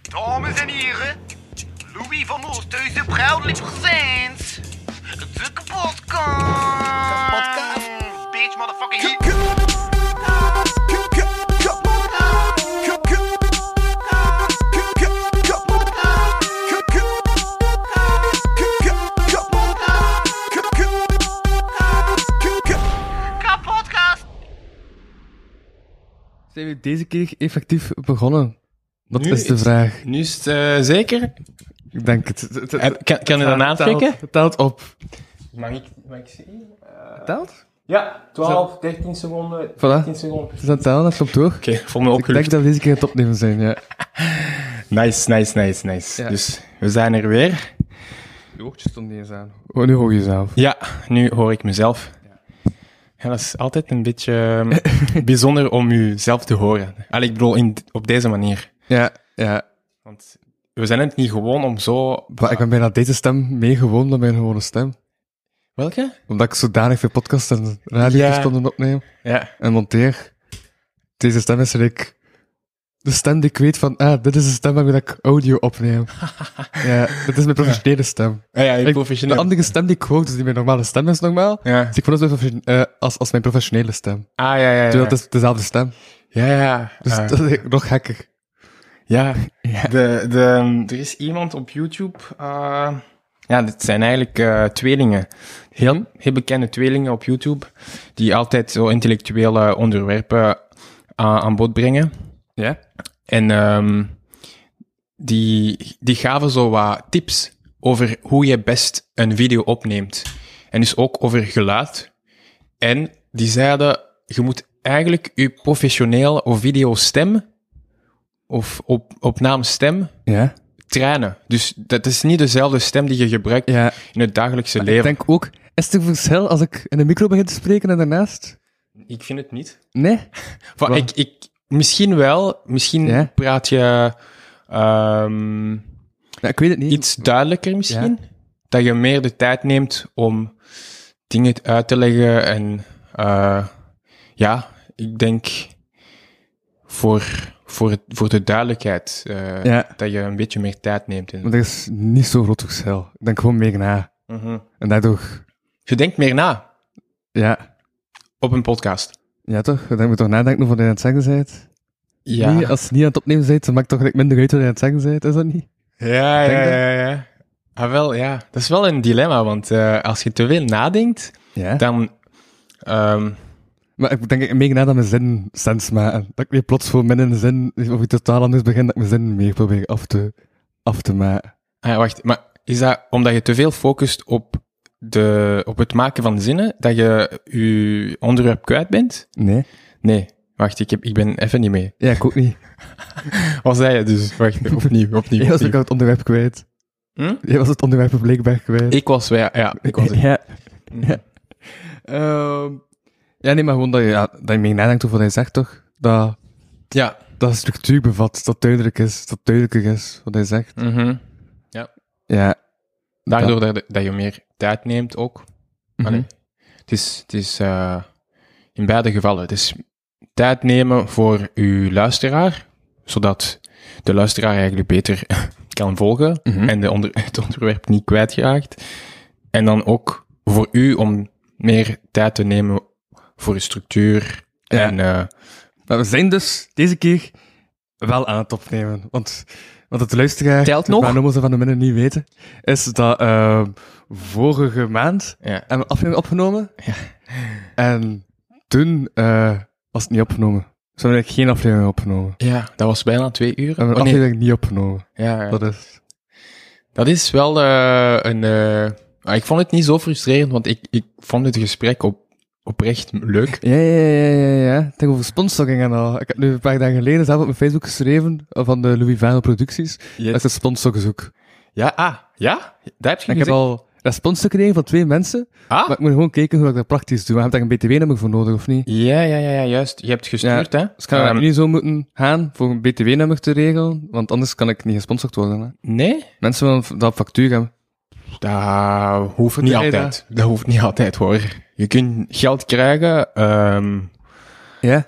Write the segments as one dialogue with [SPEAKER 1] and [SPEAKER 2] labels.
[SPEAKER 1] Dames en heren, Louis van Oosthuizen, proudly presents de kapotkast.
[SPEAKER 2] Kapotkast.
[SPEAKER 1] Bitch, motherfucking heat. Kapotkast.
[SPEAKER 3] Zijn we deze keer effectief begonnen? Dat
[SPEAKER 4] Nu
[SPEAKER 3] is de
[SPEAKER 4] is-
[SPEAKER 3] vraag.
[SPEAKER 4] Nu is het eh, zeker.
[SPEAKER 3] Ik denk het. Het- het-
[SPEAKER 4] Heb- kan, kan je
[SPEAKER 3] het
[SPEAKER 4] dat aantikken?
[SPEAKER 3] telt- Het telt op.
[SPEAKER 4] Mag ik, mag ik zien?
[SPEAKER 3] Telt?
[SPEAKER 4] Ja, 12, 13 seconden.
[SPEAKER 3] Voilà.
[SPEAKER 4] 10 seconden.
[SPEAKER 3] Het is aan het tellen, dat klopt toch?
[SPEAKER 4] Oké, voor me ook
[SPEAKER 3] Ik denk dat we deze keer aan het opnemen zijn, ja.
[SPEAKER 4] Nice, nice, nice, nice.
[SPEAKER 3] Ja.
[SPEAKER 4] Dus we zijn er weer.
[SPEAKER 3] Je woordje stond niet eens aan. Oh, nu hoor je jezelf.
[SPEAKER 4] Ja, nu hoor ik mezelf. Ja, dat is altijd een beetje eh, bijzonder om jezelf te horen. Allee, ik bedoel, in, op deze manier.
[SPEAKER 3] Ja, ja.
[SPEAKER 4] Want we zijn het niet gewoon om zo...
[SPEAKER 3] Maar ik ben bijna deze stem meer gewoon dan mijn gewone stem.
[SPEAKER 4] Welke?
[SPEAKER 3] Omdat ik zodanig veel podcasts en radio
[SPEAKER 4] Ja.
[SPEAKER 3] stonden opneem
[SPEAKER 4] Ja.
[SPEAKER 3] en monteer. Deze stem is ik. De stem die ik weet van, ah, dit is de stem waarmee ik audio opneem. ja, dit is mijn professionele stem.
[SPEAKER 4] Ah, ja, je
[SPEAKER 3] Ik-
[SPEAKER 4] professioneel.
[SPEAKER 3] De andere stem die ik hoor, dus die mijn normale stem is normaal.
[SPEAKER 4] Ja.
[SPEAKER 3] Dus ik vond het wel profe- eh, als, als mijn professionele stem.
[SPEAKER 4] Ah, ja, ja, ja.
[SPEAKER 3] Terwijl het is dezelfde stem.
[SPEAKER 4] Ja, ja.
[SPEAKER 3] Dus
[SPEAKER 4] Ah.
[SPEAKER 3] dat is nog gekker.
[SPEAKER 4] Ja, De, de, er is iemand op YouTube. eh, ja, dit zijn eigenlijk eh, tweelingen. Heel, heel bekende tweelingen op YouTube. Die altijd zo intellectuele onderwerpen aan- aan bod brengen.
[SPEAKER 3] Ja?
[SPEAKER 4] En ehm, die, die gaven zo wat tips over hoe je best een video opneemt. En dus ook over geluid. En die zeiden, je moet eigenlijk je professionele of videostem of op, opnamestem
[SPEAKER 3] Ja?
[SPEAKER 4] trainen. Dus dat is niet dezelfde stem die je gebruikt
[SPEAKER 3] Ja.
[SPEAKER 4] in het dagelijkse
[SPEAKER 3] Ik
[SPEAKER 4] leven.
[SPEAKER 3] denk ook, is het een verschil als ik in de micro begin te spreken en daarnaast?
[SPEAKER 4] Ik vind het niet.
[SPEAKER 3] Nee? Nou,
[SPEAKER 4] Van,
[SPEAKER 3] Wa-
[SPEAKER 4] ik, ik, misschien wel, misschien
[SPEAKER 3] Ja?
[SPEAKER 4] praat je... ehm,
[SPEAKER 3] Ja, ik weet het niet.
[SPEAKER 4] iets duidelijker misschien. Dat je meer de tijd neemt om dingen uit te leggen. En eh, ja, ik denk voor, voor, het- voor de duidelijkheid eh,
[SPEAKER 3] Ja.
[SPEAKER 4] dat je een beetje meer tijd neemt. En,
[SPEAKER 3] Want er is niet zo'n groot verschil. Ik denk gewoon meer na.
[SPEAKER 4] Mhm.
[SPEAKER 3] En daardoor,
[SPEAKER 4] Je denkt meer na
[SPEAKER 3] ja.
[SPEAKER 4] op een podcast.
[SPEAKER 3] Ja toch? Dan moet je toch nadenken over wat je aan het zeggen bent.
[SPEAKER 4] Ja,
[SPEAKER 3] Nee, als je niet aan het opnemen bent, dan maakt het toch gelijk minder uit wat je aan het zeggen bent. Is dat niet?
[SPEAKER 4] ja,
[SPEAKER 3] Denk
[SPEAKER 4] ja,
[SPEAKER 3] je?
[SPEAKER 4] ja, ja. Ah, wel, ja. Dat is wel een dilemma, want eh, als je te veel nadenkt,
[SPEAKER 3] Ja.
[SPEAKER 4] dan... ehm,
[SPEAKER 3] Maar ik denk ik meer na dat mijn zin sens maken. Dat ik niet plots voor mijn een zin, of ik totaal anders begin, dat ik mijn zin meer probeer af te, af te maken.
[SPEAKER 4] Ah, wacht, maar is dat omdat je te veel focust op, de, op het maken van zinnen, dat je je onderwerp kwijt bent?
[SPEAKER 3] Nee?
[SPEAKER 4] Nee, wacht, ik, heb, ik ben even niet mee.
[SPEAKER 3] Ja, ik ook niet.
[SPEAKER 4] Wat zei je dus? Wacht, opnieuw,
[SPEAKER 3] Jij was
[SPEAKER 4] opnieuw.
[SPEAKER 3] ook
[SPEAKER 4] opnieuw.
[SPEAKER 3] al het onderwerp kwijt.
[SPEAKER 4] Hm?
[SPEAKER 3] Jij was het onderwerp blijkbaar kwijt.
[SPEAKER 4] Ik was, ja, ja, ik was het.
[SPEAKER 3] Ja. Ja. Ehm, ja, nee, maar gewoon dat je, ja, dat je meer nadenkt over wat hij zegt, toch? Dat,
[SPEAKER 4] Ja.
[SPEAKER 3] dat een structuur bevat, dat duidelijk is, dat duidelijker is wat hij zegt.
[SPEAKER 4] mhm.
[SPEAKER 3] Ja.
[SPEAKER 4] Daardoor dat, dat je meer tijd neemt ook.
[SPEAKER 3] Mhm.
[SPEAKER 4] Allee, Het is, het is eh, in beide gevallen. Het is tijd nemen voor uw luisteraar, zodat de luisteraar eigenlijk beter kan volgen
[SPEAKER 3] Mhm.
[SPEAKER 4] en de onder, het onderwerp niet kwijtgeraakt. En dan ook voor u om meer tijd te nemen voor uw structuur.
[SPEAKER 3] Ja.
[SPEAKER 4] En eh,
[SPEAKER 3] Maar we zijn dus deze keer wel aan het opnemen. Want, want het luisteraar,
[SPEAKER 4] Telt nog?
[SPEAKER 3] maar noemen ze van de minnen niet weten, is dat eh, vorige maand
[SPEAKER 4] ja.
[SPEAKER 3] hebben we een aflevering opgenomen. En toen eh, was het niet opgenomen. Ze hebben eigenlijk geen aflevering opgenomen.
[SPEAKER 4] ja, dat was bijna twee uur.
[SPEAKER 3] We hebben een
[SPEAKER 4] Oh, nee.
[SPEAKER 3] aflevering niet opgenomen.
[SPEAKER 4] ja, ja.
[SPEAKER 3] Dat is...
[SPEAKER 4] Dat is wel eh, een. eh, ah, ik vond het niet zo frustrerend, want ik, ik vond het gesprek op, oprecht leuk.
[SPEAKER 3] Ja, ja, ja, ja, ja. Ik denk over sponsoring en al. Ik heb nu een paar dagen geleden zelf op mijn Facebook geschreven eh, van de Louis Vuitton producties. Dat is een sponsorgezoek.
[SPEAKER 4] Ja, ah, ja? Dat heb je
[SPEAKER 3] En ik heb
[SPEAKER 4] gezegd?
[SPEAKER 3] al respons gekregen van twee mensen.
[SPEAKER 4] Ah?
[SPEAKER 3] Maar ik moet gewoon kijken hoe ik dat praktisch doe. Maar heb daar een BTW-nummer voor nodig, of niet?
[SPEAKER 4] Ja, ja, ja, ja, juist. Je hebt gestuurd, hè?
[SPEAKER 3] Dus ik ga
[SPEAKER 4] Ehm,
[SPEAKER 3] nu zo moeten gaan voor een BTW-nummer te regelen, want anders kan ik niet gesponsord worden. Hè.
[SPEAKER 4] Nee?
[SPEAKER 3] Mensen willen v- dat factuur hebben.
[SPEAKER 4] Dat hoeft niet
[SPEAKER 3] Nee, dat-
[SPEAKER 4] altijd. Dat... hoeft niet altijd, hoor. Je kunt geld krijgen. ehm
[SPEAKER 3] Ja?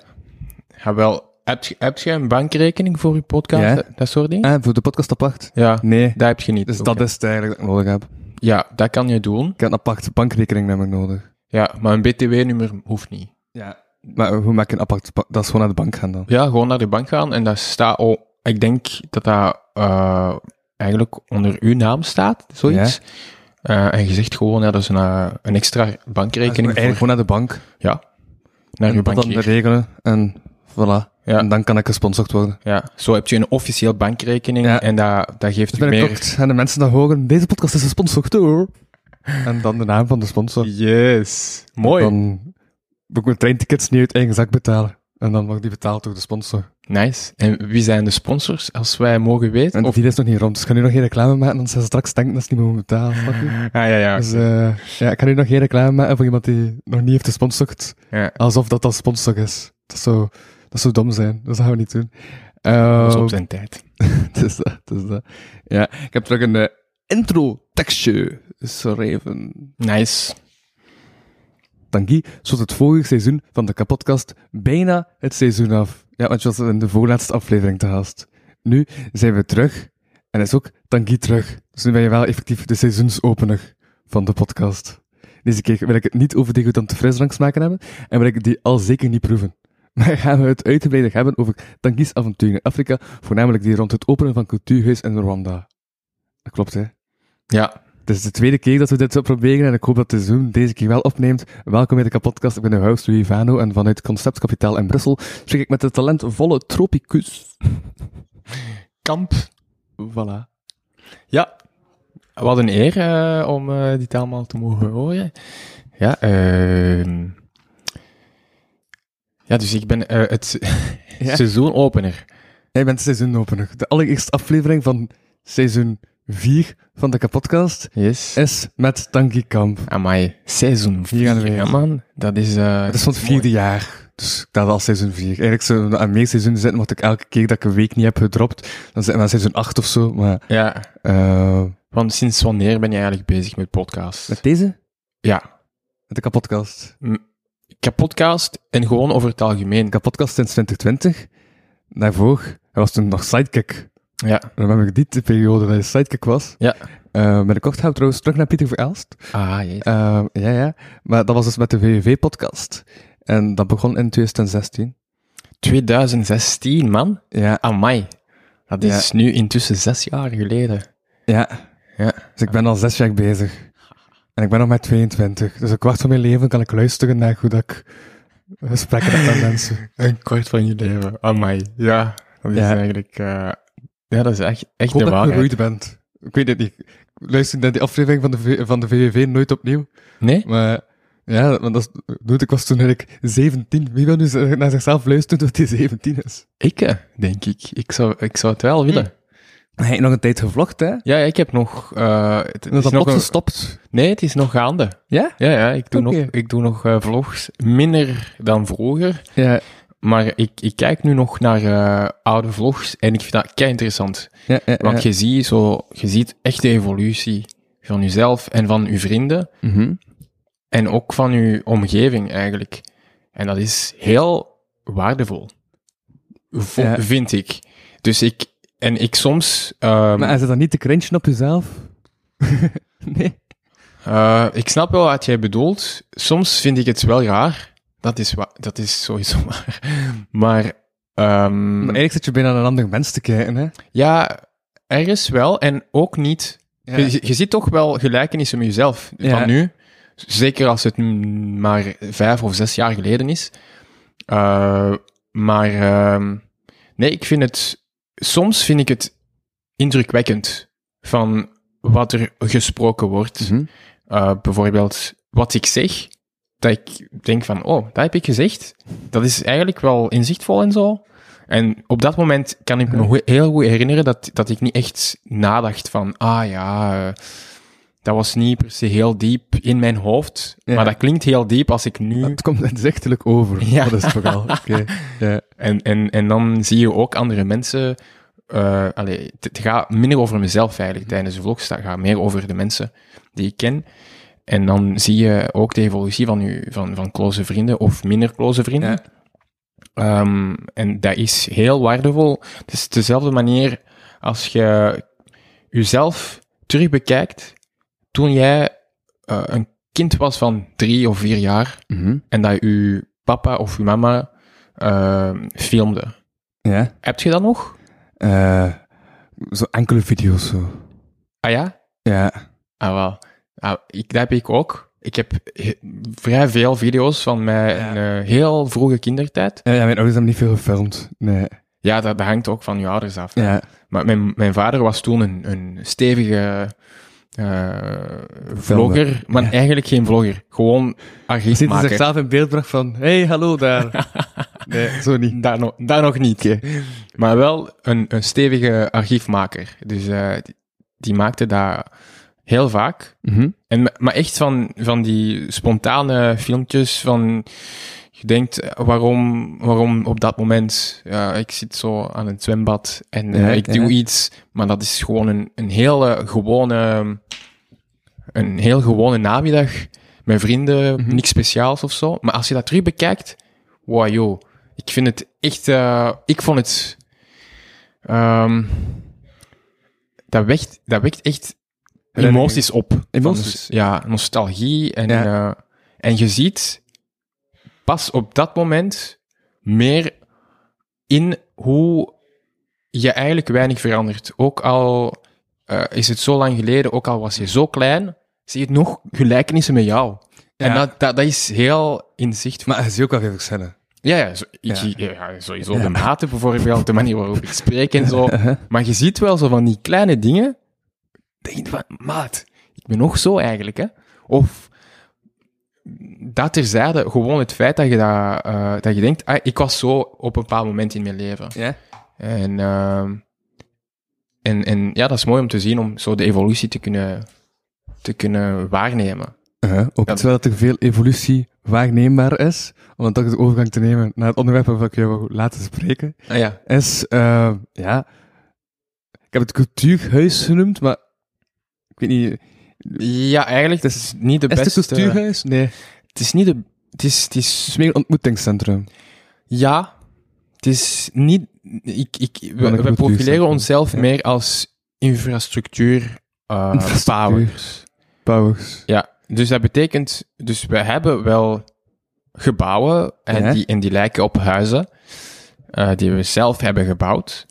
[SPEAKER 4] ja, wel, Heb, je- heb je een bankrekening voor je podcast?
[SPEAKER 3] Ja.
[SPEAKER 4] Dat- Dat soort dingen?
[SPEAKER 3] Ah, voor de podcast apart?
[SPEAKER 4] Ja,
[SPEAKER 3] Nee.
[SPEAKER 4] dat heb je niet.
[SPEAKER 3] Dus
[SPEAKER 4] Oké.
[SPEAKER 3] dat is het eigenlijk dat ik nodig heb.
[SPEAKER 4] Ja, dat kan je doen.
[SPEAKER 3] Ik heb een aparte bankrekening namelijk nodig.
[SPEAKER 4] Ja, maar een BTW-nummer hoeft niet.
[SPEAKER 3] Ja. Maar hoe maak je een aparte ba- Dat is gewoon naar de bank gaan dan.
[SPEAKER 4] Ja, gewoon naar de bank gaan en daar staat al... Ik denk dat dat eh, eigenlijk onder uw naam staat, zoiets. Eh, en je zegt gewoon, ja, dat is een, eh, een extra bankrekening
[SPEAKER 3] eigenlijk
[SPEAKER 4] voor,
[SPEAKER 3] gewoon naar de bank.
[SPEAKER 4] ja, naar uw
[SPEAKER 3] En dat dan
[SPEAKER 4] bankier.
[SPEAKER 3] regelen. En voilà.
[SPEAKER 4] Ja.
[SPEAKER 3] En dan kan ik gesponsord worden.
[SPEAKER 4] Ja, zo heb je een officieel bankrekening
[SPEAKER 3] Ja.
[SPEAKER 4] en dat, dat geeft
[SPEAKER 3] Dus
[SPEAKER 4] u
[SPEAKER 3] ben ik
[SPEAKER 4] meer...
[SPEAKER 3] tot aan de mensen dat horen. Deze podcast is gesponsord door. En dan de naam van de sponsor.
[SPEAKER 4] Yes. Mooi.
[SPEAKER 3] Dan moet ik mijn treintickets niet uit eigen zak betalen. En dan wordt die betaald door de sponsor.
[SPEAKER 4] Nice. En wie zijn de sponsors, als wij mogen weten?
[SPEAKER 3] En
[SPEAKER 4] Of...
[SPEAKER 3] die is nog niet rond. Dus ik ga nu nog geen reclame maken. Anders zijn ze straks denken dat ze niet meer moeten betalen. Snap je?
[SPEAKER 4] Ah, ja, ja.
[SPEAKER 3] Dus eh, ja, ik ga nu nog geen reclame maken voor iemand die nog niet heeft gesponsord.
[SPEAKER 4] ja.
[SPEAKER 3] Alsof dat al sponsor is. Dat zou, dat zou dom zijn. Dus dat gaan we niet doen.
[SPEAKER 4] Dat is
[SPEAKER 3] Ehm,
[SPEAKER 4] op zijn tijd.
[SPEAKER 3] het is dat, het is dat. Ja, ik heb terug een eh, intro-tekstje geschreven.
[SPEAKER 4] Nice.
[SPEAKER 3] Tanguy sloot het vorige seizoen van de kapotkast bijna het seizoen af. Ja, want je was in de voorlaatste aflevering te gast. Nu zijn we terug en is ook Tanguy terug. Dus nu ben je wel effectief de seizoensopener van de podcast. Deze keer wil ik het niet over degutante frisdranksmaken hebben en wil ik die al zeker niet proeven. Maar gaan we het uitgebreid hebben over Tanguys avonturen in Afrika, voornamelijk die rond het openen van cultuurhuis in Rwanda. Dat klopt, hè?
[SPEAKER 4] Ja.
[SPEAKER 3] Het is de tweede keer dat we dit zo proberen en ik hoop dat de Zoom deze keer wel opneemt. Welkom bij de podcast. Ik ben de host Louis Vano en vanuit Conceptkapitaal in Brussel spreek ik met de talentvolle Tropicus.
[SPEAKER 4] Kamp.
[SPEAKER 3] Voilà.
[SPEAKER 4] Ja. Wat een eer eh, om eh, dit allemaal te mogen horen. Ja, ehm. ja dus ik ben eh, het se-
[SPEAKER 3] Ja.
[SPEAKER 4] seizoenopener.
[SPEAKER 3] Jij bent seizoenopener. De allereerste aflevering van seizoen 4 van de podcast
[SPEAKER 4] Yes.
[SPEAKER 3] is met Tanky Kamp.
[SPEAKER 4] Amai, seizoen
[SPEAKER 3] Hier gaan
[SPEAKER 4] 4.
[SPEAKER 3] we
[SPEAKER 4] Ja,
[SPEAKER 3] weer.
[SPEAKER 4] man. Dat is... eh,
[SPEAKER 3] Het is van het vierde jaar. Dus ik had al seizoen 4. Eigenlijk zou dat aan meer seizoenen zitten, want ik elke keer dat ik een week niet heb gedropt, dan zitten we aan seizoen 8 of zo. Maar,
[SPEAKER 4] Ja.
[SPEAKER 3] eh,
[SPEAKER 4] Want sinds wanneer ben je eigenlijk bezig met podcasts?
[SPEAKER 3] met deze?
[SPEAKER 4] Ja.
[SPEAKER 3] Met de kapotkast.
[SPEAKER 4] Ik heb podcast en gewoon over het algemeen.
[SPEAKER 3] Ik had podcast sinds 2020. Daarvoor, hij was toen nog Sidekick.
[SPEAKER 4] Ja.
[SPEAKER 3] Dan heb ik die te- periode dat hij Sidekick was.
[SPEAKER 4] Ja.
[SPEAKER 3] Eh, met een kort gaan we trouwens terug naar Pieter Verelst.
[SPEAKER 4] Ah, jee.
[SPEAKER 3] Eh, ja, ja. Maar dat was dus met de VVV-podcast. En dat begon in 2016.
[SPEAKER 4] 2016, man.
[SPEAKER 3] Ja,
[SPEAKER 4] Amai. Dat is nu intussen zes jaar geleden.
[SPEAKER 3] ja.
[SPEAKER 4] Ja.
[SPEAKER 3] Dus ik ben al zes jaar bezig. En ik ben nog maar 22. Dus een kwart van mijn leven kan ik luisteren naar hoe dat ik gesprekken heb met mensen.
[SPEAKER 4] Een kwart van je leven. Amai. Ja. Dat is
[SPEAKER 3] Ja.
[SPEAKER 4] eigenlijk... eh, ja, dat is echt,
[SPEAKER 3] Ik
[SPEAKER 4] echt
[SPEAKER 3] hoop dat je
[SPEAKER 4] de waarheid.
[SPEAKER 3] geroeid bent. Ik weet het niet. Ik luister naar die aflevering van de, V- van de VVV nooit opnieuw.
[SPEAKER 4] Nee?
[SPEAKER 3] Maar ja, want dat is- doet ik was toen eigenlijk 17. Wie wil nu z- naar zichzelf luisteren dat hij 17 is?
[SPEAKER 4] Ik, eh, denk ik. Ik zou, ik zou het wel
[SPEAKER 3] Hm.
[SPEAKER 4] willen.
[SPEAKER 3] Hij heeft nog een tijd gevlogd, hè?
[SPEAKER 4] Ja, ik heb nog... eh, het, het
[SPEAKER 3] En dat
[SPEAKER 4] is
[SPEAKER 3] is
[SPEAKER 4] nog een-
[SPEAKER 3] opgestopt.
[SPEAKER 4] nee, het is nog gaande.
[SPEAKER 3] Ja?
[SPEAKER 4] Ja, ja. Ik doe
[SPEAKER 3] Oké.
[SPEAKER 4] nog, ik doe nog eh, vlogs. Minder dan vroeger.
[SPEAKER 3] Ja.
[SPEAKER 4] Maar ik, ik kijk nu nog naar eh, oude vlogs en ik vind dat kei interessant.
[SPEAKER 3] ja, ja,
[SPEAKER 4] Want je, ziet zo, je ziet echt de evolutie van jezelf en van je vrienden.
[SPEAKER 3] Mhm.
[SPEAKER 4] En ook van je omgeving eigenlijk. En dat is heel waardevol. Vo-
[SPEAKER 3] Ja.
[SPEAKER 4] Vind ik. Dus ik... En ik soms... ehm,
[SPEAKER 3] Maar hij zit dan niet te cringen op jezelf? nee.
[SPEAKER 4] eh, ik snap wel wat jij bedoelt. Soms vind ik het wel raar. Dat is, wa- dat is sowieso waar. Maar... ehm,
[SPEAKER 3] Maar eigenlijk zit je bijna naar een ander mens te kijken, hè?
[SPEAKER 4] Ja, ergens wel en ook niet.
[SPEAKER 3] Ja.
[SPEAKER 4] Je, je ziet toch wel gelijkenissen met jezelf
[SPEAKER 3] Ja.
[SPEAKER 4] van nu. Zeker als het mm, maar vijf of zes jaar geleden is. Eh, maar ehm, nee, ik vind het... Soms vind ik het indrukwekkend van wat er gesproken wordt. Eh, bijvoorbeeld wat ik zeg, dat ik denk van, oh, dat heb ik gezegd. Dat is eigenlijk wel inzichtvol en zo. En op dat moment kan ik me nog heel goed herinneren dat, dat ik niet echt nadacht van, ah ja, eh, dat was niet per se heel diep in mijn hoofd.
[SPEAKER 3] Ja.
[SPEAKER 4] Maar dat klinkt heel diep als ik nu...
[SPEAKER 3] Het komt inzichtelijk over.
[SPEAKER 4] Ja.
[SPEAKER 3] Dat is het vooral. Oké. Ja.
[SPEAKER 4] En, en, en dan zie je ook andere mensen... eh allee, het- het gaat minder over mezelf eigenlijk tijdens de vlogs. Het gaat meer over de mensen die ik ken. En dan zie je ook de evolutie van, je, van, van close vrienden of minder close vrienden.
[SPEAKER 3] Ja.
[SPEAKER 4] Ehm, en dat is heel waardevol. Het is dezelfde manier als je jezelf terug bekijkt toen jij eh, een kind was van drie of vier jaar
[SPEAKER 3] Mhm.
[SPEAKER 4] en dat je papa of je mama ehm, filmde.
[SPEAKER 3] Ja.
[SPEAKER 4] Heb je dat nog?
[SPEAKER 3] Eh, zo enkele video's zo.
[SPEAKER 4] Ah ja?
[SPEAKER 3] Ja.
[SPEAKER 4] Ah wel. Ah, ik, dat heb ik ook. Ik heb he- vrij veel video's van mijn eh, heel vroege kindertijd.
[SPEAKER 3] Ja, ja, mijn ouders hebben niet veel gefilmd. Nee.
[SPEAKER 4] Ja, dat, dat hangt ook van je ouders af.
[SPEAKER 3] Ja.
[SPEAKER 4] Maar mijn, mijn vader was toen een, een stevige eh, vlogger, maar
[SPEAKER 3] Ja.
[SPEAKER 4] eigenlijk geen vlogger. Gewoon
[SPEAKER 3] Je
[SPEAKER 4] archief
[SPEAKER 3] ziet
[SPEAKER 4] maken.
[SPEAKER 3] zichzelf in beeld bracht van, hey, hallo daar. nee, zo niet.
[SPEAKER 4] Daar, nog- daar nog niet. Maar wel een, een stevige archiefmaker. Dus eh, die, die maakte dat heel vaak.
[SPEAKER 3] Mhm.
[SPEAKER 4] En, ma- maar echt van, van die spontane filmpjes van... Je denkt, eh, waarom, waarom op dat moment? Ja, ik zit zo aan het zwembad en eh,
[SPEAKER 3] Ja,
[SPEAKER 4] ik
[SPEAKER 3] ja.
[SPEAKER 4] doe iets. Maar dat is gewoon een, een hele gewone... Een heel gewone namiddag. Met vrienden,
[SPEAKER 3] Mhm.
[SPEAKER 4] niks speciaals of zo. Maar als je dat terug bekijkt... Wow, joh. Ik vind het echt... eh, ik vond het... ehm, dat, wekt, dat wekt echt
[SPEAKER 3] Herinneringen.
[SPEAKER 4] emoties op.
[SPEAKER 3] Emoties?
[SPEAKER 4] Van nos- ja, nostalgie. En,
[SPEAKER 3] Ja.
[SPEAKER 4] eh, en je ziet pas op dat moment meer in hoe je eigenlijk weinig verandert. Ook al eh, is het zo lang geleden, ook al was je zo klein, zie je nog gelijkenissen met jou. En dat, dat, dat is heel inzichtelijk.
[SPEAKER 3] Maar je ziet ook wel veel verschillen.
[SPEAKER 4] Ja, ja, zo- ik,
[SPEAKER 3] Ja.
[SPEAKER 4] ja. sowieso de maten bijvoorbeeld, de manier waarop ik spreek en zo.
[SPEAKER 3] Uh-huh.
[SPEAKER 4] Maar je ziet wel zo van die kleine dingen. Denk je van, maat, ik ben nog zo eigenlijk, hè? Of dat terzijde, gewoon het feit dat je, dat, eh, dat je denkt, ah, ik was zo op een bepaald moment in mijn leven.
[SPEAKER 3] Ja.
[SPEAKER 4] En, ehm, en, en ja, dat is mooi om te zien, om zo de evolutie te kunnen, te kunnen waarnemen.
[SPEAKER 3] Uh-huh. Ook
[SPEAKER 4] Ja.
[SPEAKER 3] terwijl er veel evolutie waarneembaar is, om dan toch de overgang te nemen naar het onderwerp waarvan ik je wil laten spreken.
[SPEAKER 4] Ah, ja.
[SPEAKER 3] is, eh, ja, ik heb het cultuurhuis genoemd, maar ik weet niet,
[SPEAKER 4] ja, eigenlijk, dat is niet de
[SPEAKER 3] is het
[SPEAKER 4] beste...
[SPEAKER 3] een cultuurhuis? Nee, het
[SPEAKER 4] Het is niet de... Het is, het is
[SPEAKER 3] is meer een ontmoetingscentrum.
[SPEAKER 4] Ja, het is niet. Ik, ik, we-
[SPEAKER 3] een
[SPEAKER 4] we,
[SPEAKER 3] cultuur
[SPEAKER 4] profileren
[SPEAKER 3] zeker.
[SPEAKER 4] onszelf
[SPEAKER 3] Ja.
[SPEAKER 4] meer als infrastructuur, eh,
[SPEAKER 3] Infrastructuur.
[SPEAKER 4] powers.
[SPEAKER 3] Powers.
[SPEAKER 4] Ja, dus dat betekent. Dus we hebben wel gebouwen en,
[SPEAKER 3] Ja.
[SPEAKER 4] die, en die lijken op huizen eh, die we zelf hebben gebouwd.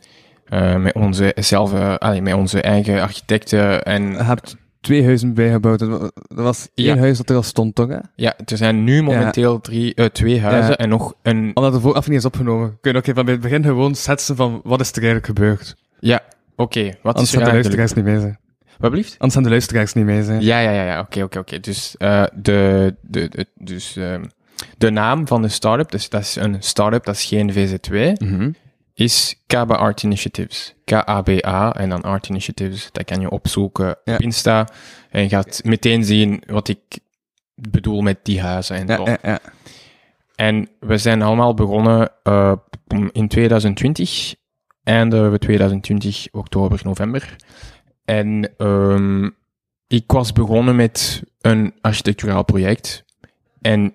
[SPEAKER 4] eh, met, onze zelf, eh, allee, met onze eigen architecten.
[SPEAKER 3] Je
[SPEAKER 4] En
[SPEAKER 3] hebt twee huizen bijgebouwd, dat wa- dat was één
[SPEAKER 4] Ja.
[SPEAKER 3] huis dat er al stond, toch? Hè?
[SPEAKER 4] ja, er zijn nu momenteel drie, eh, twee huizen
[SPEAKER 3] Ja.
[SPEAKER 4] en nog een
[SPEAKER 3] Omdat het vooraf niet is opgenomen, kun je ook van bij het begin gewoon schetsen van wat is er eigenlijk gebeurd.
[SPEAKER 4] Ja, oké. wat
[SPEAKER 3] Anders
[SPEAKER 4] is er
[SPEAKER 3] gaan de
[SPEAKER 4] eigenlijk?
[SPEAKER 3] luisteraars niet mee zijn.
[SPEAKER 4] Wat blieft?
[SPEAKER 3] Anders gaan de luisteraars niet mee zijn.
[SPEAKER 4] Ja, ja, ja, ja. Oké, oké, oké. Dus, eh, de, de, de, dus ehm, de naam van de start-up, dus dat is een start-up, dat is geen VZ2,
[SPEAKER 3] Mhm.
[SPEAKER 4] is Kaba Art Initiatives. K-A-B-A en dan Art Initiatives. Dat kan je opzoeken
[SPEAKER 3] Ja.
[SPEAKER 4] op Insta en je gaat meteen zien wat ik bedoel met die huizen en
[SPEAKER 3] Ja,
[SPEAKER 4] zo.
[SPEAKER 3] ja, ja.
[SPEAKER 4] En we zijn allemaal begonnen eh, in 2020. Einde 2020, oktober, november. En ehm, ik was begonnen met een architecturaal project. En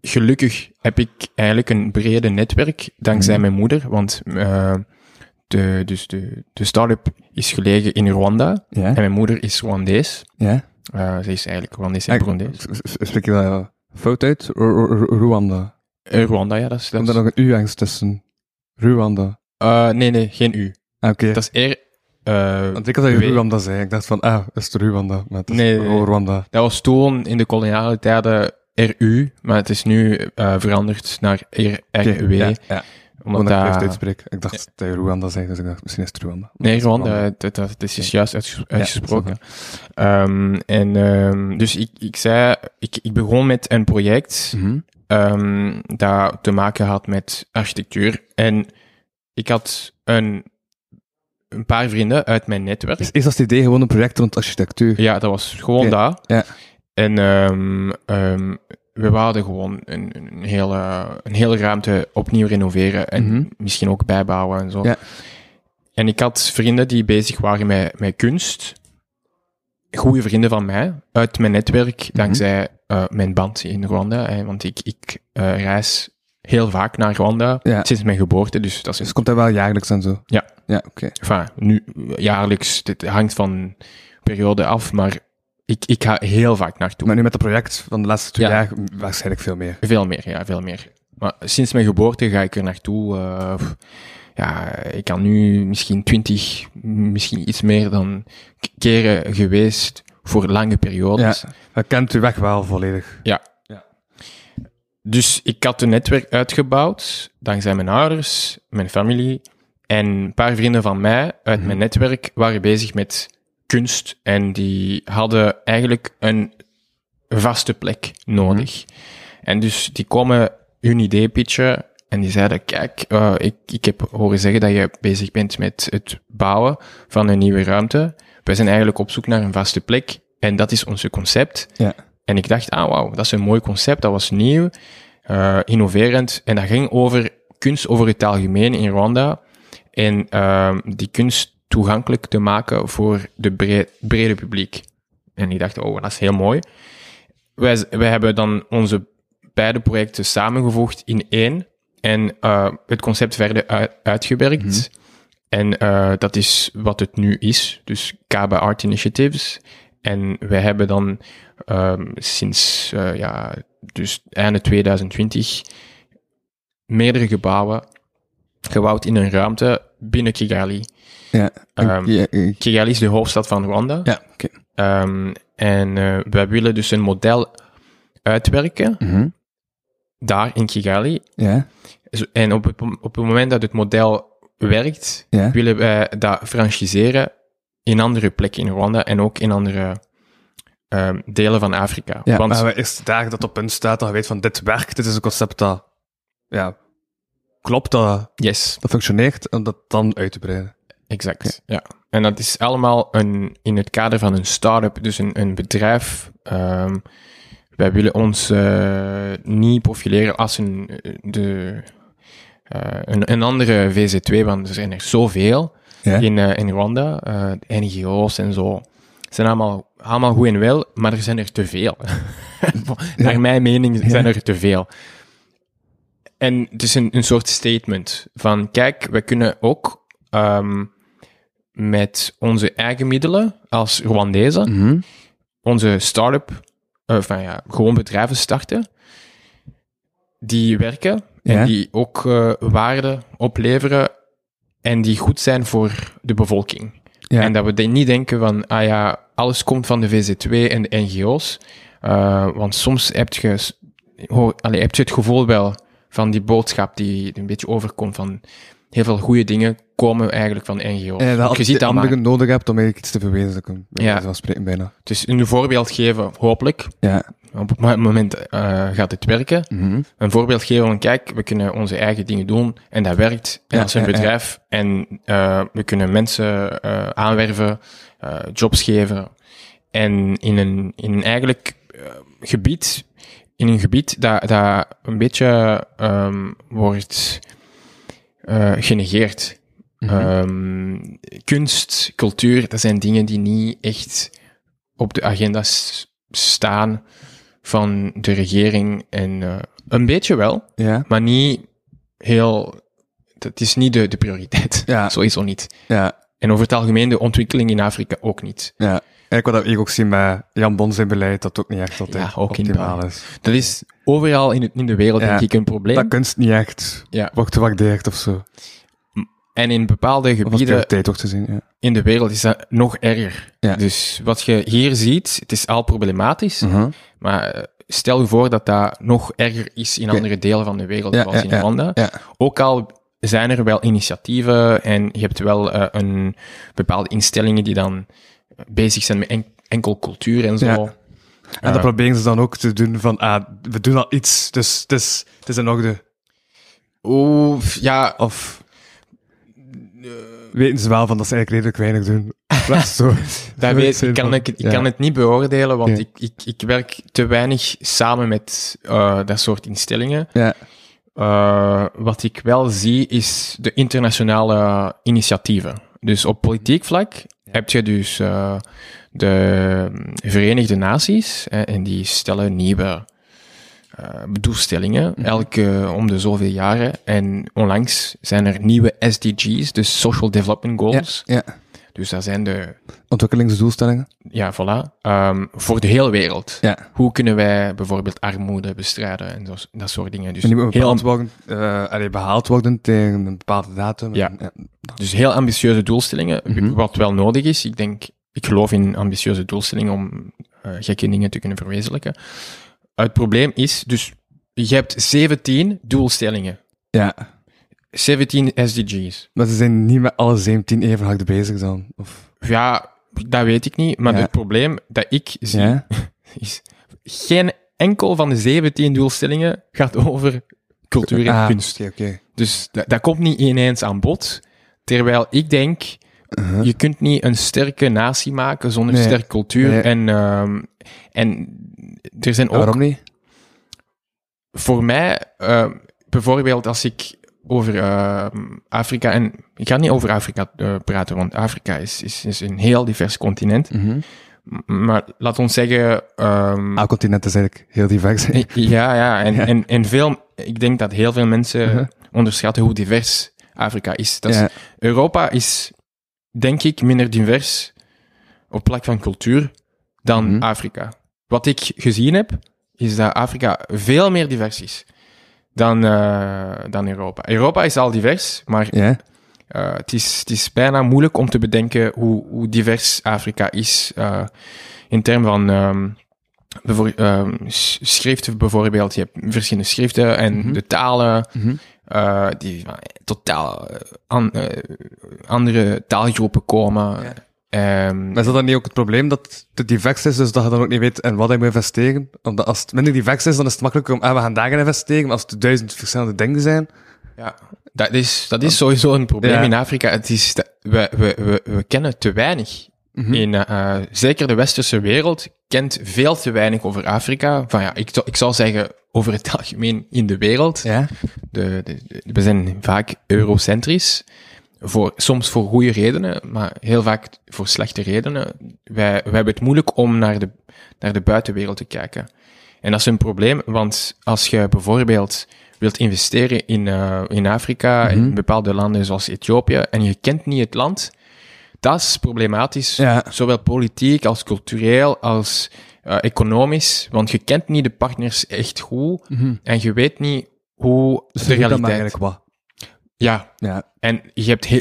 [SPEAKER 4] gelukkig heb ik eigenlijk een brede netwerk, dankzij
[SPEAKER 3] Mhm.
[SPEAKER 4] mijn moeder. Want eh, de, dus de, de start-up is gelegen in Rwanda. En
[SPEAKER 3] Ja,
[SPEAKER 4] mijn moeder is Rwandees.
[SPEAKER 3] ja.
[SPEAKER 4] Eh, ze is eigenlijk Rwandees en
[SPEAKER 3] Ik-
[SPEAKER 4] Burundees.
[SPEAKER 3] s- s- Spreek je dat eh, fout uit? R- R- R- Rwanda.
[SPEAKER 4] Eh, Rwanda, ja, dat is... dat
[SPEAKER 3] Komt
[SPEAKER 4] is-
[SPEAKER 3] daar nog een U-angst tussen? Rwanda.
[SPEAKER 4] Eh, nee, nee, geen U.
[SPEAKER 3] Ah, Oké.
[SPEAKER 4] Dat is eer. eh,
[SPEAKER 3] Want ik had dat
[SPEAKER 4] we-
[SPEAKER 3] je Rwanda zei. Ik dacht van, ah, is het Rwanda? Maar het is
[SPEAKER 4] Nee, eh,
[SPEAKER 3] nee,
[SPEAKER 4] nee, nee.
[SPEAKER 3] Rwanda.
[SPEAKER 4] dat was toen in de koloniale tijden RU, maar het is nu eh, veranderd naar
[SPEAKER 3] Oké,
[SPEAKER 4] RRW.
[SPEAKER 3] ja, ja.
[SPEAKER 4] eh, Omdat
[SPEAKER 3] ik het
[SPEAKER 4] daar-
[SPEAKER 3] juist uitspreek. Ik dacht dat je Rwanda zei, dus ik dacht, misschien is het Rwanda. Maar
[SPEAKER 4] Nee,
[SPEAKER 3] het is
[SPEAKER 4] Rwanda, dat, dat, dat is
[SPEAKER 3] Oké.
[SPEAKER 4] juist uitges- uitgesproken. Ehm, en ehm, dus ik, ik zei, ik, ik begon met een project
[SPEAKER 3] Mhm.
[SPEAKER 4] ehm, dat te maken had met architectuur. En ik had een, een paar vrienden uit mijn netwerk.
[SPEAKER 3] Dus is dat het idee gewoon een project rond architectuur?
[SPEAKER 4] Ja, dat was gewoon
[SPEAKER 3] Oké,
[SPEAKER 4] daar.
[SPEAKER 3] ja.
[SPEAKER 4] En ehm, ehm, we wouden gewoon een, een, hele, een hele ruimte opnieuw renoveren en
[SPEAKER 3] Mhm.
[SPEAKER 4] misschien ook bijbouwen en zo.
[SPEAKER 3] Ja.
[SPEAKER 4] En ik had vrienden die bezig waren met, met kunst. Goede vrienden van mij, uit
[SPEAKER 3] Mhm.
[SPEAKER 4] mijn netwerk, dankzij eh, mijn band in Rwanda. hè, want ik, ik eh, reis heel vaak naar Rwanda,
[SPEAKER 3] Ja.
[SPEAKER 4] sinds mijn geboorte. Dus dat
[SPEAKER 3] Dus
[SPEAKER 4] is...
[SPEAKER 3] komt hij wel jaarlijks en zo?
[SPEAKER 4] Ja.
[SPEAKER 3] Ja, oké.
[SPEAKER 4] Enfin, nu eh, jaarlijks, dit hangt van periode af, maar ik, ik ga heel vaak naartoe.
[SPEAKER 3] Maar nu met het project van de laatste twee
[SPEAKER 4] Ja.
[SPEAKER 3] jaar m, waarschijnlijk veel meer.
[SPEAKER 4] Veel meer, ja, veel meer. Maar sinds mijn geboorte ga ik er naartoe. eh, pff, ja, ik kan nu misschien twintig, misschien iets meer dan k- keren geweest voor lange periodes.
[SPEAKER 3] Hij kent uw weg wel volledig.
[SPEAKER 4] Dus ik had een netwerk uitgebouwd, dankzij mijn ouders, mijn familie en een paar vrienden van mij uit mijn netwerk waren bezig met kunst en die hadden eigenlijk een vaste plek nodig. En dus die komen hun idee pitchen en die zeiden, kijk, eh, ik, ik heb horen zeggen dat je bezig bent met het bouwen van een nieuwe ruimte. Wij zijn eigenlijk op zoek naar een vaste plek en dat is onze concept.
[SPEAKER 3] Ja.
[SPEAKER 4] En ik dacht, ah wauw, dat is een mooi concept, dat was nieuw, eh, innoverend. En dat ging over kunst over het algemeen in Rwanda. En ehm, die kunst toegankelijk te maken voor de bre- brede publiek. En ik dacht, oh, dat is heel mooi. Wij, z- wij hebben dan onze beide projecten samengevoegd in één. En eh, het concept verder uit- uitgewerkt. En eh, dat is wat het nu is. Dus Kaba Art Initiatives. En wij hebben dan ehm, sinds eh, ja, dus einde 2020 meerdere gebouwen gebouwd in een ruimte binnen Kigali.
[SPEAKER 3] Ja.
[SPEAKER 4] Ehm,
[SPEAKER 3] ja, ja,
[SPEAKER 4] Kigali is de hoofdstad van Rwanda.
[SPEAKER 3] ja, oké.
[SPEAKER 4] Ehm, en eh, wij willen dus een model uitwerken
[SPEAKER 3] Mhm.
[SPEAKER 4] daar in Kigali.
[SPEAKER 3] Ja,
[SPEAKER 4] Zo- En op het, mom- op het moment dat het model werkt,
[SPEAKER 3] ja.
[SPEAKER 4] willen wij dat franchiseren in andere plekken in Rwanda en ook in andere ehm, delen van Afrika.
[SPEAKER 3] Ja,
[SPEAKER 4] Want
[SPEAKER 3] maar we eerst dagen dat op punt staat, dat je weet van dit werkt, dit is een concept dat ja, klopt, dat,
[SPEAKER 4] yes,
[SPEAKER 3] dat functioneert, en dat dan uit te breiden.
[SPEAKER 4] Exact, ja. En dat is allemaal een, in het kader van een start-up, dus een, een bedrijf. Ehm, wij willen ons eh, niet profileren als een, eh, de, eh, een, een andere VZ2, want er zijn er zoveel
[SPEAKER 3] Ja.
[SPEAKER 4] in, eh, in Rwanda. eh, de NGO's en zo. Het zijn allemaal, allemaal goed en wel, maar er zijn er te veel. Naar mijn mening zijn er te veel. En het is een, een soort statement van, kijk, we kunnen ook ehm, met onze eigen middelen als Rwandezen
[SPEAKER 3] Mhm.
[SPEAKER 4] onze start-up, eh, enfin ja, gewoon bedrijven starten, die werken en
[SPEAKER 3] Ja.
[SPEAKER 4] die ook eh, waarde opleveren en die goed zijn voor de bevolking.
[SPEAKER 3] Ja.
[SPEAKER 4] En dat we de- niet denken van, ah ja, alles komt van de VZ2 en de NGO's. Eh, want soms heb je, s- hoor, allee, heb je het gevoel wel van die boodschap die een beetje overkomt van heel veel goede dingen komen eigenlijk van de NGO's.
[SPEAKER 3] En dat
[SPEAKER 4] je
[SPEAKER 3] je
[SPEAKER 4] ziet dat maar.
[SPEAKER 3] anderen nodig hebt om eigenlijk iets te verwezenlijken. bij
[SPEAKER 4] Ja.
[SPEAKER 3] wijze van spreken bijna.
[SPEAKER 4] Het is een voorbeeld geven, hopelijk,
[SPEAKER 3] Ja.
[SPEAKER 4] op het mo- moment eh, gaat het werken.
[SPEAKER 3] Mhm.
[SPEAKER 4] Een voorbeeld geven van, kijk, we kunnen onze eigen dingen doen en dat werkt. En
[SPEAKER 3] Ja,
[SPEAKER 4] als een
[SPEAKER 3] ja, ja.
[SPEAKER 4] bedrijf en eh, we kunnen mensen eh, aanwerven, eh, jobs geven. En in een, in een eigenlijk eh, gebied, in een gebied dat, dat een beetje ehm, wordt eh, genegeerd.
[SPEAKER 3] Mhm.
[SPEAKER 4] Ehm, kunst, cultuur, dat zijn dingen die niet echt op de agenda s- staan van de regering. En eh, een beetje wel,
[SPEAKER 3] ja.
[SPEAKER 4] maar niet heel. Het is niet de, de prioriteit.
[SPEAKER 3] Ja.
[SPEAKER 4] Sowieso niet.
[SPEAKER 3] Ja.
[SPEAKER 4] En over het algemeen de ontwikkeling in Afrika ook niet.
[SPEAKER 3] Ja. Eigenlijk wat ik ook zie met Jan Bon zijn beleid, dat ook niet echt altijd
[SPEAKER 4] Ja, ook
[SPEAKER 3] optimaal
[SPEAKER 4] inderdaad.
[SPEAKER 3] is.
[SPEAKER 4] Dat is overal in, het- in de wereld,
[SPEAKER 3] Ja.
[SPEAKER 4] denk ik, een probleem.
[SPEAKER 3] Dat kunst niet echt
[SPEAKER 4] Ja.
[SPEAKER 3] wordt gewaardeerd of zo.
[SPEAKER 4] En in bepaalde
[SPEAKER 3] Of als
[SPEAKER 4] gebieden
[SPEAKER 3] prioriteit wordt gezien, ja.
[SPEAKER 4] in de wereld is dat nog erger.
[SPEAKER 3] Ja.
[SPEAKER 4] Dus wat je hier ziet, het is al problematisch.
[SPEAKER 3] Mhm.
[SPEAKER 4] Maar eh, stel je voor dat dat nog erger is in andere delen van de wereld,
[SPEAKER 3] Ja,
[SPEAKER 4] zoals
[SPEAKER 3] ja,
[SPEAKER 4] in
[SPEAKER 3] ja,
[SPEAKER 4] Rwanda.
[SPEAKER 3] ja.
[SPEAKER 4] Ook al zijn er wel initiatieven en je hebt wel eh, een, bepaalde instellingen die dan bezig zijn met en- enkel cultuur en zo.
[SPEAKER 3] Ja. En dat
[SPEAKER 4] Eh.
[SPEAKER 3] proberen ze dan ook te doen van, ah, we doen al iets, dus het is, het is in orde.
[SPEAKER 4] Oeh, ja,
[SPEAKER 3] Of weten ze wel van dat ze eigenlijk redelijk weinig doen. Dat is zo.
[SPEAKER 4] dat weet, ik, kan, ik, ik kan het niet beoordelen, want
[SPEAKER 3] Ja.
[SPEAKER 4] ik, ik, ik werk te weinig samen met eh, dat soort instellingen.
[SPEAKER 3] Ja,
[SPEAKER 4] Eh, wat ik wel zie is de internationale initiatieven. Dus op politiek vlak heb je dus eh, de Verenigde Naties eh, en die stellen nieuwe eh, eh, bedoelstellingen,
[SPEAKER 3] Mhm.
[SPEAKER 4] elke om de zoveel jaren. En onlangs zijn er nieuwe SDG's, dus Social Development Goals.
[SPEAKER 3] Ja.
[SPEAKER 4] Dus dat zijn de,
[SPEAKER 3] Ontwikkelingsdoelstellingen.
[SPEAKER 4] ja, voilà, ehm, voor de hele wereld.
[SPEAKER 3] Ja.
[SPEAKER 4] Hoe kunnen wij bijvoorbeeld armoede bestrijden en zo, dat soort dingen. Dus
[SPEAKER 3] En die moeten
[SPEAKER 4] heel,
[SPEAKER 3] bepaald worden, eh, allee, behaald worden tegen een bepaalde datum.
[SPEAKER 4] Ja.
[SPEAKER 3] En,
[SPEAKER 4] Dus heel ambitieuze doelstellingen,
[SPEAKER 3] Mhm.
[SPEAKER 4] wat wel nodig is. Ik denk, ik geloof in ambitieuze doelstellingen om eh, gekke dingen te kunnen verwezenlijken. Het probleem is, dus je hebt 17 doelstellingen,
[SPEAKER 3] ja.
[SPEAKER 4] 17 SDG's.
[SPEAKER 3] Maar ze zijn niet met alle 17 even hard bezig dan. Of,
[SPEAKER 4] Ja, dat weet ik niet, maar
[SPEAKER 3] Ja.
[SPEAKER 4] het probleem dat ik zie
[SPEAKER 3] ja?
[SPEAKER 4] is, geen enkel van de 17 doelstellingen gaat over cultuur en
[SPEAKER 3] Ah,
[SPEAKER 4] kunst.
[SPEAKER 3] Oké, oké.
[SPEAKER 4] Dus dat, dat komt niet ineens aan bod. Terwijl ik denk,
[SPEAKER 3] Uh-huh.
[SPEAKER 4] je kunt niet een sterke natie maken zonder
[SPEAKER 3] Nee.
[SPEAKER 4] sterke cultuur.
[SPEAKER 3] Nee.
[SPEAKER 4] En, ehm, en er zijn
[SPEAKER 3] En
[SPEAKER 4] ook
[SPEAKER 3] Waarom niet?
[SPEAKER 4] voor mij, ehm, bijvoorbeeld als ik over ehm, Afrika, en ik ga niet over Afrika eh, praten, want Afrika is, is, is een heel divers continent.
[SPEAKER 3] Mhm.
[SPEAKER 4] M- Maar laat ons zeggen, ehm,
[SPEAKER 3] Elk continent is eigenlijk heel divers.
[SPEAKER 4] I- Ja, ja. En,
[SPEAKER 3] Ja.
[SPEAKER 4] En, en veel, ik denk dat heel veel mensen
[SPEAKER 3] Mhm.
[SPEAKER 4] onderschatten hoe divers Afrika is. Dat is-
[SPEAKER 3] Ja.
[SPEAKER 4] Europa is, denk ik, minder divers op plek van cultuur dan
[SPEAKER 3] Mhm.
[SPEAKER 4] Afrika. Wat ik gezien heb, is dat Afrika veel meer divers is dan, eh, dan Europa. Europa is al divers, maar
[SPEAKER 3] Ja?
[SPEAKER 4] eh, het, is, het is bijna moeilijk om te bedenken hoe, hoe divers Afrika is eh, in termen van ehm, bevoor- ehm, s- schriften bijvoorbeeld. Je hebt verschillende schriften en
[SPEAKER 3] Mhm.
[SPEAKER 4] de talen
[SPEAKER 3] Mhm.
[SPEAKER 4] eh, die van totaal eh, an- eh, andere taalgroepen komen.
[SPEAKER 3] Ja.
[SPEAKER 4] Ehm,
[SPEAKER 3] Maar is dat dan niet ook het probleem dat het te divers is, dus dat je dan ook niet weet in wat je moet investeren? Omdat als het minder divers is, dan is het makkelijker om, ah, we gaan daarin investeren, maar als het duizend verschillende dingen zijn...
[SPEAKER 4] Ja, dat is, dat is sowieso een probleem
[SPEAKER 3] Ja.
[SPEAKER 4] in Afrika. Het is, dat- we, we, we, we kennen te weinig.
[SPEAKER 3] Mhm.
[SPEAKER 4] In, eh, eh, zeker de westerse wereld kent veel te weinig over Afrika. Van, ja, ik, zou- ik zou zeggen over het algemeen in de wereld.
[SPEAKER 3] Ja?
[SPEAKER 4] De, de- de- we zijn vaak eurocentrisch. Voor, soms voor goede redenen, maar heel vaak voor slechte redenen. Wij, wij hebben het moeilijk om naar de, naar de buitenwereld te kijken. En dat is een probleem, want als je bijvoorbeeld wilt investeren in, eh, in Afrika,
[SPEAKER 3] Mhm.
[SPEAKER 4] in bepaalde landen zoals Ethiopië, en je kent niet het land, dat is problematisch.
[SPEAKER 3] Ja.
[SPEAKER 4] Zowel politiek als cultureel als eh, economisch, want je kent niet de partners echt goed en je weet niet hoe de
[SPEAKER 3] Doe Mhm. dan maar
[SPEAKER 4] realiteit...
[SPEAKER 3] eigenlijk wat.
[SPEAKER 4] Ja,
[SPEAKER 3] Ja.
[SPEAKER 4] en je hebt heel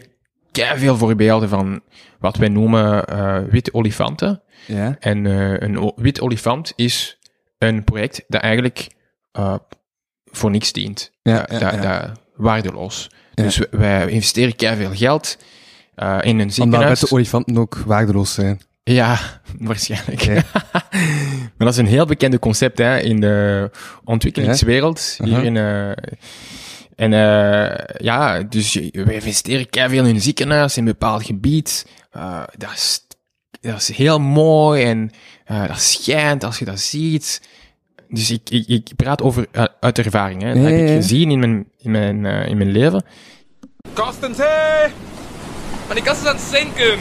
[SPEAKER 4] veel voorbeelden van wat wij noemen eh, witte olifanten.
[SPEAKER 3] Ja?
[SPEAKER 4] En eh, een o- wit olifant is een project dat eigenlijk eh, voor niks dient.
[SPEAKER 3] Ja,
[SPEAKER 4] Dat-
[SPEAKER 3] ja,
[SPEAKER 4] dat-
[SPEAKER 3] ja.
[SPEAKER 4] dat- waardeloos.
[SPEAKER 3] Ja.
[SPEAKER 4] Dus we- wij investeren keiveel geld eh, in een
[SPEAKER 3] Omdat
[SPEAKER 4] ziekenhuis.
[SPEAKER 3] witte olifanten ook waardeloos zijn.
[SPEAKER 4] Ja, waarschijnlijk.
[SPEAKER 3] Ja.
[SPEAKER 4] maar dat is een heel bekende concept hè, in de ontwikkelingswereld.
[SPEAKER 3] Ja.
[SPEAKER 4] Hier in, eh, en eh, ja, dus je- we investeren keiveel in een ziekenhuis, in een bepaald gebied. Eh, dat, is, dat is heel mooi en eh, dat schijnt als je dat ziet. Dus ik, ik, ik praat over eh, uit ervaring. Hè.
[SPEAKER 3] Ja,
[SPEAKER 4] Dat heb
[SPEAKER 3] ja,
[SPEAKER 4] ik
[SPEAKER 3] ja.
[SPEAKER 4] gezien in mijn, in mijn, eh, in mijn leven.
[SPEAKER 2] Kastens, hé! Maar die kast is aan het zinken!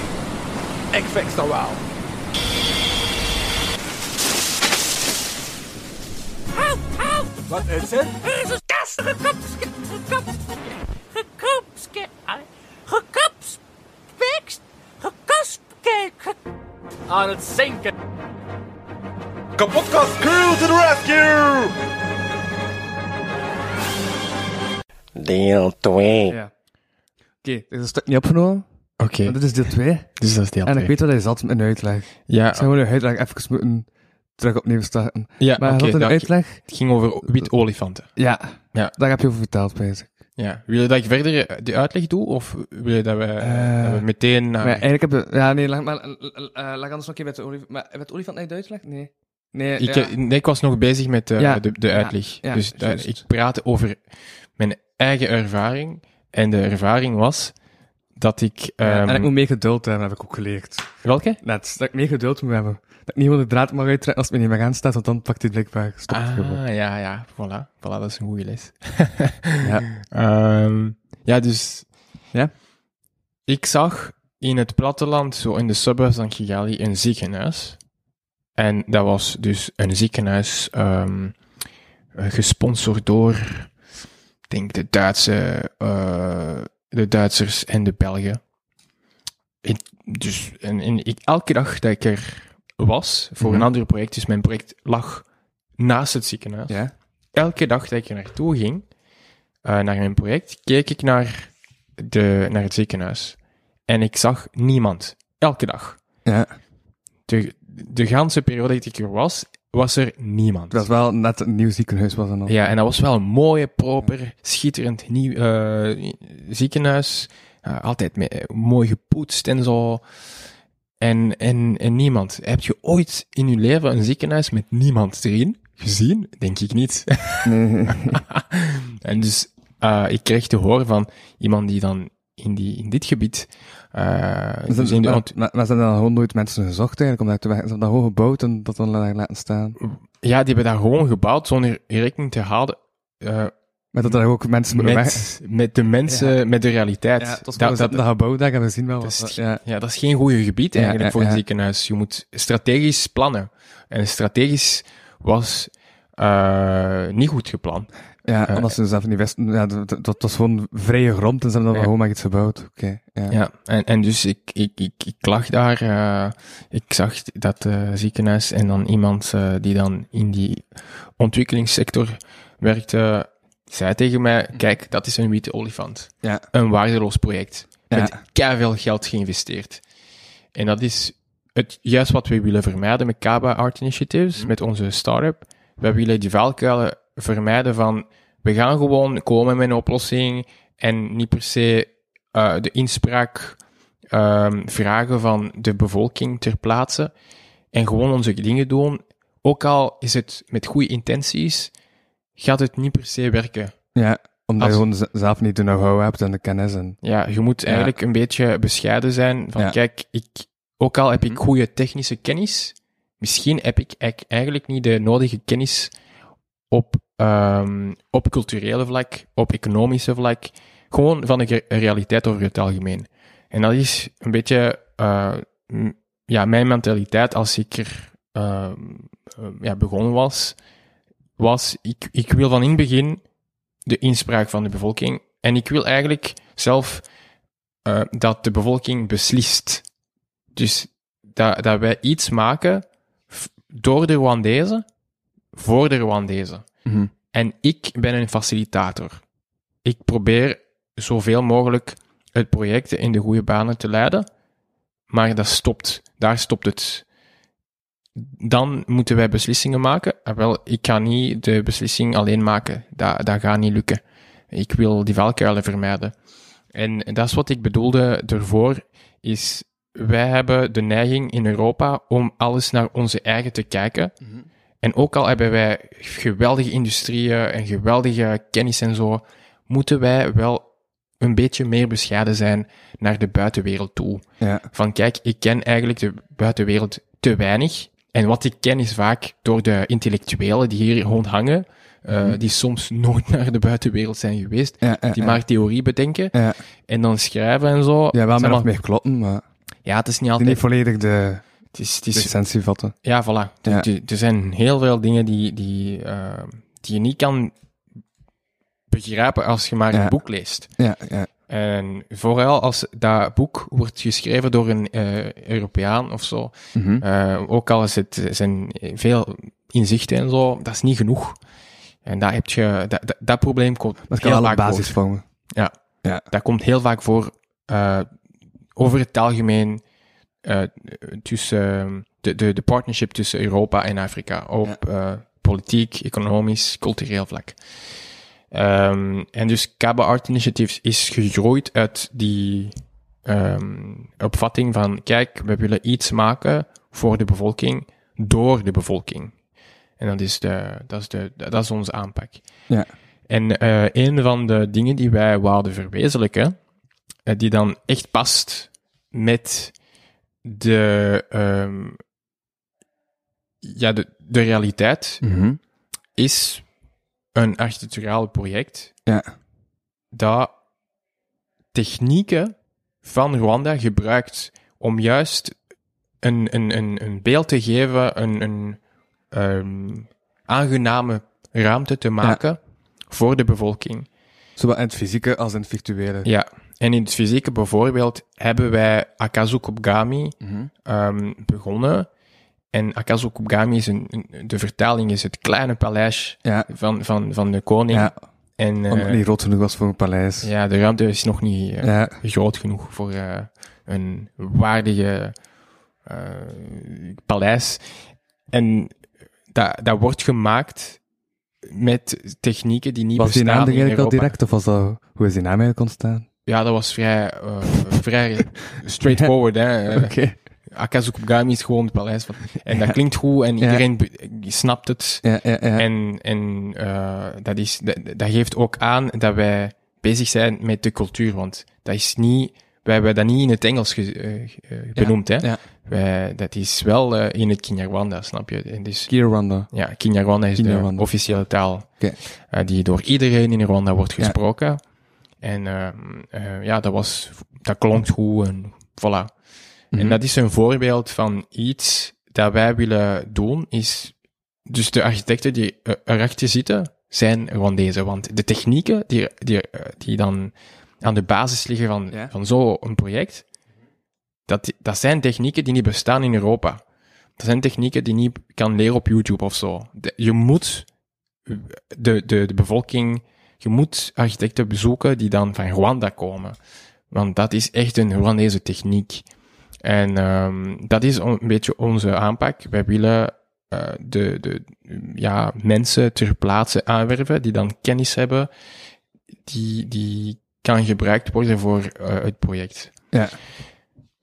[SPEAKER 2] Ik fix dat wel. Wat is er?
[SPEAKER 5] Er is een kast gekapske, gekapske, gekapske, gekapspekst, gekaspke, ge- aan het zinken.
[SPEAKER 2] Kapotkast!
[SPEAKER 6] Deel 2.
[SPEAKER 3] Ja. Oké, dit is een stuk niet opgenomen,
[SPEAKER 4] Oké,
[SPEAKER 3] maar dit is deel 2.
[SPEAKER 4] dus dat is deel
[SPEAKER 3] En ik
[SPEAKER 4] twee.
[SPEAKER 3] weet wat hij zat met een uitleg. Ik
[SPEAKER 4] Ja,
[SPEAKER 3] zou gewoon een uitleg even moeten terug opnieuw starten.
[SPEAKER 4] ja
[SPEAKER 3] Maar hij
[SPEAKER 4] oké,
[SPEAKER 3] had een
[SPEAKER 4] nou,
[SPEAKER 3] uitleg...
[SPEAKER 4] het ging over wit olifanten.
[SPEAKER 3] Ja.
[SPEAKER 4] Ja.
[SPEAKER 3] Daar heb je over verteld, bezig.
[SPEAKER 4] Ja, wil je dat ik verder eh, de uitleg doe? Of wil je dat we,
[SPEAKER 3] Eh,
[SPEAKER 4] dat we meteen naar...
[SPEAKER 3] Maar eigenlijk heb je... Ja, nee, leg, maar, eh, eh, lag anders nog een keer met de olifant... Maar met de olifant naar je uitgelegd? Nee. Nee,
[SPEAKER 4] ik,
[SPEAKER 3] ja.
[SPEAKER 4] eh, nee, ik was nog bezig met eh,
[SPEAKER 3] Ja,
[SPEAKER 4] de, de
[SPEAKER 3] ja,
[SPEAKER 4] uitleg.
[SPEAKER 3] ja,
[SPEAKER 4] dus dat-
[SPEAKER 3] juist.
[SPEAKER 4] ik praatte over mijn eigen ervaring. En de ervaring was dat ik...
[SPEAKER 3] Ja, en
[SPEAKER 4] ehm,
[SPEAKER 3] ik moet meer geduld hebben, heb ik ook geleerd.
[SPEAKER 4] Welke?
[SPEAKER 3] Net, dat ik meer geduld moet hebben. Dat ik niet gewoon de draad mag uittrekken als het me niet meer aanstaat, want dan pakt hij het blijkbaar. Stopt het gewoon.
[SPEAKER 4] Ah, ja, ja. Voilà. voilà. Dat is een goede les.
[SPEAKER 3] Ja.
[SPEAKER 4] Ehm, ja, dus...
[SPEAKER 3] Ja?
[SPEAKER 4] Ik zag in het platteland, zo in de suburbs van Kigali, een ziekenhuis. En dat was dus een ziekenhuis ehm, eh, gesponsord door, ik denk de Duitse, eh, de Duitsers en de Belgen. Ik- dus en, en ik, elke dag dat ik er was voor
[SPEAKER 3] Mhm.
[SPEAKER 4] een ander project, dus mijn project lag naast het ziekenhuis.
[SPEAKER 3] Ja.
[SPEAKER 4] Elke dag dat ik er naartoe ging, eh, naar mijn project, keek ik naar, de, naar het ziekenhuis. En ik zag niemand. Elke dag.
[SPEAKER 3] Ja.
[SPEAKER 4] De, de ganse periode dat ik er was, was er niemand.
[SPEAKER 3] Dat is wel net een nieuw ziekenhuis was en al.
[SPEAKER 4] Ja, en dat was wel een mooie, proper, schitterend nieuw eh, ziekenhuis. Eh, altijd me- eh, mooi gepoetst en zo. En, en, en niemand. Heb je ooit in je leven een ziekenhuis met niemand erin gezien? Denk ik niet. en dus eh, ik kreeg te horen van iemand die dan in, die, in dit gebied... eh,
[SPEAKER 3] Maar
[SPEAKER 4] dus in
[SPEAKER 3] ze,
[SPEAKER 4] de
[SPEAKER 3] maar,
[SPEAKER 4] ont-
[SPEAKER 3] maar, maar ze hebben dan gewoon nooit mensen gezocht eigenlijk, omdat ze hebben dat gewoon gebouwd en dat dan la- laten staan.
[SPEAKER 4] ja, die hebben daar gewoon gebouwd zonder rekening te houden eh,
[SPEAKER 3] Maar dat er ook mensen moeten weg.
[SPEAKER 4] met, met de mensen, met de realiteit.
[SPEAKER 3] Ja, het was
[SPEAKER 4] Dat-
[SPEAKER 3] dat, dat,
[SPEAKER 4] dat-
[SPEAKER 3] dat gebouw daar hebben we zien wel.
[SPEAKER 4] Dat
[SPEAKER 3] wat-
[SPEAKER 4] is-
[SPEAKER 3] ja.
[SPEAKER 4] Ja, dat is geen goede gebied
[SPEAKER 3] Ja,
[SPEAKER 4] eigenlijk
[SPEAKER 3] ja,
[SPEAKER 4] voor een
[SPEAKER 3] ja.
[SPEAKER 4] ziekenhuis. Je moet strategisch plannen. En strategisch was eh, niet goed gepland.
[SPEAKER 3] Ja,
[SPEAKER 4] Eh,
[SPEAKER 3] omdat ze zelf niet wisten. Ja, dat, dat- dat was gewoon vrije grond en ze hebben dan
[SPEAKER 4] Ja.
[SPEAKER 3] gewoon maar iets gebouwd. Oké, ja.
[SPEAKER 4] Ja, en, en dus ik, ik, ik, ik lag daar. eh, ik zag dat eh, ziekenhuis en dan iemand eh, die dan in die ontwikkelingssector werkte, zei tegen mij, kijk, dat is een witte olifant.
[SPEAKER 3] Mm. Ja.
[SPEAKER 4] Een waardeloos project.
[SPEAKER 3] Ja.
[SPEAKER 4] Met veel geld geïnvesteerd. En dat is het, juist wat we willen vermijden met Kaba Art
[SPEAKER 3] Mm.
[SPEAKER 4] Initiatives, met onze start-up. We willen die valkuilen vermijden van we gaan gewoon komen met een oplossing en niet per se eh, de inspraak ehm, vragen van de bevolking ter plaatse en gewoon onze dingen doen. Ook al is het met goede intenties, gaat het niet per se werken.
[SPEAKER 3] Ja, omdat
[SPEAKER 4] Als-
[SPEAKER 3] je gewoon z- zelf niet de know-how hebt en de kennis. En,
[SPEAKER 4] Ja, je moet eigenlijk een beetje bescheiden zijn. Van
[SPEAKER 3] Ja.
[SPEAKER 4] kijk, ik, ook al heb ik goede technische kennis, misschien heb ik eik- eigenlijk niet de nodige kennis op, ehm, op culturele vlak, op economische vlak. Gewoon van de ge- realiteit over het algemeen. En dat is een beetje eh, m- ja, mijn mentaliteit als ik er ehm, eh, ja, begonnen was. Was ik, ik wil van in het begin de inspraak van de bevolking. En ik wil eigenlijk zelf eh, dat de bevolking beslist. Dus dat, dat wij iets maken f- door de Rwandezen, voor de Rwandezen.
[SPEAKER 3] Mhm.
[SPEAKER 4] En ik ben een facilitator. Ik probeer zoveel mogelijk het project in de goede banen te leiden, maar dat stopt. Daar stopt het. Dan moeten wij beslissingen maken. Ah, wel, ik ga niet de beslissing alleen maken. Dat, dat gaat niet lukken. Ik wil die valkuilen vermijden. En dat is wat ik bedoelde ervoor, is wij hebben de neiging in Europa om alles naar onze eigen te kijken. En ook al hebben wij geweldige industrieën en geweldige kennis en zo, moeten wij wel een beetje meer bescheiden zijn naar de buitenwereld toe.
[SPEAKER 3] ja.
[SPEAKER 4] Van kijk, ik ken eigenlijk de buitenwereld te weinig. En wat ik ken is vaak door de intellectuelen die hier rondhangen, eh, die soms nooit naar de buitenwereld zijn geweest,
[SPEAKER 3] Mhm. Ja, ja,
[SPEAKER 4] die
[SPEAKER 3] ja.
[SPEAKER 4] maar theorie bedenken
[SPEAKER 3] Ja.
[SPEAKER 4] en dan schrijven en zo.
[SPEAKER 3] ja, wel
[SPEAKER 4] Zeg
[SPEAKER 3] meer of
[SPEAKER 4] maar,
[SPEAKER 3] meer kloppen, maar
[SPEAKER 4] Ja, het is niet
[SPEAKER 3] die
[SPEAKER 4] altijd...
[SPEAKER 3] niet volledig de,
[SPEAKER 4] Het is, het
[SPEAKER 3] de
[SPEAKER 4] is
[SPEAKER 3] essentie vatten.
[SPEAKER 4] ja, voilà. Er-
[SPEAKER 3] Ja.
[SPEAKER 4] Er, er zijn heel veel dingen die, die, eh, die je niet kan begrijpen als je maar
[SPEAKER 3] Ja.
[SPEAKER 4] een boek leest.
[SPEAKER 3] Ja, ja.
[SPEAKER 4] En vooral als dat boek wordt geschreven door een eh, Europeaan of zo,
[SPEAKER 3] Mhm.
[SPEAKER 4] eh, ook al is het, zijn veel inzichten en zo, dat is niet genoeg. En daar heb je, dat, dat, dat probleem komt
[SPEAKER 3] Dat kan
[SPEAKER 4] heel
[SPEAKER 3] wel een
[SPEAKER 4] vaak voor.
[SPEAKER 3] basis vormen.
[SPEAKER 4] Dat komt heel vaak voor eh, over het algemeen eh, tussen eh, de, de, de partnership tussen Europa en Afrika op eh, politiek, economisch, cultureel vlak. Ehm, en dus Kaba Art Initiatives is gegroeid uit die ehm, opvatting van kijk, we willen iets maken voor de bevolking, door de bevolking. En dat is, de, dat is, de, dat is onze aanpak.
[SPEAKER 3] Ja.
[SPEAKER 4] En eh, een van de dingen die wij wouden verwezenlijken, eh, die dan echt past met de, ehm, ja, de, de realiteit,
[SPEAKER 3] Mhm.
[SPEAKER 4] is een architecturaal project
[SPEAKER 3] Ja.
[SPEAKER 4] dat technieken van Rwanda gebruikt om juist een, een, een, een beeld te geven, een, een ehm, aangename ruimte te maken voor de bevolking.
[SPEAKER 3] Zowel in het fysieke als in het virtuele.
[SPEAKER 4] Ja. En in het fysieke bijvoorbeeld hebben wij Akazu Kubgami ehm, begonnen. En Akazu Kubgami is een, een- de vertaling is het kleine paleis
[SPEAKER 3] Ja.
[SPEAKER 4] van, van, van de koning.
[SPEAKER 3] Ja,
[SPEAKER 4] En eh,
[SPEAKER 3] omdat het niet rood genoeg was voor een paleis.
[SPEAKER 4] ja, de ruimte is nog niet eh,
[SPEAKER 3] Ja.
[SPEAKER 4] groot genoeg voor eh, een waardige eh, paleis. En dat, dat wordt gemaakt met technieken die niet
[SPEAKER 3] Was die
[SPEAKER 4] bestaan
[SPEAKER 3] naam er
[SPEAKER 4] in
[SPEAKER 3] eigenlijk al
[SPEAKER 4] Europa.
[SPEAKER 3] direct, of was dat... Hoe is die naam eigenlijk ontstaan?
[SPEAKER 4] Ja, dat was vrij, eh, vrij straightforward. Hè. Eh, Akazukugami is gewoon het paleis. Van, en dat klinkt goed en
[SPEAKER 3] Ja.
[SPEAKER 4] iedereen be- snapt het.
[SPEAKER 3] Ja, ja, ja.
[SPEAKER 4] En, en eh, dat, is, dat, dat geeft ook aan dat wij bezig zijn met de cultuur. Want dat is niet, wij hebben dat niet in het Engels ge- eh, ge- eh, benoemd. Hè?
[SPEAKER 3] ja.
[SPEAKER 4] Wij, dat is wel eh, in het Kinyarwanda, snap je? En dus,
[SPEAKER 3] Kirawanda.
[SPEAKER 4] ja, Kinyarwanda is
[SPEAKER 3] Kinyarwanda.
[SPEAKER 4] de officiële taal
[SPEAKER 3] Oké.
[SPEAKER 4] eh, die door iedereen in Rwanda wordt
[SPEAKER 3] Ja.
[SPEAKER 4] gesproken. En eh, eh, ja, dat, was, dat klonk goed en voilà. En dat is een voorbeeld van iets dat wij willen doen, is... Dus de architecten die eh, erachter zitten, zijn Rwandese. Want de technieken die, die, eh, die dan aan de basis liggen van,
[SPEAKER 3] Ja.
[SPEAKER 4] van zo'n project, dat, dat zijn technieken die niet bestaan in Europa. Dat zijn technieken die niet kan leren op YouTube of zo. De- je moet eh, de, de, de bevolking, je moet architecten bezoeken die dan van Rwanda komen. Want dat is echt een Rwandese techniek. En ehm, dat is on- een beetje onze aanpak. Wij willen eh, de, de ja, mensen ter plaatse aanwerven die dan kennis hebben, die, die kan gebruikt worden voor eh, het project.
[SPEAKER 3] Ja.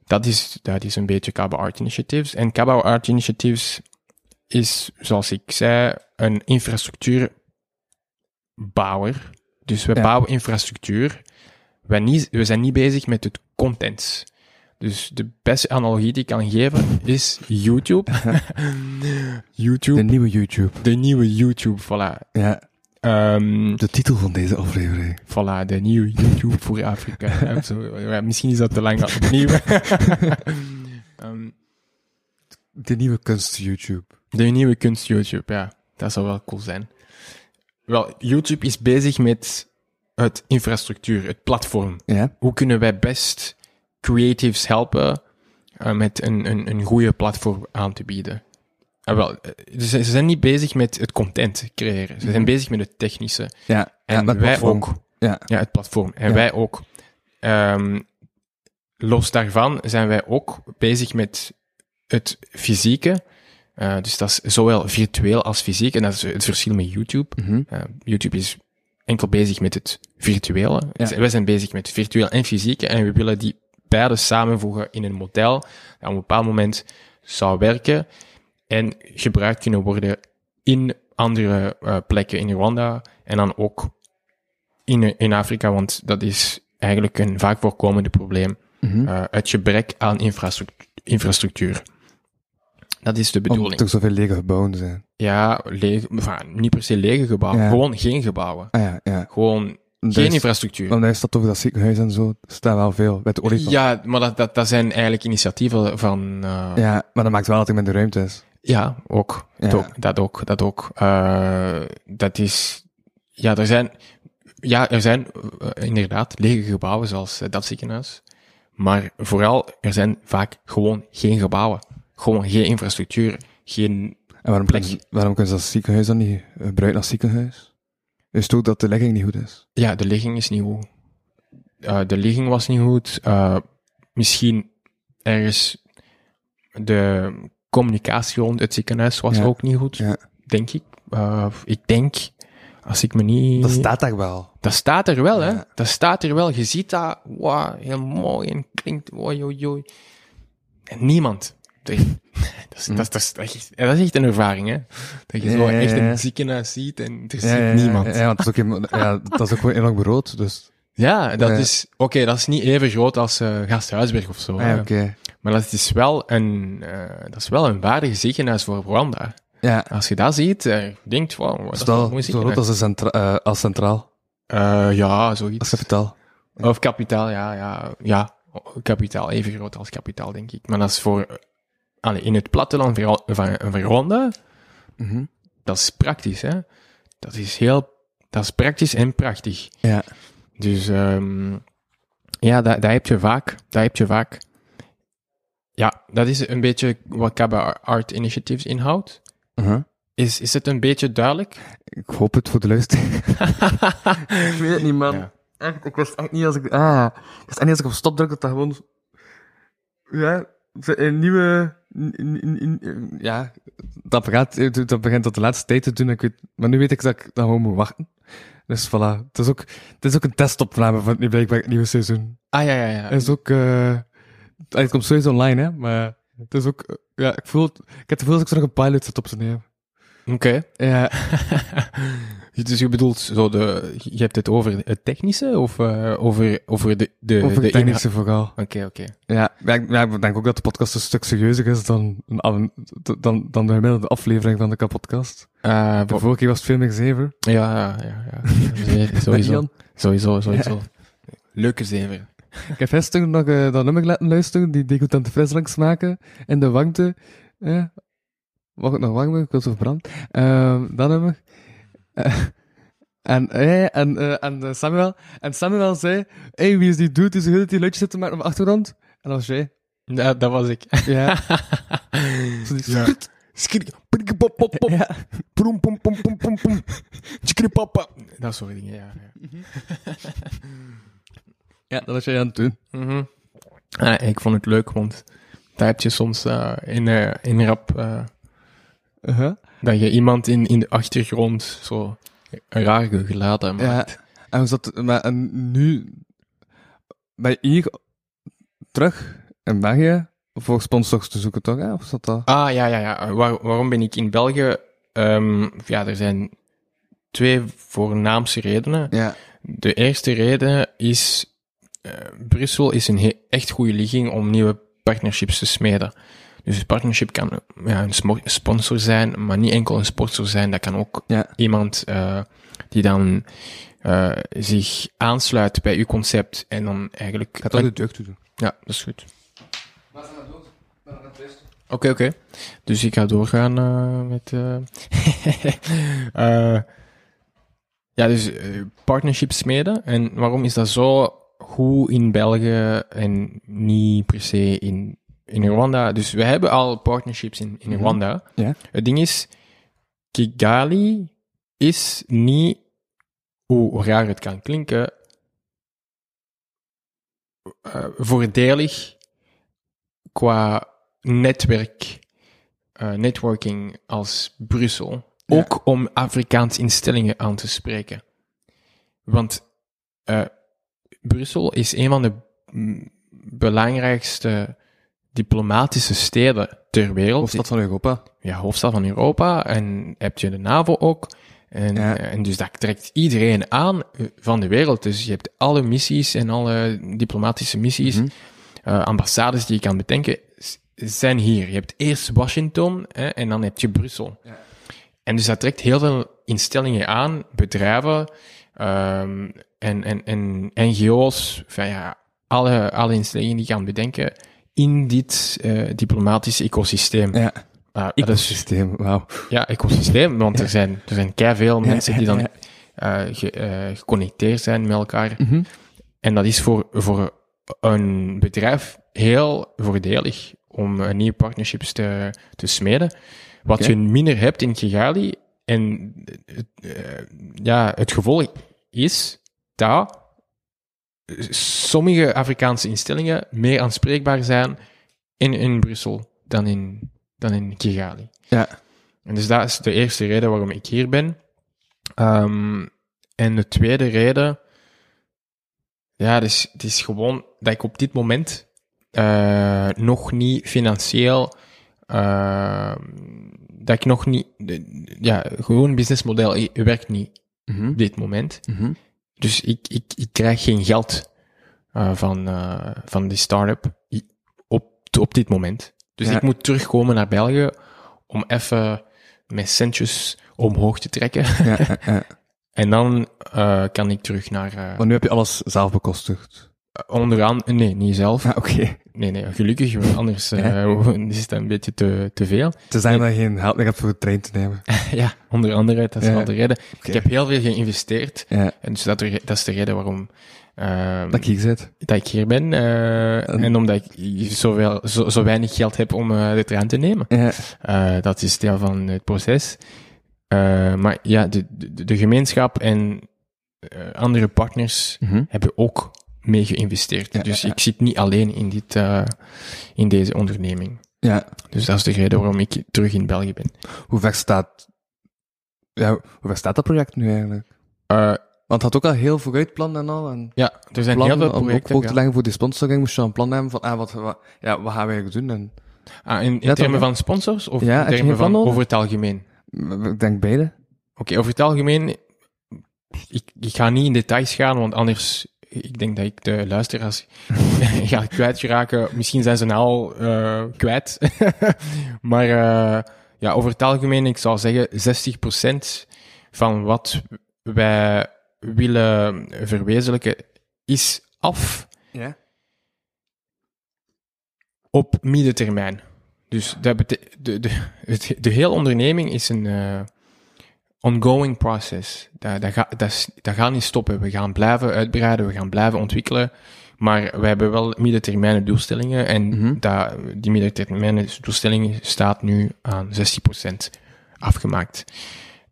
[SPEAKER 4] Dat is, dat is een beetje Kaba Art Initiatives. En Kaba Art Initiatives is, zoals ik zei, een infrastructuurbouwer. Dus we
[SPEAKER 3] Ja.
[SPEAKER 4] bouwen infrastructuur. We, niet, we zijn niet bezig met het content. Dus de beste analogie die ik kan geven is YouTube.
[SPEAKER 3] De
[SPEAKER 4] YouTube,
[SPEAKER 3] nieuwe YouTube.
[SPEAKER 4] de nieuwe YouTube, voilà.
[SPEAKER 3] Ja,
[SPEAKER 4] Ehm,
[SPEAKER 3] de titel van deze aflevering.
[SPEAKER 4] Voilà, de nieuwe YouTube voor Afrika. hè, of zo. Ja, Misschien is dat te lang al opnieuw. Ehm,
[SPEAKER 3] De nieuwe kunst-YouTube.
[SPEAKER 4] de nieuwe kunst YouTube, ja. Dat zou wel cool zijn. Wel, YouTube is bezig met het infrastructuur, het platform.
[SPEAKER 3] Ja.
[SPEAKER 4] Hoe kunnen wij best creatives helpen eh, met een, een, een goede platform aan te bieden? Ah, wel, eh, dus ze ze zijn niet bezig met het content creëren. Ze zijn bezig met het technische.
[SPEAKER 3] Ja,
[SPEAKER 4] En
[SPEAKER 3] ja, met
[SPEAKER 4] wij
[SPEAKER 3] platform.
[SPEAKER 4] ook.
[SPEAKER 3] Ja.
[SPEAKER 4] Ja, het platform. En
[SPEAKER 3] Ja.
[SPEAKER 4] wij ook. Ehm, los daarvan zijn wij ook bezig met het fysieke. Eh, dus dat is zowel virtueel als fysiek. En dat is het verschil met YouTube.
[SPEAKER 3] Mhm.
[SPEAKER 4] Eh, YouTube is enkel bezig met het virtuele.
[SPEAKER 3] Ja.
[SPEAKER 4] Dus Wij zijn bezig met virtueel en fysieke. En we willen die beide samenvoegen in een model dat op een bepaald moment zou werken en gebruikt kunnen worden in andere eh, plekken in Rwanda en dan ook in, in Afrika, want dat is eigenlijk een vaak voorkomende probleem.
[SPEAKER 3] Mhm.
[SPEAKER 4] eh, het gebrek aan infrastruct- infrastructuur. Dat is de
[SPEAKER 3] Omdat
[SPEAKER 4] bedoeling.
[SPEAKER 3] er zoveel lege gebouwen zijn.
[SPEAKER 4] Ja, leeg, enfin, niet per se lege gebouwen,
[SPEAKER 3] Ja.
[SPEAKER 4] gewoon geen gebouwen.
[SPEAKER 3] Ah ja, ja.
[SPEAKER 4] Gewoon
[SPEAKER 3] Dus-
[SPEAKER 4] geen infrastructuur.
[SPEAKER 3] Want daar staat over dat ziekenhuis en zo, staan wel veel. Bij het olifant.
[SPEAKER 4] Ja, maar dat, dat, dat zijn eigenlijk initiatieven van... eh, ja.
[SPEAKER 3] Ja, maar dat maakt wel dat hij met de ruimte is.
[SPEAKER 4] ook. Dat
[SPEAKER 3] Ja.
[SPEAKER 4] ook. Dat ook. Dat, ook. Eh, dat is... Ja, er zijn... Ja, er zijn eh, inderdaad lege gebouwen zoals eh, dat ziekenhuis. Maar vooral, er zijn vaak gewoon geen gebouwen. Gewoon geen infrastructuur. Geen...
[SPEAKER 3] En waarom,
[SPEAKER 4] Plek.
[SPEAKER 3] kunnen ze, waarom kunnen ze dat ziekenhuis dan niet eh, gebruiken als ziekenhuis? Is het ook dat de legging niet goed is?
[SPEAKER 4] Ja, de ligging is niet goed. Eh, de ligging was niet goed. Eh, misschien ergens de communicatie rond het ziekenhuis was
[SPEAKER 3] Ja.
[SPEAKER 4] ook niet goed.
[SPEAKER 3] Ja.
[SPEAKER 4] Denk ik. Eh, ik denk, als ik me niet...
[SPEAKER 3] Dat staat daar wel.
[SPEAKER 4] Dat staat er wel, hè?
[SPEAKER 3] Ja.
[SPEAKER 4] Dat staat er wel. Je ziet dat, wow, heel mooi en klinkt, oi, oi, oi. En niemand. Dat is, dat, is, dat, is, dat is- dat is echt een ervaring, hè? Dat je
[SPEAKER 3] Hm. Ja,
[SPEAKER 4] zo
[SPEAKER 3] ja,
[SPEAKER 4] echt
[SPEAKER 3] ja.
[SPEAKER 4] een ziekenhuis ziet en er
[SPEAKER 3] Ja,
[SPEAKER 4] zit
[SPEAKER 3] ja, ja,
[SPEAKER 4] niemand.
[SPEAKER 3] Ja, want dat is ook, in- ja, dat is ook gewoon enorm groot, dus...
[SPEAKER 4] Ja, dat
[SPEAKER 3] Ja.
[SPEAKER 4] is, oké, dat is niet even groot als eh Gasthuisberg of zo.
[SPEAKER 3] Ah, ja,
[SPEAKER 4] hè.
[SPEAKER 3] oké.
[SPEAKER 4] Maar dat is wel een, eh, dat is wel een waardig ziekenhuis voor Rwanda.
[SPEAKER 3] Ja,
[SPEAKER 4] Als je dat ziet, eh, je denkt, wow, dat is wel een
[SPEAKER 3] stel,
[SPEAKER 4] mooi
[SPEAKER 3] zo groot
[SPEAKER 4] ziekenhuis.
[SPEAKER 3] als, een centra- eh, als centraal,
[SPEAKER 4] Eh, ja, zoiets.
[SPEAKER 3] als kapitaal.
[SPEAKER 4] Of kapitaal, ja, ja, ja. Kapitaal, even groot als kapitaal, denk ik. Maar dat is voor, eh, allee, in het platteland van, van, van Rwanda,
[SPEAKER 3] Mhm.
[SPEAKER 4] dat is praktisch, hè. Dat is heel, dat is praktisch en prachtig.
[SPEAKER 3] Ja.
[SPEAKER 4] Dus ehm, ja, dat, dat heb je vaak. Dat heb je vaak. Ja, dat is een beetje wat Kaba Art Initiatives inhoudt.
[SPEAKER 3] Uh-huh.
[SPEAKER 4] Is, is het een beetje duidelijk?
[SPEAKER 3] Ik hoop het voor de luisteraar. ik weet het niet, man.
[SPEAKER 4] Ja.
[SPEAKER 3] Echt, ik wist echt niet als ik... Ah, ik wist echt niet als ik op stop druk dat dat gewoon... Ja, ze- een nieuwe... n- n- n- Ja, dat, begint, dat begint tot de laatste tijd te doen. Ik weet, maar nu weet ik dat ik dan gewoon moet wachten. Dus voilà. Het is ook, het is ook een testopname van het nu blijkbaar het nieuwe seizoen.
[SPEAKER 4] Ah ja, ja, ja.
[SPEAKER 3] Het is ook... eh, het komt sowieso online, hè. Maar het is ook... eh, Ja, ik voel... het- Ik heb het gevoel dat ik zo nog een pilot zit op te nemen.
[SPEAKER 4] Oké. Ja. dus je bedoelt zo de, je hebt het over het technische of eh, over, over de, de,
[SPEAKER 3] Of
[SPEAKER 4] de
[SPEAKER 3] een technische vooral.
[SPEAKER 4] inhoud? Oké, oké.
[SPEAKER 3] Ja, ja, ik, ja, ik denk ook dat de podcast een stuk serieuzer is dan, een aan- dan, dan de gemiddelde aflevering van de kapotkast.
[SPEAKER 4] Eh,
[SPEAKER 3] De
[SPEAKER 4] voor-
[SPEAKER 3] vorige keer was het veel meer Eh, zever.
[SPEAKER 4] ja, ja, ja, ja. Zeer- Sowieso.
[SPEAKER 3] Jan?
[SPEAKER 4] Sowieso, sowieso. Leuke zeven.
[SPEAKER 3] Ik heb gisteren nog eh, dat nummer laten luisteren, die decotante frisdranks maken, in de warmte. Eh, mag het nog warm worden? Ik wil zo verbrand. Ehm dat nummer. Eh, en, eh, en, eh, en eh, Samuel. En Samuel zei, hey, wie is die dude die zo heel die luidjes zit te maken op de achtergrond? En dat was jij.
[SPEAKER 4] Ja, dat was ik.
[SPEAKER 3] Ja. Zo die-
[SPEAKER 4] Skrit, skrit, prik, pop, pop, pop.
[SPEAKER 3] Ja.
[SPEAKER 4] Proem, pom, pom, pom, pom, pom. Tjikri, papa. Dat soort dingen, ja. ja.
[SPEAKER 3] ja, dat was jij aan het doen.
[SPEAKER 4] Mhm. Ah, ik vond het leuk, want daar heb je soms eh, in, eh, in rap... eh,
[SPEAKER 3] Uh-huh.
[SPEAKER 4] Dat je iemand in, in de achtergrond zo een raar geladen maakt.
[SPEAKER 3] Ja, en, hoe zat, maar, en nu ben je hier terug in België voor sponsors te zoeken, toch? Hè? Of zat dat?
[SPEAKER 4] Ah, ja, ja, ja. Waar- waarom ben ik in België? Ehm, ja, er zijn twee voornaamste redenen.
[SPEAKER 3] Ja.
[SPEAKER 4] De eerste reden is... eh, Brussel is een he- echt goede ligging om nieuwe partnerships te smeden. Dus een partnership kan ja, een smo- sponsor zijn, maar niet enkel een sponsor zijn. Dat kan ook
[SPEAKER 3] Ja.
[SPEAKER 4] iemand eh, die dan eh, zich aansluit bij uw concept en dan eigenlijk...
[SPEAKER 3] Gaat dat de deugd toe doen?
[SPEAKER 4] Ja, dat is goed. Oké, oké. Dus ik ga doorgaan eh, met. eh, eh, ja, dus eh, partnership smeden. En waarom is dat zo goed in België en niet per se in, in Rwanda? Dus we hebben al partnerships in, in Rwanda.
[SPEAKER 3] Ja.
[SPEAKER 4] Het ding is, Kigali is niet, hoe raar het kan klinken, eh, voordelig qua netwerk, eh, networking als Brussel. Ook om Afrikaans instellingen aan te spreken. Want eh, Brussel is een van de mm, belangrijkste diplomatische steden ter wereld.
[SPEAKER 3] Hoofdstad van Europa.
[SPEAKER 4] Ja, hoofdstad van Europa. En heb je de NAVO ook. En,
[SPEAKER 3] Ja.
[SPEAKER 4] en dus dat trekt iedereen aan eh, van de wereld. Dus je hebt alle missies en alle diplomatische missies
[SPEAKER 3] Mhm.
[SPEAKER 4] eh, ambassades die je kan bedenken, s- zijn hier. Je hebt eerst Washington hè, en dan heb je Brussel. En dus dat trekt heel veel instellingen aan, bedrijven ehm, en, en, en NGO's, van ja, alle, alle instellingen die je kan bedenken in dit eh, diplomatische ecosysteem.
[SPEAKER 3] Ja.
[SPEAKER 4] Ah,
[SPEAKER 3] Ik
[SPEAKER 4] dat
[SPEAKER 3] het
[SPEAKER 4] is,
[SPEAKER 3] systeem, wauw.
[SPEAKER 4] ja, ecosysteem, want er zijn, er zijn veel mensen die dan
[SPEAKER 3] ja.
[SPEAKER 4] eh, ge- eh, geconnecteerd zijn met elkaar.
[SPEAKER 3] Mhm.
[SPEAKER 4] En dat is voor, voor een bedrijf heel voordelig om eh, nieuwe partnerships te, te smeden. Wat
[SPEAKER 3] Oké.
[SPEAKER 4] je minder hebt in Kigali. En het, eh, ja, het gevolg is dat sommige Afrikaanse instellingen meer aanspreekbaar zijn in, in Brussel dan in, dan in Kigali.
[SPEAKER 3] Ja.
[SPEAKER 4] En dus dat is de eerste reden waarom ik hier ben. Ehm, en de tweede reden, ja, het is, het is gewoon dat ik op dit moment eh, nog niet financieel, eh, dat ik nog niet, de- ja, gewoon businessmodel i- werkt niet op dit moment.
[SPEAKER 3] Mhm.
[SPEAKER 4] Dus ik, ik, ik krijg geen geld eh, van, eh, van die start-up i- op, op dit moment. Dus
[SPEAKER 3] Ja.
[SPEAKER 4] ik moet terugkomen naar België om even mijn centjes omhoog te trekken.
[SPEAKER 3] Ja, ja, ja.
[SPEAKER 4] En dan eh, kan ik terug naar eh
[SPEAKER 3] Maar nu heb je alles zelf bekostigd.
[SPEAKER 4] onderaan. Nee, niet zelf.
[SPEAKER 3] Ah, oké.
[SPEAKER 4] Nee, nee, gelukkig, want anders eh, is het een beetje te, te veel.
[SPEAKER 3] Te zijn dat je geen geld meer hebt voor de trein te nemen.
[SPEAKER 4] Ja, onder andere, dat is
[SPEAKER 3] Ja.
[SPEAKER 4] wel de reden. Ik heb heel veel geïnvesteerd.
[SPEAKER 3] Ja.
[SPEAKER 4] En dus dat, er- dat is de reden waarom ehm,
[SPEAKER 3] Dat ik hier zit.
[SPEAKER 4] dat ik hier ben. eh, en omdat ik zoveel, zo, zo weinig geld heb om eh, de trein te nemen.
[SPEAKER 3] Ja.
[SPEAKER 4] Eh, dat is deel van het proces. Eh, maar ja, de, de, de gemeenschap en eh, andere partners
[SPEAKER 3] Mhm.
[SPEAKER 4] hebben ook mee geïnvesteerd. dus ik zit niet alleen in, dit, eh, in deze onderneming.
[SPEAKER 3] ja.
[SPEAKER 4] Dus dat is de reden waarom ik terug in België ben.
[SPEAKER 3] Hoe ver staat... Ja, hoe ver staat dat project nu eigenlijk?
[SPEAKER 4] Eh,
[SPEAKER 3] Want het had ook al heel vooruit plannen en al. En
[SPEAKER 4] ja, er zijn heel
[SPEAKER 3] plannen
[SPEAKER 4] veel
[SPEAKER 3] om ook
[SPEAKER 4] projecten.
[SPEAKER 3] voor
[SPEAKER 4] ja.
[SPEAKER 3] te leggen voor die sponsoring moest je al een plan hebben van ah, wat, wat, ja, wat gaan we eigenlijk doen. En,
[SPEAKER 4] Ah, in in
[SPEAKER 3] toch,
[SPEAKER 4] termen
[SPEAKER 3] ja.
[SPEAKER 4] van sponsors of
[SPEAKER 3] Ja, heb
[SPEAKER 4] in
[SPEAKER 3] je
[SPEAKER 4] termen
[SPEAKER 3] geen plan
[SPEAKER 4] van
[SPEAKER 3] nodig?
[SPEAKER 4] over het algemeen?
[SPEAKER 3] Mm, ik denk beide.
[SPEAKER 4] Oké, over het algemeen, ik, ik ga niet in details gaan, want anders, ik denk dat ik de luisteraars ga kwijtraken. Misschien zijn ze nou al eh, kwijt. maar eh, ja, over het algemeen, ik zou zeggen 60% van wat wij willen verwezenlijken is af
[SPEAKER 3] Ja.
[SPEAKER 4] op middentermijn. Dus dat bete- de, de, het- de hele onderneming is een eh, ongoing process. Dat, dat, ga, dat, is- dat gaat niet stoppen. We gaan blijven uitbreiden, we gaan blijven ontwikkelen. Maar we hebben wel middentermijnen doelstellingen. En dat, die middentermijnen doelstelling staat nu aan 60% afgemaakt.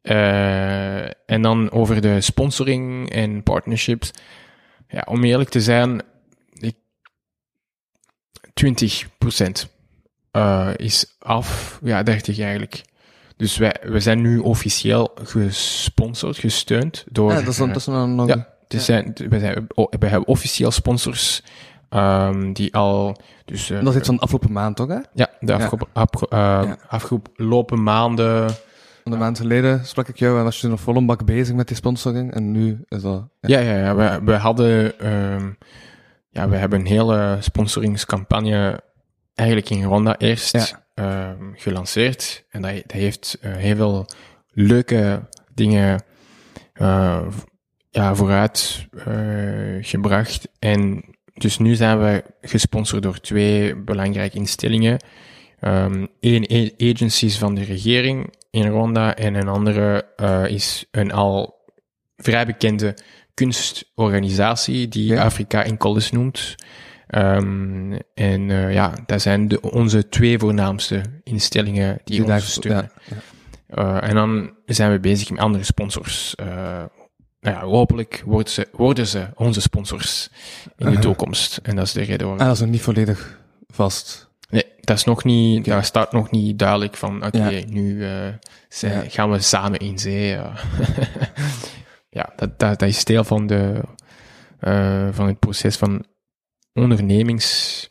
[SPEAKER 4] Eh, en dan over de sponsoring en partnerships. Ja, om eerlijk te zijn, ik 20% eh, is af. Ja, 30 eigenlijk. Dus wij, we zijn nu officieel gesponsord, gesteund door.
[SPEAKER 3] Ja, dat is dan
[SPEAKER 4] eh,
[SPEAKER 3] dat is dan nog...
[SPEAKER 4] ja, dus Zijn, we, zijn, o- we hebben officieel sponsors ehm, die al. Dus, eh,
[SPEAKER 3] Dat is iets van de afgelopen maand toch, hè?
[SPEAKER 4] ja, de
[SPEAKER 3] Ja.
[SPEAKER 4] afge- afge- eh, afgelopen maanden.
[SPEAKER 3] Want een maand geleden sprak ik jou en was je nog vol een bak bezig met die sponsoring. En nu is dat... Ja.
[SPEAKER 4] Ja, ja, ja. We, we hadden, ehm, ja, we hebben een hele sponsoringscampagne eigenlijk in Rwanda eerst ehm, gelanceerd. En dat, dat heeft eh, heel veel leuke dingen eh, v- ja, vooruit eh, gebracht. En dus nu zijn we gesponsord door twee belangrijke instellingen. Eén één a- agencies van de regering in Rwanda en een andere eh, is een al vrij bekende kunstorganisatie die
[SPEAKER 3] Ja.
[SPEAKER 4] Afrika in Colors noemt. Ehm, en eh, ja, dat zijn de, onze twee voornaamste instellingen die,
[SPEAKER 3] Die
[SPEAKER 4] ons
[SPEAKER 3] daar-
[SPEAKER 4] steunen.
[SPEAKER 3] ja,
[SPEAKER 4] Eh, en dan zijn we bezig met andere sponsors. Eh, nou ja, hopelijk worden ze, worden ze onze sponsors in de toekomst. En dat is de reden waarom.
[SPEAKER 3] En dat is nog niet volledig vast. Dus
[SPEAKER 4] Nee, dat is nog niet, daar staat nog niet duidelijk van, oké,
[SPEAKER 3] Ja.
[SPEAKER 4] nu eh, ze-
[SPEAKER 3] Ja.
[SPEAKER 4] gaan we samen in zee. ja. ja, dat, dat, dat is deel van, de, eh, van het proces van ondernemings,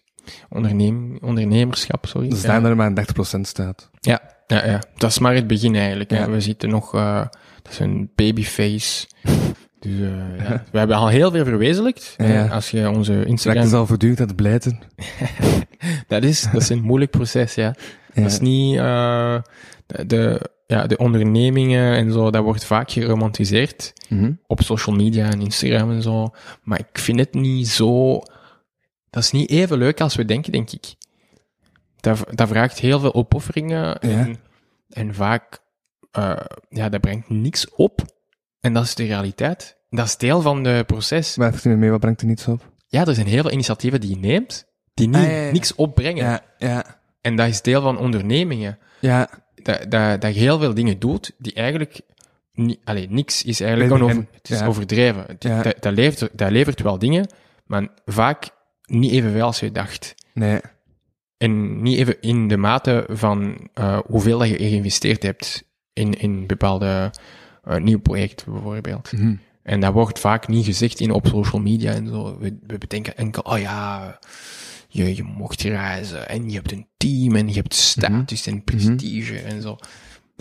[SPEAKER 4] ondernem, ondernemerschap. Sorry.
[SPEAKER 3] Dus
[SPEAKER 4] Ja.
[SPEAKER 3] daar er maar een 30% staat.
[SPEAKER 4] Ja, ja, ja, dat is maar het begin eigenlijk. hè.
[SPEAKER 3] Ja.
[SPEAKER 4] We zitten nog, eh, dat is een babyface. dus eh, ja. we hebben al heel veel verwezenlijkt.
[SPEAKER 3] Ja.
[SPEAKER 4] hè. Als je onze Instagram...
[SPEAKER 3] Trek is al voortdurend aan het blijten.
[SPEAKER 4] Dat is, dat is een moeilijk proces, ja.
[SPEAKER 3] Ja.
[SPEAKER 4] Dat is niet... eh, de- de, ja, de ondernemingen en zo, dat wordt vaak geromantiseerd. Op social media en Instagram en zo. Maar ik vind het niet zo... Dat is niet even leuk als we denken, denk ik. Dat, dat vraagt heel veel opofferingen. En, en vaak... eh, ja, dat brengt niks op. En dat is de realiteit. Dat is deel van het proces.
[SPEAKER 3] Maar even niet mee, wat brengt er niets op?
[SPEAKER 4] Ja, er zijn heel veel initiatieven die je neemt, die niet,
[SPEAKER 3] Ah, ja, ja, ja.
[SPEAKER 4] niks opbrengen.
[SPEAKER 3] ja,
[SPEAKER 4] En dat is deel van ondernemingen.
[SPEAKER 3] ja.
[SPEAKER 4] Dat, dat, dat je heel veel dingen doet die eigenlijk... Ni, allee, niks is eigenlijk...
[SPEAKER 3] Bij
[SPEAKER 4] Een
[SPEAKER 3] de-
[SPEAKER 4] over, het is
[SPEAKER 3] ja.
[SPEAKER 4] overdreven. Het-
[SPEAKER 3] Ja.
[SPEAKER 4] Dat, dat, levert, dat levert wel dingen, maar vaak niet evenveel als je dacht.
[SPEAKER 3] Nee.
[SPEAKER 4] En niet even in de mate van eh, hoeveel dat je geïnvesteerd hebt in, in bepaalde eh, nieuw project bijvoorbeeld.
[SPEAKER 3] Mhm.
[SPEAKER 4] En dat wordt vaak niet gezegd in, op social media en zo. We, we bedenken enkel, oh ja, je, je mocht reizen en je hebt een team en je hebt status en prestige en zo.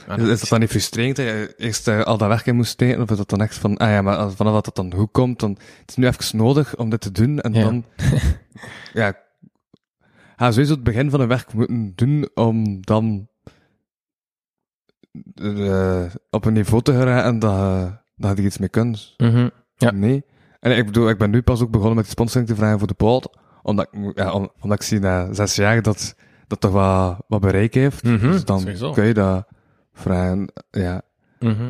[SPEAKER 4] Maar
[SPEAKER 3] Is, is Mhm. dat dan niet frustrerend dat je eerst eh, al dat werk in moest steken? Of is dat dan echt van, ah ja, maar als- vanaf dat het dan goed komt, dan het is nu even nodig om dit te doen. En
[SPEAKER 4] Ja.
[SPEAKER 3] dan, ja, ga sowieso het begin van een werk moeten doen om dan eh, op een niveau te geraken dat, je- dat je er iets mee kunt.
[SPEAKER 4] Mhm. Ja.
[SPEAKER 3] Nee. En ik bedoel, ik ben nu pas ook begonnen met die sponsoring te vragen voor de pod. Omdat, ik- ja, om- omdat ik zie na zes jaar dat dat toch wat, wat bereik heeft.
[SPEAKER 4] Mhm,
[SPEAKER 3] dus dan
[SPEAKER 4] sowieso.
[SPEAKER 3] kun je dat vragen. Ja.
[SPEAKER 4] Mhm.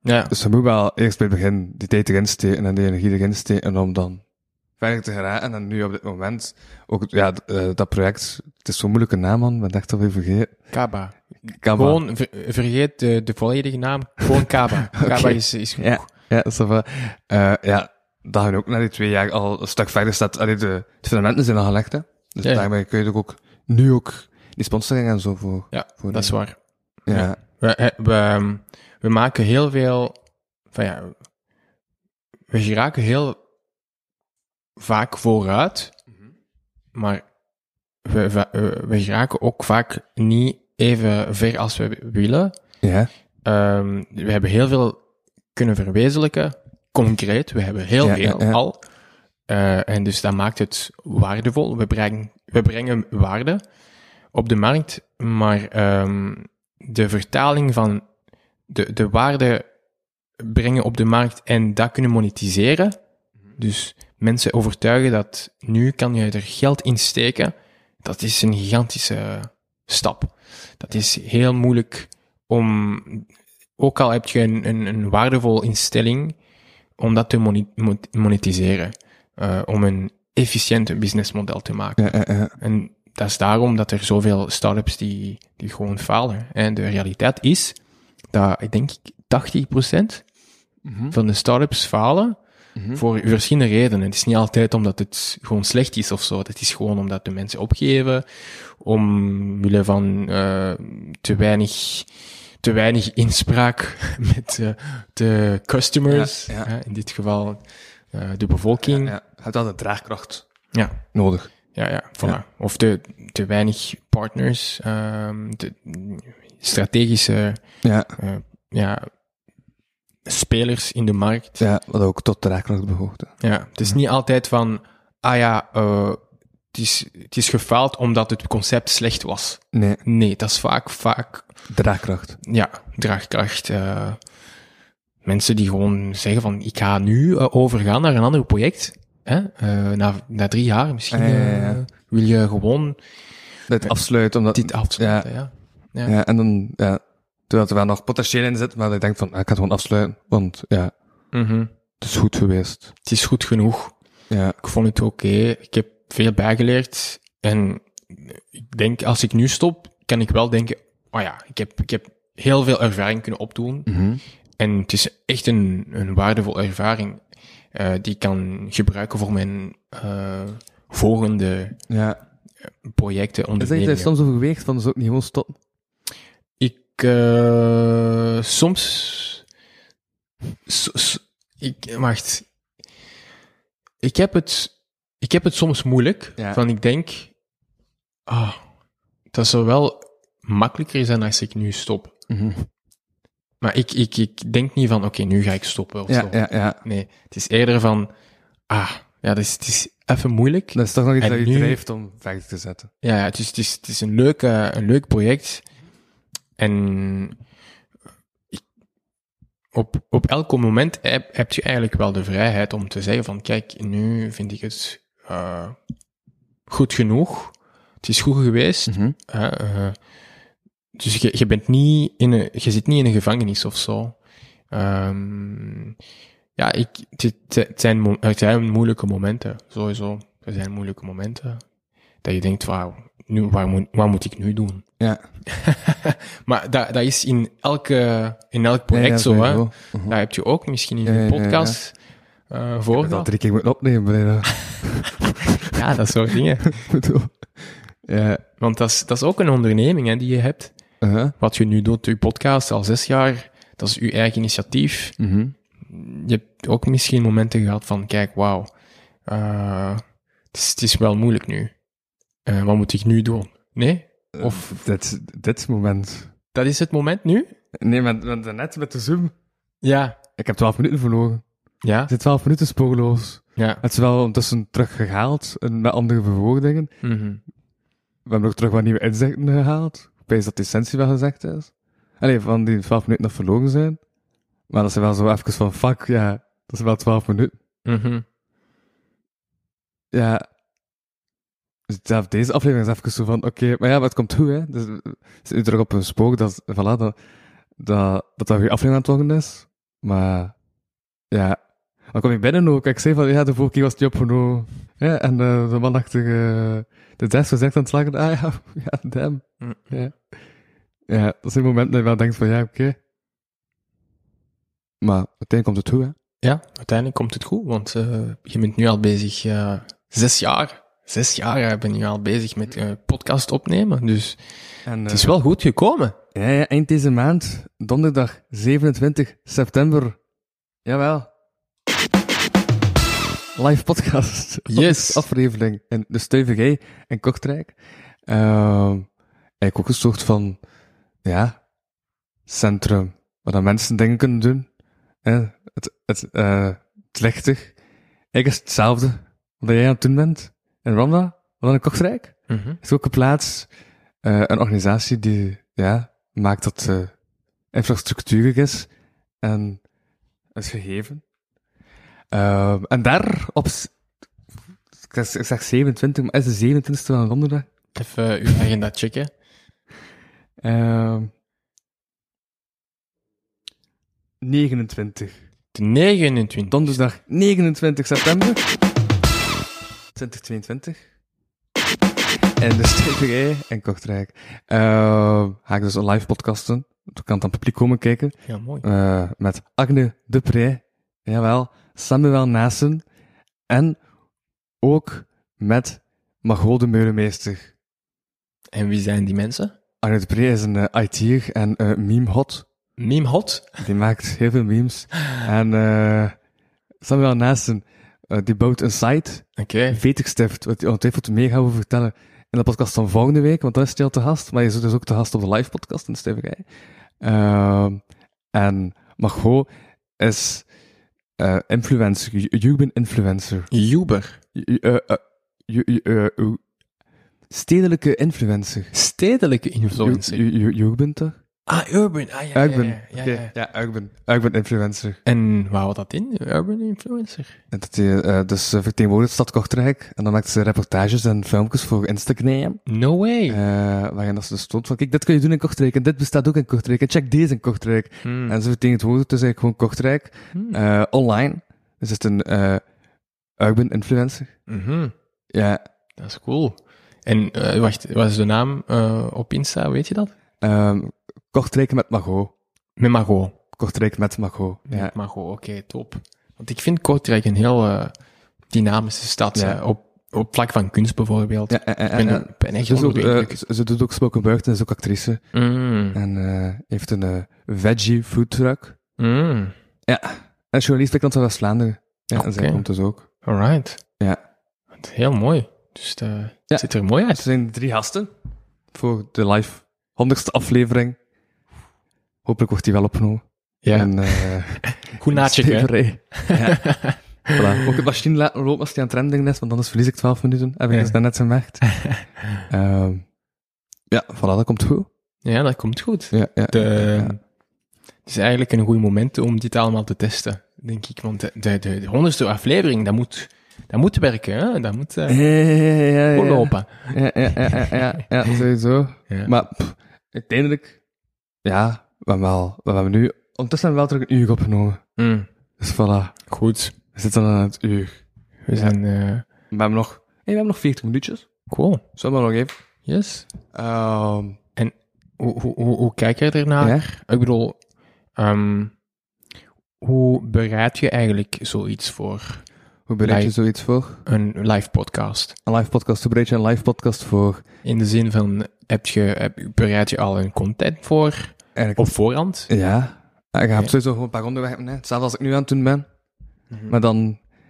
[SPEAKER 4] Ja.
[SPEAKER 3] Dus je moet wel eerst bij het begin die tijd erin steken en die energie erin steken om dan verder te geraken. En nu op dit moment, ook ja, d- eh, dat project, het is zo'n moeilijke naam, man. Ik ben echt alweer vergeten.
[SPEAKER 4] Kaba.
[SPEAKER 3] Kaba.
[SPEAKER 4] Gewoon, ver- vergeet de, de volledige naam. Gewoon Kaba. Kaba is, is goed.
[SPEAKER 3] Ja, ja, dat is wel. Eh, ja, dat je ook na die twee jaar al een stuk verder staat. Allee, de, de fundamenten zijn al gelegd, hè. Dus
[SPEAKER 4] Ja.
[SPEAKER 3] daarmee kun je toch ook, nu ook, die sponsoring en zo voor.
[SPEAKER 4] Ja,
[SPEAKER 3] voor
[SPEAKER 4] dat is
[SPEAKER 3] die-
[SPEAKER 4] waar.
[SPEAKER 3] Ja.
[SPEAKER 4] ja. We, eh, we, ehm, we maken heel veel. Van ja, we raken heel vaak vooruit, maar we, we, eh, we raken ook vaak niet even ver als we willen.
[SPEAKER 3] Ja.
[SPEAKER 4] Ehm, we hebben heel veel kunnen verwezenlijken, concreet. We hebben heel
[SPEAKER 3] Ja, ja,
[SPEAKER 4] veel
[SPEAKER 3] ja.
[SPEAKER 4] al. Eh, en dus dat maakt het waardevol. We brengen, we brengen waarde op de markt, maar ehm, de vertaling van de, de waarde brengen op de markt en dat kunnen monetiseren. Dus mensen overtuigen dat nu kan je er geld in steken. Dat is een gigantische stap. Dat is heel moeilijk om, ook al heb je een, een, een waardevolle instelling, om dat te moni- mo- monetiseren. eh, om een efficiënt businessmodel te maken.
[SPEAKER 3] Ja, ja, ja.
[SPEAKER 4] En dat is daarom dat er zoveel startups die, die gewoon falen. En de realiteit is dat, ik denk, 80%
[SPEAKER 3] Mhm.
[SPEAKER 4] van de startups falen voor verschillende redenen. Het is niet altijd omdat het gewoon slecht is of zo. Het is gewoon omdat de mensen opgeven, omwille van eh, te weinig te weinig inspraak met eh, de customers,
[SPEAKER 3] Ja, ja.
[SPEAKER 4] hè, in dit geval eh, de bevolking.
[SPEAKER 3] ja. Je hebt altijd draagkracht
[SPEAKER 4] ja.
[SPEAKER 3] nodig.
[SPEAKER 4] Ja, ja, voilà. Of te, te weinig partners, ehm, te- strategische
[SPEAKER 3] Ja,
[SPEAKER 4] eh, ja, spelers in de markt. Ja,
[SPEAKER 3] ja wat ook tot draagkracht behoort. hè.
[SPEAKER 4] het is niet altijd van, ah ja, eh, het, is, het is gefaald omdat het concept slecht was.
[SPEAKER 3] Nee,
[SPEAKER 4] Nee, dat is vaak, vaak,
[SPEAKER 3] draagkracht.
[SPEAKER 4] ja, draagkracht. eh, mensen die gewoon zeggen van, ik ga nu eh, overgaan naar een ander project. Hè? Eh, na, na drie jaar misschien
[SPEAKER 3] Ja, ja, ja, ja.
[SPEAKER 4] eh, wil je gewoon
[SPEAKER 3] Dit afsluit, omdat...
[SPEAKER 4] dit
[SPEAKER 3] Ja,
[SPEAKER 4] afsluiten, ja.
[SPEAKER 3] ja. en dan... Ja, terwijl er wel nog potentieel in zit, maar ik denk van, ah, ik ga het gewoon afsluiten, want ja,
[SPEAKER 4] Mhm.
[SPEAKER 3] het is goed geweest.
[SPEAKER 4] Het is goed genoeg.
[SPEAKER 3] Ja,
[SPEAKER 4] Ik vond het oké. Ik heb veel bijgeleerd. En ik denk, als ik nu stop, kan ik wel denken, oh ja, ik heb, ik heb heel veel ervaring kunnen opdoen.
[SPEAKER 3] Mhm.
[SPEAKER 4] En het is echt een, een waardevolle ervaring eh, die ik kan gebruiken voor mijn eh, volgende
[SPEAKER 3] ja.
[SPEAKER 4] projecten,
[SPEAKER 3] Is dat iets
[SPEAKER 4] ondernemingen.
[SPEAKER 3] dat je soms overweegt van, zou ik niet gewoon stoppen?
[SPEAKER 4] Ik, eh, soms, so- so- ik, wacht. Ik heb het, ik heb het soms moeilijk.
[SPEAKER 3] Ja.
[SPEAKER 4] Van ik denk, ah, dat zou wel makkelijker zijn als ik nu stop.
[SPEAKER 3] Mhm.
[SPEAKER 4] Maar ik, ik, ik denk niet van, oké, nu ga ik stoppen of
[SPEAKER 3] Ja,
[SPEAKER 4] zo.
[SPEAKER 3] ja, ja.
[SPEAKER 4] Nee, het is eerder van, ah, ja, dus het is even moeilijk.
[SPEAKER 3] Dat is toch nog iets
[SPEAKER 4] En
[SPEAKER 3] dat je
[SPEAKER 4] nu-
[SPEAKER 3] drijft om verder te zetten.
[SPEAKER 4] Ja, ja, het is, het is, het is een, leuk, eh, een leuk project. En ik- op, op elk moment heb, heb je eigenlijk wel de vrijheid om te zeggen van kijk, nu vind ik het eh, goed genoeg. Het is goed geweest.
[SPEAKER 3] Mhm.
[SPEAKER 4] hè, eh, dus je, je, bent niet in een, je zit niet in een gevangenis of zo. Ehm, ja, ik, het, het, zijn, mo- het zijn moeilijke momenten, sowieso. Er zijn moeilijke momenten dat je denkt, wauw, nu, waar moet, wat moet ik nu doen?
[SPEAKER 3] Ja.
[SPEAKER 4] Maar dat, dat is in, elke, in elk project
[SPEAKER 3] ja,
[SPEAKER 4] zo, hè.
[SPEAKER 3] sowieso.
[SPEAKER 4] Daar heb je ook misschien in
[SPEAKER 3] Ja, ja,
[SPEAKER 4] een
[SPEAKER 3] ja, ja.
[SPEAKER 4] podcast eh, voor.
[SPEAKER 3] Dat
[SPEAKER 4] dat.
[SPEAKER 3] drie keer moeten opnemen, maar
[SPEAKER 4] Ja, dat soort dingen.
[SPEAKER 3] ik bedoel... Ja.
[SPEAKER 4] Want dat is, dat is ook een onderneming hè, die je hebt.
[SPEAKER 3] Uh-huh.
[SPEAKER 4] Wat je nu doet, je podcast al zes jaar, dat is je eigen initiatief.
[SPEAKER 3] Mhm.
[SPEAKER 4] Je hebt ook misschien momenten gehad van, kijk, wauw, eh, het, is, het is wel moeilijk nu. Eh, wat moet ik nu doen? Nee? Of
[SPEAKER 3] Eh, Dit, dit moment.
[SPEAKER 4] dat is het moment nu?
[SPEAKER 3] Nee, maar, maar daarnet met de Zoom.
[SPEAKER 4] Ja.
[SPEAKER 3] Ik heb 12 minuten verloren.
[SPEAKER 4] Ja?
[SPEAKER 3] Ik zit 12 minuten spoorloos.
[SPEAKER 4] Ja.
[SPEAKER 3] Het is wel ondertussen teruggehaald, en met andere verwoordingen.
[SPEAKER 4] Mhm.
[SPEAKER 3] We hebben ook terug wat nieuwe inzichten gehaald. Ik weet dat de essentie wel gezegd is. Allee, van die 12 minuten nog verloren zijn. Maar dat ze wel zo even van, fuck, ja, dat is wel 12 minuten.
[SPEAKER 4] Mhm.
[SPEAKER 3] Ja, ja, deze aflevering is even zo van, oké, maar ja, maar het komt goed, hè. Dus, eh, zit nu terug op een spook, dat, voilà, dat, dat, dat dat een goede aflevering aan het worden is. Maar, ja. Dan kom ik binnen ook, en ik zei van, ja, de vorige keer was het niet opgenomen. Ja, en eh, de man achter eh, de desk was echt aan het slagen, ah ja, ja, damn.
[SPEAKER 4] Mm.
[SPEAKER 3] Ja. ja, dat zijn momenten dat je wel denkt van, ja, oké. Maar uiteindelijk komt het goed, hè.
[SPEAKER 4] Ja, uiteindelijk komt het goed, want eh, je bent nu al bezig, eh, zes jaar. Zes jaar eh, ben je nu al bezig met eh, podcast opnemen, dus
[SPEAKER 3] En,
[SPEAKER 4] het is wel goed gekomen.
[SPEAKER 3] Ja, ja, eind deze maand, donderdag 27 september. Jawel. Live podcast.
[SPEAKER 4] Yes.
[SPEAKER 3] Aflevering in de Stuiverij in Kortrijk. Ehm eigenlijk ook een soort van, ja, centrum. Waar dan mensen dingen kunnen doen. Hè, het, het, eh het lichtig. Eigenlijk is het hetzelfde. Wat jij aan het doen bent. In Rwanda. Wat dan in Kortrijk is ook een plaats, eh, een organisatie die ja, maakt dat eh infrastructuur is en is gegeven. Ehm, en daar op, s- ik zeg- ik zeg 27, maar is de 27e van donderdag?
[SPEAKER 4] Even eh, uw agenda checken.
[SPEAKER 3] Ehm 29.
[SPEAKER 4] De 29.
[SPEAKER 3] Donderdag 29 september 2022. En de Steverij in Kortrijk. Eh, ga ik dus een live podcasten. Toen kan het aan het publiek komen kijken.
[SPEAKER 4] Ja, mooi.
[SPEAKER 3] Eh, met Agne Dupré. Jawel. Samuel Nassen. En ook met Margot de Meulemeester.
[SPEAKER 4] En wie zijn die mensen?
[SPEAKER 3] Agne Dupré is een eh, IT'er en eh meme hot.
[SPEAKER 4] Meme Hot.
[SPEAKER 3] Die maakt heel veel memes. En eh Samuel Nassen, eh, die bouwt een site
[SPEAKER 4] Oké.
[SPEAKER 3] Vetigstift, wat je ongetwijfeld meer gaat over vertellen in de podcast van volgende week, want dan is hij al te gast. Maar je zit dus ook te gast op de live podcast in de Steverij. Ehm, en Margot is eh, influencer, ju- urban influencer.
[SPEAKER 4] Uber.
[SPEAKER 3] Ju- eh, eh, ju- ju- eh, eh, Stedelijke influencer.
[SPEAKER 4] Stedelijke influencer.
[SPEAKER 3] Ju- ju- ju- Urban toch?
[SPEAKER 4] ah, Urban. Ah, ja, ja,
[SPEAKER 3] Urban.
[SPEAKER 4] ja, ja,
[SPEAKER 3] Oké,
[SPEAKER 4] ja.
[SPEAKER 3] Ja, urban. Urban influencer.
[SPEAKER 4] En waar houdt dat in? Urban influencer.
[SPEAKER 3] En dat je eh, dus eh, vertegenwoordigt Stad Kortrijk. En dan maakt ze reportages en filmpjes voor Instagram.
[SPEAKER 4] No way.
[SPEAKER 3] Eh, waarin dat ze dus stond van, kijk, dit kun je doen in Kortrijk, en dit bestaat ook in Kortrijk, en check deze in Kortrijk.
[SPEAKER 4] Hmm.
[SPEAKER 3] En ze vertegenwoordigt dus eigenlijk gewoon Kortrijk,
[SPEAKER 4] Hmm.
[SPEAKER 3] eh, online. Dus het is een eh urban influencer.
[SPEAKER 4] Mhm.
[SPEAKER 3] Ja,
[SPEAKER 4] Dat is cool. En eh, wacht, wat is de naam eh, op Insta? Weet je dat?
[SPEAKER 3] ehm, Kortrijk met Mago.
[SPEAKER 4] Met Margot.
[SPEAKER 3] Kortrijk met Mago, ja.
[SPEAKER 4] Met Margot, oké, top. Want ik vind Kortrijk een heel eh, dynamische stad.
[SPEAKER 3] Ja.
[SPEAKER 4] eh, op, op vlak van kunst bijvoorbeeld.
[SPEAKER 3] Ja, en, en,
[SPEAKER 4] ik ben,
[SPEAKER 3] en-
[SPEAKER 4] ik ben echt
[SPEAKER 3] ze, doet ook,
[SPEAKER 4] onder de
[SPEAKER 3] eh,
[SPEAKER 4] indruk.
[SPEAKER 3] ze- ze doet ook spoken word en is ook actrice.
[SPEAKER 4] Mm.
[SPEAKER 3] En eh, heeft een eh, veggie food truck.
[SPEAKER 4] Mm.
[SPEAKER 3] En journalist bij Kant van West-Vlaanderen. Ja, en zij
[SPEAKER 4] Oké.
[SPEAKER 3] komt dus ook.
[SPEAKER 4] Alright.
[SPEAKER 3] Ja.
[SPEAKER 4] Het is Heel mooi. Dus het eh, het ziet er mooi
[SPEAKER 3] Er
[SPEAKER 4] uit.
[SPEAKER 3] zijn drie gasten voor de live 100ste aflevering. Hopelijk wordt die wel opgenomen.
[SPEAKER 4] Ja,
[SPEAKER 3] En, eh,
[SPEAKER 4] goed nachecken. hè.
[SPEAKER 3] steverij. Ja. Voilà. Ook het machine laten lopen als die aan het rendering is, want anders verlies ik 12 minuten. Heb ik
[SPEAKER 4] Ja.
[SPEAKER 3] dus daarnet gemerkt. Ehm, ja, voilà, dat komt goed.
[SPEAKER 4] Ja, dat komt goed.
[SPEAKER 3] Ja, ja,
[SPEAKER 4] De,
[SPEAKER 3] ja.
[SPEAKER 4] Het is eigenlijk een goed moment om dit allemaal te testen, denk ik. Want de- de de- de honderdste aflevering, dat moet, dat moet werken. Hè? Dat moet eh,
[SPEAKER 3] Ja, ja, ja, ja,
[SPEAKER 4] goed
[SPEAKER 3] ja.
[SPEAKER 4] lopen.
[SPEAKER 3] Ja, ja, ja, ja, ja, ja, sowieso.
[SPEAKER 4] Ja.
[SPEAKER 3] Maar pff, uiteindelijk, ja, we hebben, wel, we hebben nu ondertussen wel terug een uur opgenomen.
[SPEAKER 4] Mm,
[SPEAKER 3] Dus voilà,
[SPEAKER 4] goed.
[SPEAKER 3] we zitten aan het uur.
[SPEAKER 4] We zijn... eh,
[SPEAKER 3] We hebben nog, hey, we hebben nog 40 minuutjes.
[SPEAKER 4] cool.
[SPEAKER 3] Zullen we nog even?
[SPEAKER 4] Yes.
[SPEAKER 3] Ehm,
[SPEAKER 4] Hoe, hoe, hoe, hoe kijk jij ernaar?
[SPEAKER 3] ja?
[SPEAKER 4] Ik bedoel, ehm, hoe bereid je eigenlijk zoiets voor
[SPEAKER 3] Hoe bereid je
[SPEAKER 4] Live.
[SPEAKER 3] zoiets voor?
[SPEAKER 4] een live podcast?
[SPEAKER 3] Een live podcast, hoe bereid je een live podcast voor?
[SPEAKER 4] In de zin van, heb je, heb, bereid je al een content voor
[SPEAKER 3] Eigenlijk
[SPEAKER 4] op voorhand?
[SPEAKER 3] Ja. Ik ga
[SPEAKER 4] Ja.
[SPEAKER 3] sowieso gewoon een paar onderwerpen, hè. hetzelfde als ik nu aan het doen ben. Maar dan,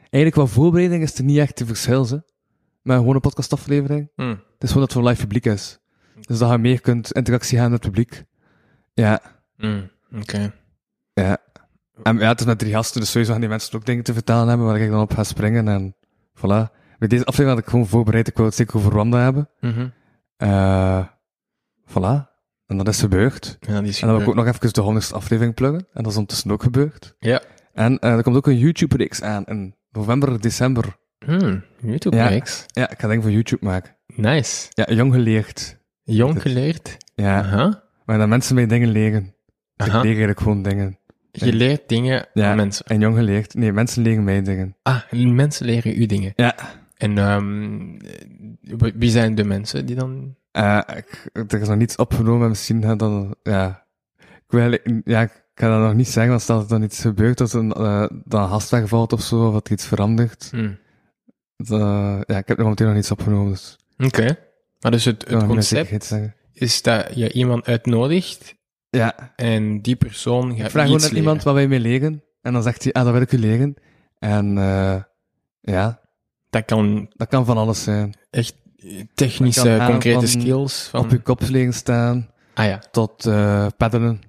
[SPEAKER 3] eigenlijk qua voorbereiding is er niet echt te verschil, hè. Maar gewoon een podcastaflevering.
[SPEAKER 4] Mm.
[SPEAKER 3] Het is gewoon dat het voor live publiek is. Dus dat je meer kunt interactie gaan met het publiek. Ja.
[SPEAKER 4] Mm, Oké.
[SPEAKER 3] Ja. En ja, het is met drie gasten, dus sowieso gaan die mensen ook dingen te vertalen hebben waar ik dan op ga springen. En voilà. Bij deze aflevering had ik gewoon voorbereid, ik wil het zeker over Rwanda hebben.
[SPEAKER 4] Mhm.
[SPEAKER 3] Eh voilà. En dat is gebeurd.
[SPEAKER 4] Ja, dat is
[SPEAKER 3] En dan wil ik
[SPEAKER 4] gebeurd.
[SPEAKER 3] ook nog even de 100ste aflevering pluggen. En dat is ondertussen ook gebeurd.
[SPEAKER 4] Ja.
[SPEAKER 3] En eh, er komt ook een YouTube-reeks aan in november, december.
[SPEAKER 4] Hmm, YouTube
[SPEAKER 3] Ja.
[SPEAKER 4] reeks.
[SPEAKER 3] Ja, ik ga denk ik voor YouTube maken.
[SPEAKER 4] Nice.
[SPEAKER 3] Ja, jong geleerd.
[SPEAKER 4] Jong geleerd.
[SPEAKER 3] Ja,
[SPEAKER 4] Aha.
[SPEAKER 3] maar dat mensen mij dingen leren. Dus ik
[SPEAKER 4] Aha.
[SPEAKER 3] leer eigenlijk gewoon dingen.
[SPEAKER 4] Je leert dingen
[SPEAKER 3] Ja,
[SPEAKER 4] aan mensen.
[SPEAKER 3] En jong geleerd. Nee, mensen leren mij dingen.
[SPEAKER 4] Ah, mensen leren u dingen.
[SPEAKER 3] Ja.
[SPEAKER 4] En ehm, w- wie zijn de mensen die dan...
[SPEAKER 3] Eh, ik- er is nog niets opgenomen, misschien gaat dat... Ja, ik, wil, eigenlijk- ja, ik kan dat nog niet zeggen, want stel dat er dan iets gebeurt, dat een, eh dat een gast wegvalt of zo, of dat iets verandert.
[SPEAKER 4] Hmm.
[SPEAKER 3] Dat, eh, ja, ik heb er momenteel nog niets opgenomen, dus... ik
[SPEAKER 4] Oké. Maar dus het,
[SPEAKER 3] kan
[SPEAKER 4] het
[SPEAKER 3] nog niet met
[SPEAKER 4] concept
[SPEAKER 3] zekerheid zeggen.
[SPEAKER 4] is dat je iemand uitnodigt
[SPEAKER 3] Ja,
[SPEAKER 4] en die persoon gaat
[SPEAKER 3] ik vraag
[SPEAKER 4] iets
[SPEAKER 3] gewoon aan
[SPEAKER 4] leren.
[SPEAKER 3] iemand wat wij mee leren, en dan zegt hij, ah, dat wil ik u leren. En eh, ja,
[SPEAKER 4] Dat kan
[SPEAKER 3] dat kan van alles zijn.
[SPEAKER 4] echt technische,
[SPEAKER 3] Dat kan gaan
[SPEAKER 4] concrete
[SPEAKER 3] van-
[SPEAKER 4] skills van...
[SPEAKER 3] Op je kop liggen staan,
[SPEAKER 4] Ah ja,
[SPEAKER 3] tot eh paddelen,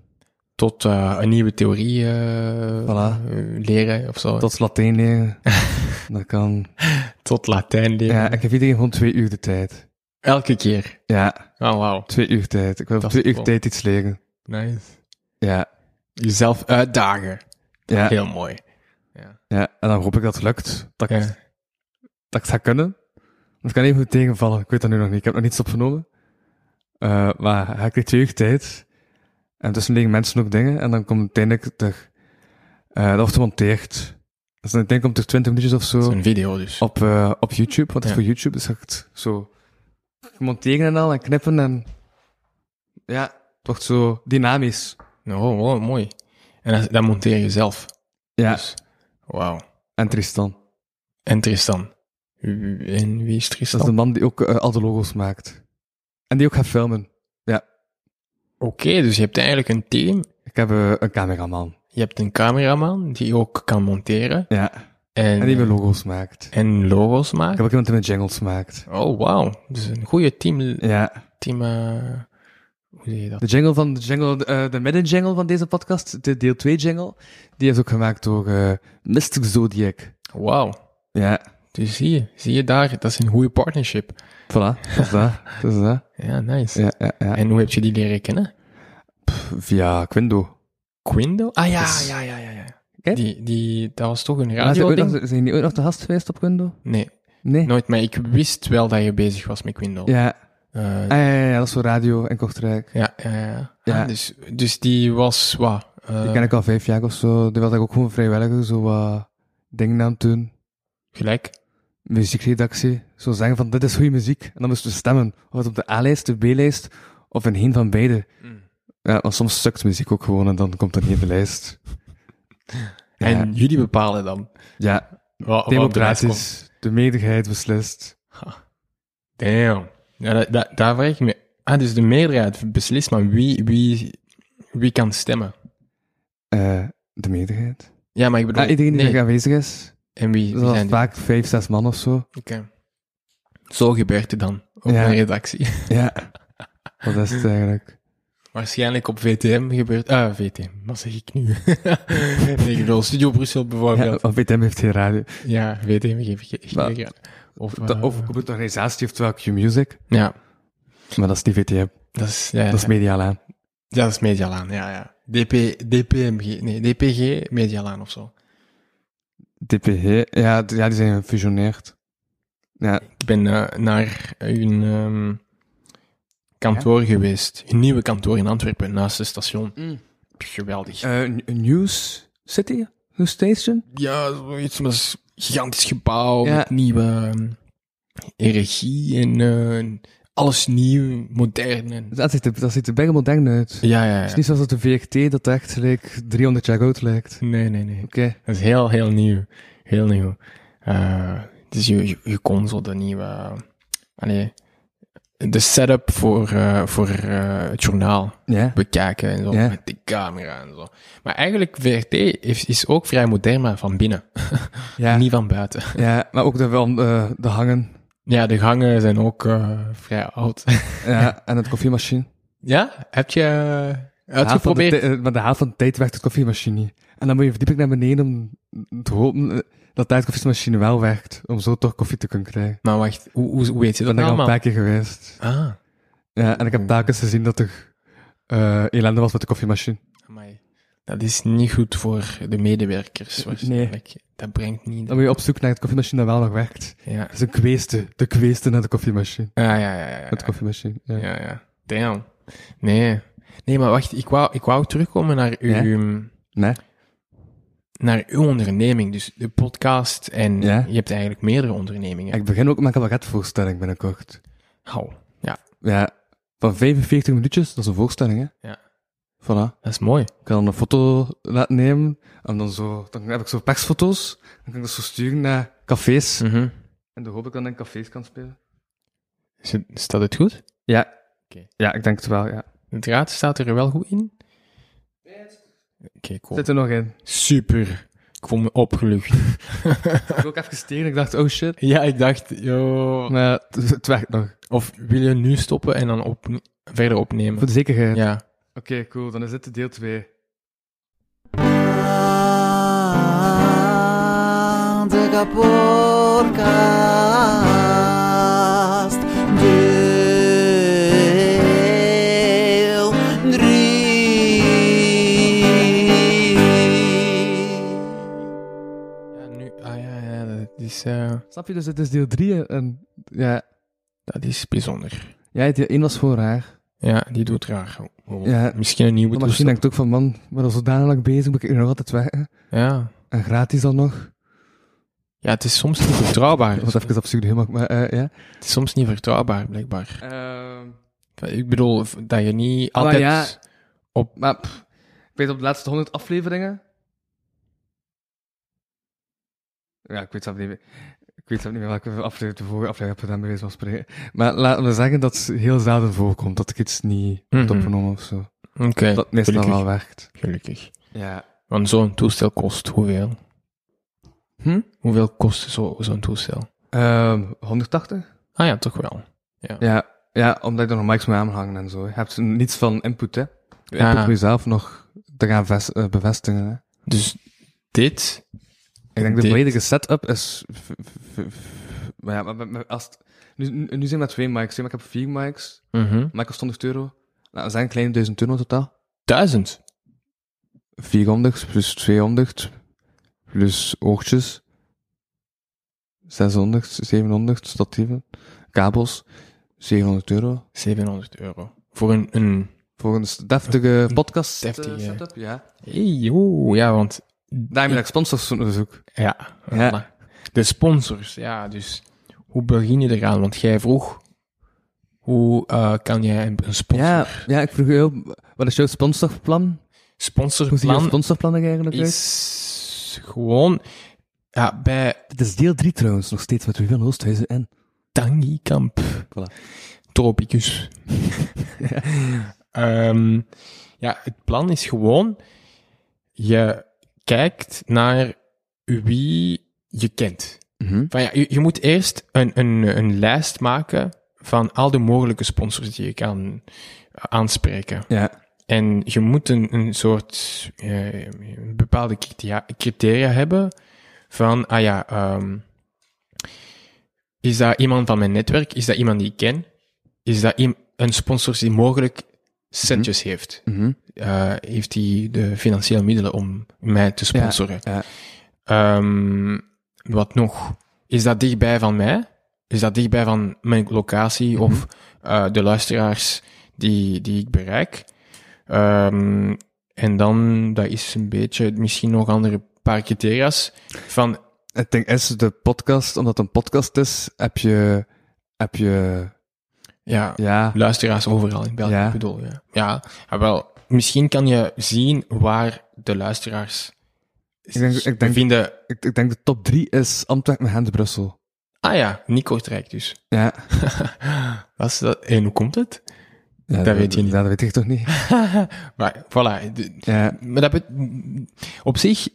[SPEAKER 4] tot eh, een nieuwe theorie eh,
[SPEAKER 3] Voilà.
[SPEAKER 4] eh, leren of zo.
[SPEAKER 3] tot Latijn leren. dat kan...
[SPEAKER 4] Tot Latijn leren.
[SPEAKER 3] Ja, ik heb iedereen gewoon twee uur de tijd.
[SPEAKER 4] Elke keer.
[SPEAKER 3] Ja,
[SPEAKER 4] Oh, wauw.
[SPEAKER 3] twee uur tijd. Ik wil op
[SPEAKER 4] Dat
[SPEAKER 3] twee
[SPEAKER 4] is
[SPEAKER 3] uur
[SPEAKER 4] cool.
[SPEAKER 3] tijd iets leren.
[SPEAKER 4] Nice.
[SPEAKER 3] Ja,
[SPEAKER 4] Jezelf uitdagen.
[SPEAKER 3] ja,
[SPEAKER 4] Heel mooi.
[SPEAKER 3] ja. En dan hoop ik dat het lukt. Dat ik,
[SPEAKER 4] Ja.
[SPEAKER 3] dat ik het ga kunnen. Want het kan even goed tegenvallen. Ik weet dat nu nog niet. Ik heb nog niets opgenomen. Eh, maar ga ik kreeg twee uur tijd. En tussen liggen mensen ook dingen. En dan komt uiteindelijk de... eh dat wordt gemonteerd. Dus dan uiteindelijk komt er 20 minuutjes of
[SPEAKER 4] Dat
[SPEAKER 3] zo
[SPEAKER 4] is een video dus.
[SPEAKER 3] op, eh, op YouTube. Want het is
[SPEAKER 4] Ja.
[SPEAKER 3] voor YouTube. Dus ga ik het zo monteren en al en knippen. En ja, het wordt zo dynamisch.
[SPEAKER 4] Oh, wow, mooi. En dat, dat monteer je zelf.
[SPEAKER 3] Ja,
[SPEAKER 4] Dus, wauw.
[SPEAKER 3] en Tristan.
[SPEAKER 4] En Tristan. U- En wie is
[SPEAKER 3] Dat is
[SPEAKER 4] Tristan?
[SPEAKER 3] de man die ook eh, al de logo's maakt. En die ook gaat filmen.
[SPEAKER 4] Oké, dus je hebt eigenlijk een team.
[SPEAKER 3] Ik heb eh, een cameraman.
[SPEAKER 4] Je hebt een cameraman die ook kan monteren.
[SPEAKER 3] Ja.
[SPEAKER 4] En,
[SPEAKER 3] En die mijn logo's maakt.
[SPEAKER 4] en logo's
[SPEAKER 3] Ik
[SPEAKER 4] maakt.
[SPEAKER 3] heb ook iemand die mijn jingles maakt.
[SPEAKER 4] Oh, wauw. Dus een goede team.
[SPEAKER 3] Ja.
[SPEAKER 4] team eh, hoe zeg je dat?
[SPEAKER 3] De jingle van de jingle, eh, de middenjingle van deze podcast, de deel 2 jingle, die is ook gemaakt door eh Mystic Zodiac.
[SPEAKER 4] Wauw.
[SPEAKER 3] Ja.
[SPEAKER 4] Dus zie je, zie je daar, dat is een goede partnership.
[SPEAKER 3] Voilà. Dat is dat. Dat is dat.
[SPEAKER 4] Ja, nice.
[SPEAKER 3] Ja, ja, ja.
[SPEAKER 4] En hoe heb je die leren kennen?
[SPEAKER 3] Via Quindo.
[SPEAKER 4] Quindo? Ah ja,
[SPEAKER 3] Dus-
[SPEAKER 4] ja, ja, ja. ja.
[SPEAKER 3] Oké.
[SPEAKER 4] Die, die, dat was toch een
[SPEAKER 3] Maar Zijn
[SPEAKER 4] radio
[SPEAKER 3] Ah, die ooit
[SPEAKER 4] ding?
[SPEAKER 3] nog- zijn die ooit nog te gast geweest op Quindo?
[SPEAKER 4] Nee,
[SPEAKER 3] Nee.
[SPEAKER 4] nooit, maar ik wist wel dat je bezig was met Quindo.
[SPEAKER 3] Ja.
[SPEAKER 4] Eh,
[SPEAKER 3] Ah, ja, ja, ja, dat is voor radio in Kortrijk.
[SPEAKER 4] ja, ja, ja.
[SPEAKER 3] Ja.
[SPEAKER 4] Ah, dus, dus die was, wat? eh,
[SPEAKER 3] Die ken ik al vijf jaar of zo. Die was ik ook gewoon vrijwilliger, zo wat dingen aan het doen.
[SPEAKER 4] Gelijk.
[SPEAKER 3] muziekredactie zou zeggen van dit is goede muziek. En dan moesten we stemmen. Of het op de A-lijst, de B-lijst of in geen van beide.
[SPEAKER 4] Mm.
[SPEAKER 3] Ja, want soms stukt muziek ook gewoon en dan komt er niet in de lijst. Ja,
[SPEAKER 4] En jullie bepalen dan.
[SPEAKER 3] ja
[SPEAKER 4] Wat, wat op de lijst komt.
[SPEAKER 3] democratisch. De meerderheid beslist.
[SPEAKER 4] Damn. Ja, dat, dat, daar vraag ik me. Ah, dus de meerderheid beslist, maar wie, wie, wie kan stemmen?
[SPEAKER 3] Eh, de meerderheid.
[SPEAKER 4] Ja, maar ik bedoel...
[SPEAKER 3] Ah, iedereen die
[SPEAKER 4] nee.
[SPEAKER 3] er aanwezig is.
[SPEAKER 4] En wie, wie
[SPEAKER 3] Dat
[SPEAKER 4] zijn
[SPEAKER 3] is
[SPEAKER 4] die?
[SPEAKER 3] vaak vijf, zes man of zo.
[SPEAKER 4] Oké. Zo gebeurt het dan, op
[SPEAKER 3] Ja.
[SPEAKER 4] een redactie.
[SPEAKER 3] Ja. Wat is het eigenlijk?
[SPEAKER 4] Waarschijnlijk op VTM gebeurt... Ah, VTM, wat zeg ik nu? nee, ik bedoel Studio Brussel
[SPEAKER 3] Ja,
[SPEAKER 4] bijvoorbeeld.
[SPEAKER 3] want BTM heeft geen radio.
[SPEAKER 4] Ja, VTM geef ik geef
[SPEAKER 3] Maar-
[SPEAKER 4] ik aan. Of,
[SPEAKER 3] De
[SPEAKER 4] eh,
[SPEAKER 3] overkoepelende organisatie heeft wel Q-Music,
[SPEAKER 4] Ja,
[SPEAKER 3] maar dat is niet VTM.
[SPEAKER 4] dat is... Ja,
[SPEAKER 3] Dat is Medialaan.
[SPEAKER 4] ja, dat is Medialaan, ja, ja. DP, DPMG, nee, DPG, Medialaan of zo.
[SPEAKER 3] DPG, ja, d- ja, die zijn gefusioneerd. Ja,
[SPEAKER 4] Ik ben eh, naar hun ehm, kantoor geweest. Hun nieuwe kantoor in Antwerpen, naast het station.
[SPEAKER 3] Mm.
[SPEAKER 4] Geweldig.
[SPEAKER 3] eh, N- News City? News Station?
[SPEAKER 4] ja, zoiets met een gigantisch gebouw,
[SPEAKER 3] Ja.
[SPEAKER 4] met nieuwe ehm, regie en eh, alles nieuw, modern. En,
[SPEAKER 3] Dat ziet er, dat ziet er bijna modern uit. Het
[SPEAKER 4] ja, ja,
[SPEAKER 3] is
[SPEAKER 4] ja.
[SPEAKER 3] niet zoals dat de VGT dat echt like, 300 jaar oud lijkt.
[SPEAKER 4] Nee, nee, nee.
[SPEAKER 3] Oké.
[SPEAKER 4] Dat is heel, heel nieuw. Heel nieuw. Eh, dus je, je, je console, de nieuwe... eh, allee, de setup voor, eh, voor eh, het journaal
[SPEAKER 3] Ja.
[SPEAKER 4] bekijken en zo,
[SPEAKER 3] Ja.
[SPEAKER 4] met de camera en zo. Maar eigenlijk, VRT is, is ook vrij modern, maar van binnen,
[SPEAKER 3] Ja.
[SPEAKER 4] niet van buiten.
[SPEAKER 3] ja, maar ook de, van, eh, de hangen.
[SPEAKER 4] Ja, de gangen zijn ook eh, vrij oud.
[SPEAKER 3] Ja, en het koffiemachine.
[SPEAKER 4] Ja, heb je eh,
[SPEAKER 3] De haal van de
[SPEAKER 4] uitgeprobeerd?
[SPEAKER 3] tij- eh, Maar de haal van de tijd werkt het koffiemachine niet. En dan moet je verdieping naar beneden om te hopen eh, dat daar de koffiemachine wel werkt. Om zo toch koffie te kunnen krijgen.
[SPEAKER 4] Maar wacht, hoe, hoe, hoe weet je
[SPEAKER 3] Ik
[SPEAKER 4] dat nou, Mm.
[SPEAKER 3] ben daar al een
[SPEAKER 4] allemaal?
[SPEAKER 3] paar keer geweest.
[SPEAKER 4] Ah,
[SPEAKER 3] Ja, en ik heb telkens gezien dat er eh, elende was met de koffiemachine.
[SPEAKER 4] amai. Dat is niet goed voor de medewerkers. waarschijnlijk. Dat brengt niet.
[SPEAKER 3] Dan moet je op zoek naar het koffiemachine dat wel nog werkt.
[SPEAKER 4] Ja.
[SPEAKER 3] Dat is een kweeste. De kweeste naar de koffiemachine.
[SPEAKER 4] Ah, ja, ja, ja. ja.
[SPEAKER 3] Het koffiemachine. Ja.
[SPEAKER 4] Ja, ja. Damn. Nee. Nee, maar wacht. Ik wou, ik wou terugkomen naar uw,
[SPEAKER 3] Nee?
[SPEAKER 4] naar uw onderneming. Dus de podcast en
[SPEAKER 3] Ja.
[SPEAKER 4] je hebt eigenlijk meerdere ondernemingen.
[SPEAKER 3] Ik begin ook met een cabaretvoorstelling binnenkort.
[SPEAKER 4] Hou. Ja,
[SPEAKER 3] Ja, van 45 minuutjes, dat is een voorstelling, hè?
[SPEAKER 4] Ja.
[SPEAKER 3] Voilà.
[SPEAKER 4] dat is mooi.
[SPEAKER 3] Ik kan dan een foto laten nemen, en dan zo, dan heb ik zo persfoto's, dan kan ik dat zo sturen naar cafés.
[SPEAKER 4] Mhm.
[SPEAKER 3] En dan hoop ik dat ik in cafés kan spelen.
[SPEAKER 4] Is het- Staat het goed?
[SPEAKER 3] Ja.
[SPEAKER 4] Oké.
[SPEAKER 3] Ja, ik denk het wel, ja.
[SPEAKER 4] De draad staat er wel goed in? Oké, cool.
[SPEAKER 3] Zit er nog in.
[SPEAKER 4] Super. Ik voel me opgelucht.
[SPEAKER 3] Ik heb ook even gestegen, ik dacht, oh shit.
[SPEAKER 4] ja, ik dacht, yo.
[SPEAKER 3] Maar het- het werkt nog.
[SPEAKER 4] Of wil je nu stoppen en dan op, verder opnemen?
[SPEAKER 3] Voor de zekerheid.
[SPEAKER 4] Ja.
[SPEAKER 3] Oké, cool. Dan is dit deel 2.
[SPEAKER 7] De kapotkast. Deel drie.
[SPEAKER 4] Ja, nu, ah ja, ja, dat is, eh,
[SPEAKER 3] Snap je? Dus dit is deel 3 en ja,
[SPEAKER 4] dat is bijzonder.
[SPEAKER 3] ja deel 1 was gewoon raar.
[SPEAKER 4] Ja, die doet raar. Oh,
[SPEAKER 3] Ja.
[SPEAKER 4] Misschien een nieuwe
[SPEAKER 3] Maar misschien
[SPEAKER 4] toestand.
[SPEAKER 3] denk ik ook van, man, maar al zodanig bezig, moet ik hier nog altijd werken.
[SPEAKER 4] Ja.
[SPEAKER 3] En gratis dan nog.
[SPEAKER 4] ja, het is soms niet vertrouwbaar.
[SPEAKER 3] Dat was even absurd helemaal, maar eh, ja.
[SPEAKER 4] Het is soms niet vertrouwbaar, blijkbaar.
[SPEAKER 3] Ehm,
[SPEAKER 4] Ik bedoel, v- dat je niet
[SPEAKER 3] Maar
[SPEAKER 4] altijd...
[SPEAKER 3] ja. Maar pff, ik weet op de laatste 100 afleveringen. Ja, ik weet zelf niet meer. Ik weet zelf niet meer welke aflevering de vorige aflevering heb gedaan, bij wijze van spreken. Maar laten we zeggen dat het heel zelden voorkomt dat ik iets niet heb
[SPEAKER 4] Mhm.
[SPEAKER 3] opgenomen of zo.
[SPEAKER 4] Oké,
[SPEAKER 3] Dat meestal
[SPEAKER 4] gelukkig.
[SPEAKER 3] wel werkt.
[SPEAKER 4] Gelukkig.
[SPEAKER 3] Ja.
[SPEAKER 4] Want zo'n toestel kost hoeveel? Hm? Hoeveel kost zo- zo'n toestel?
[SPEAKER 3] Ehm 180?
[SPEAKER 4] Ah ja, toch wel.
[SPEAKER 3] Ja. Ja, omdat ik er nog mics mee aanhangen en zo. Je hebt niets van input, hè. Je input moet je zelf nog te gaan ves- eh, bevestigen, hè.
[SPEAKER 4] Dus dit...
[SPEAKER 3] Ik denk de
[SPEAKER 4] Dit-
[SPEAKER 3] volledige setup is. v- v- v- v- Maar ja, maar- maar- maar als het- nu, nu nu zijn we met twee mics. hè, maar Ik heb vier mics.
[SPEAKER 4] Mhm.
[SPEAKER 3] Mic kost 100 euro. Nou, we zijn een kleine 1000 euro in totaal.
[SPEAKER 4] Duizend.
[SPEAKER 3] 400 plus 200 plus oogtjes. 600, 700 statieven. Kabels. 700 euro.
[SPEAKER 4] 700 euro. Voor een... een...
[SPEAKER 3] Voor een s- deftige podcast eh,
[SPEAKER 4] deftige-
[SPEAKER 3] setup. Ja.
[SPEAKER 4] Hey, oeh, ja, want...
[SPEAKER 3] Daarmee dat ik sponsors zoek.
[SPEAKER 4] Ja,
[SPEAKER 3] Ja.
[SPEAKER 4] voilà. De sponsors, ja. Dus hoe begin je eraan? Want jij vroeg, hoe eh, kan jij een een sponsor...
[SPEAKER 3] Ja, ja, ik vroeg je ook, wat is jouw sponsorplan? Hoe ziet jouw
[SPEAKER 4] Sponsorplan
[SPEAKER 3] sponsorplan er eigenlijk uit?
[SPEAKER 4] is gewoon... Ja, bij
[SPEAKER 3] Dit is deel 3 trouwens, nog steeds met Ruben Oosthuizen en...
[SPEAKER 4] Tangi Kamp.
[SPEAKER 3] Voilà.
[SPEAKER 4] Tropicus. Ehm, ja, het plan is gewoon... Je kijkt naar wie je kent.
[SPEAKER 3] Mhm.
[SPEAKER 4] Van ja, je, je moet eerst een, een, een lijst maken van al de mogelijke sponsors die je kan aanspreken.
[SPEAKER 3] Ja.
[SPEAKER 4] En je moet een, een soort eh, een bepaalde criteria, criteria hebben van, ah ja, ehm, is dat iemand van mijn netwerk? Is dat iemand die ik ken? Is dat iem- een sponsor die mogelijk centjes
[SPEAKER 3] Mhm.
[SPEAKER 4] heeft? Eh, heeft hij de financiële middelen om mij te sponsoren?
[SPEAKER 3] ja.
[SPEAKER 4] Ehm, wat nog? Is dat dichtbij van mij? Is dat dichtbij van mijn locatie
[SPEAKER 3] Mhm.
[SPEAKER 4] of eh, de luisteraars die, die ik bereik? Ehm, en dan, dat is een beetje, misschien nog andere paar criteria's van,
[SPEAKER 3] Het ding is, de podcast, omdat het een podcast is, heb je... Heb je...
[SPEAKER 4] ja,
[SPEAKER 3] Ja.
[SPEAKER 4] luisteraars overal in België,
[SPEAKER 3] Ja.
[SPEAKER 4] ik bedoel ja. Ja, ah, wel, misschien kan je zien waar de luisteraars
[SPEAKER 3] Ik denk- ik denk-
[SPEAKER 4] vinden.
[SPEAKER 3] Ik, ik denk de top 3 is Antwerpen, Gent, Brussel.
[SPEAKER 4] Ah ja, niet Kortrijk dus.
[SPEAKER 3] Ja.
[SPEAKER 4] Wat is dat? En hoe komt het?
[SPEAKER 3] ja
[SPEAKER 4] dat weet je niet.
[SPEAKER 3] Ja, dat weet ik toch niet.
[SPEAKER 4] Maar voilà, de-
[SPEAKER 3] Ja.
[SPEAKER 4] maar dat bet- op zich,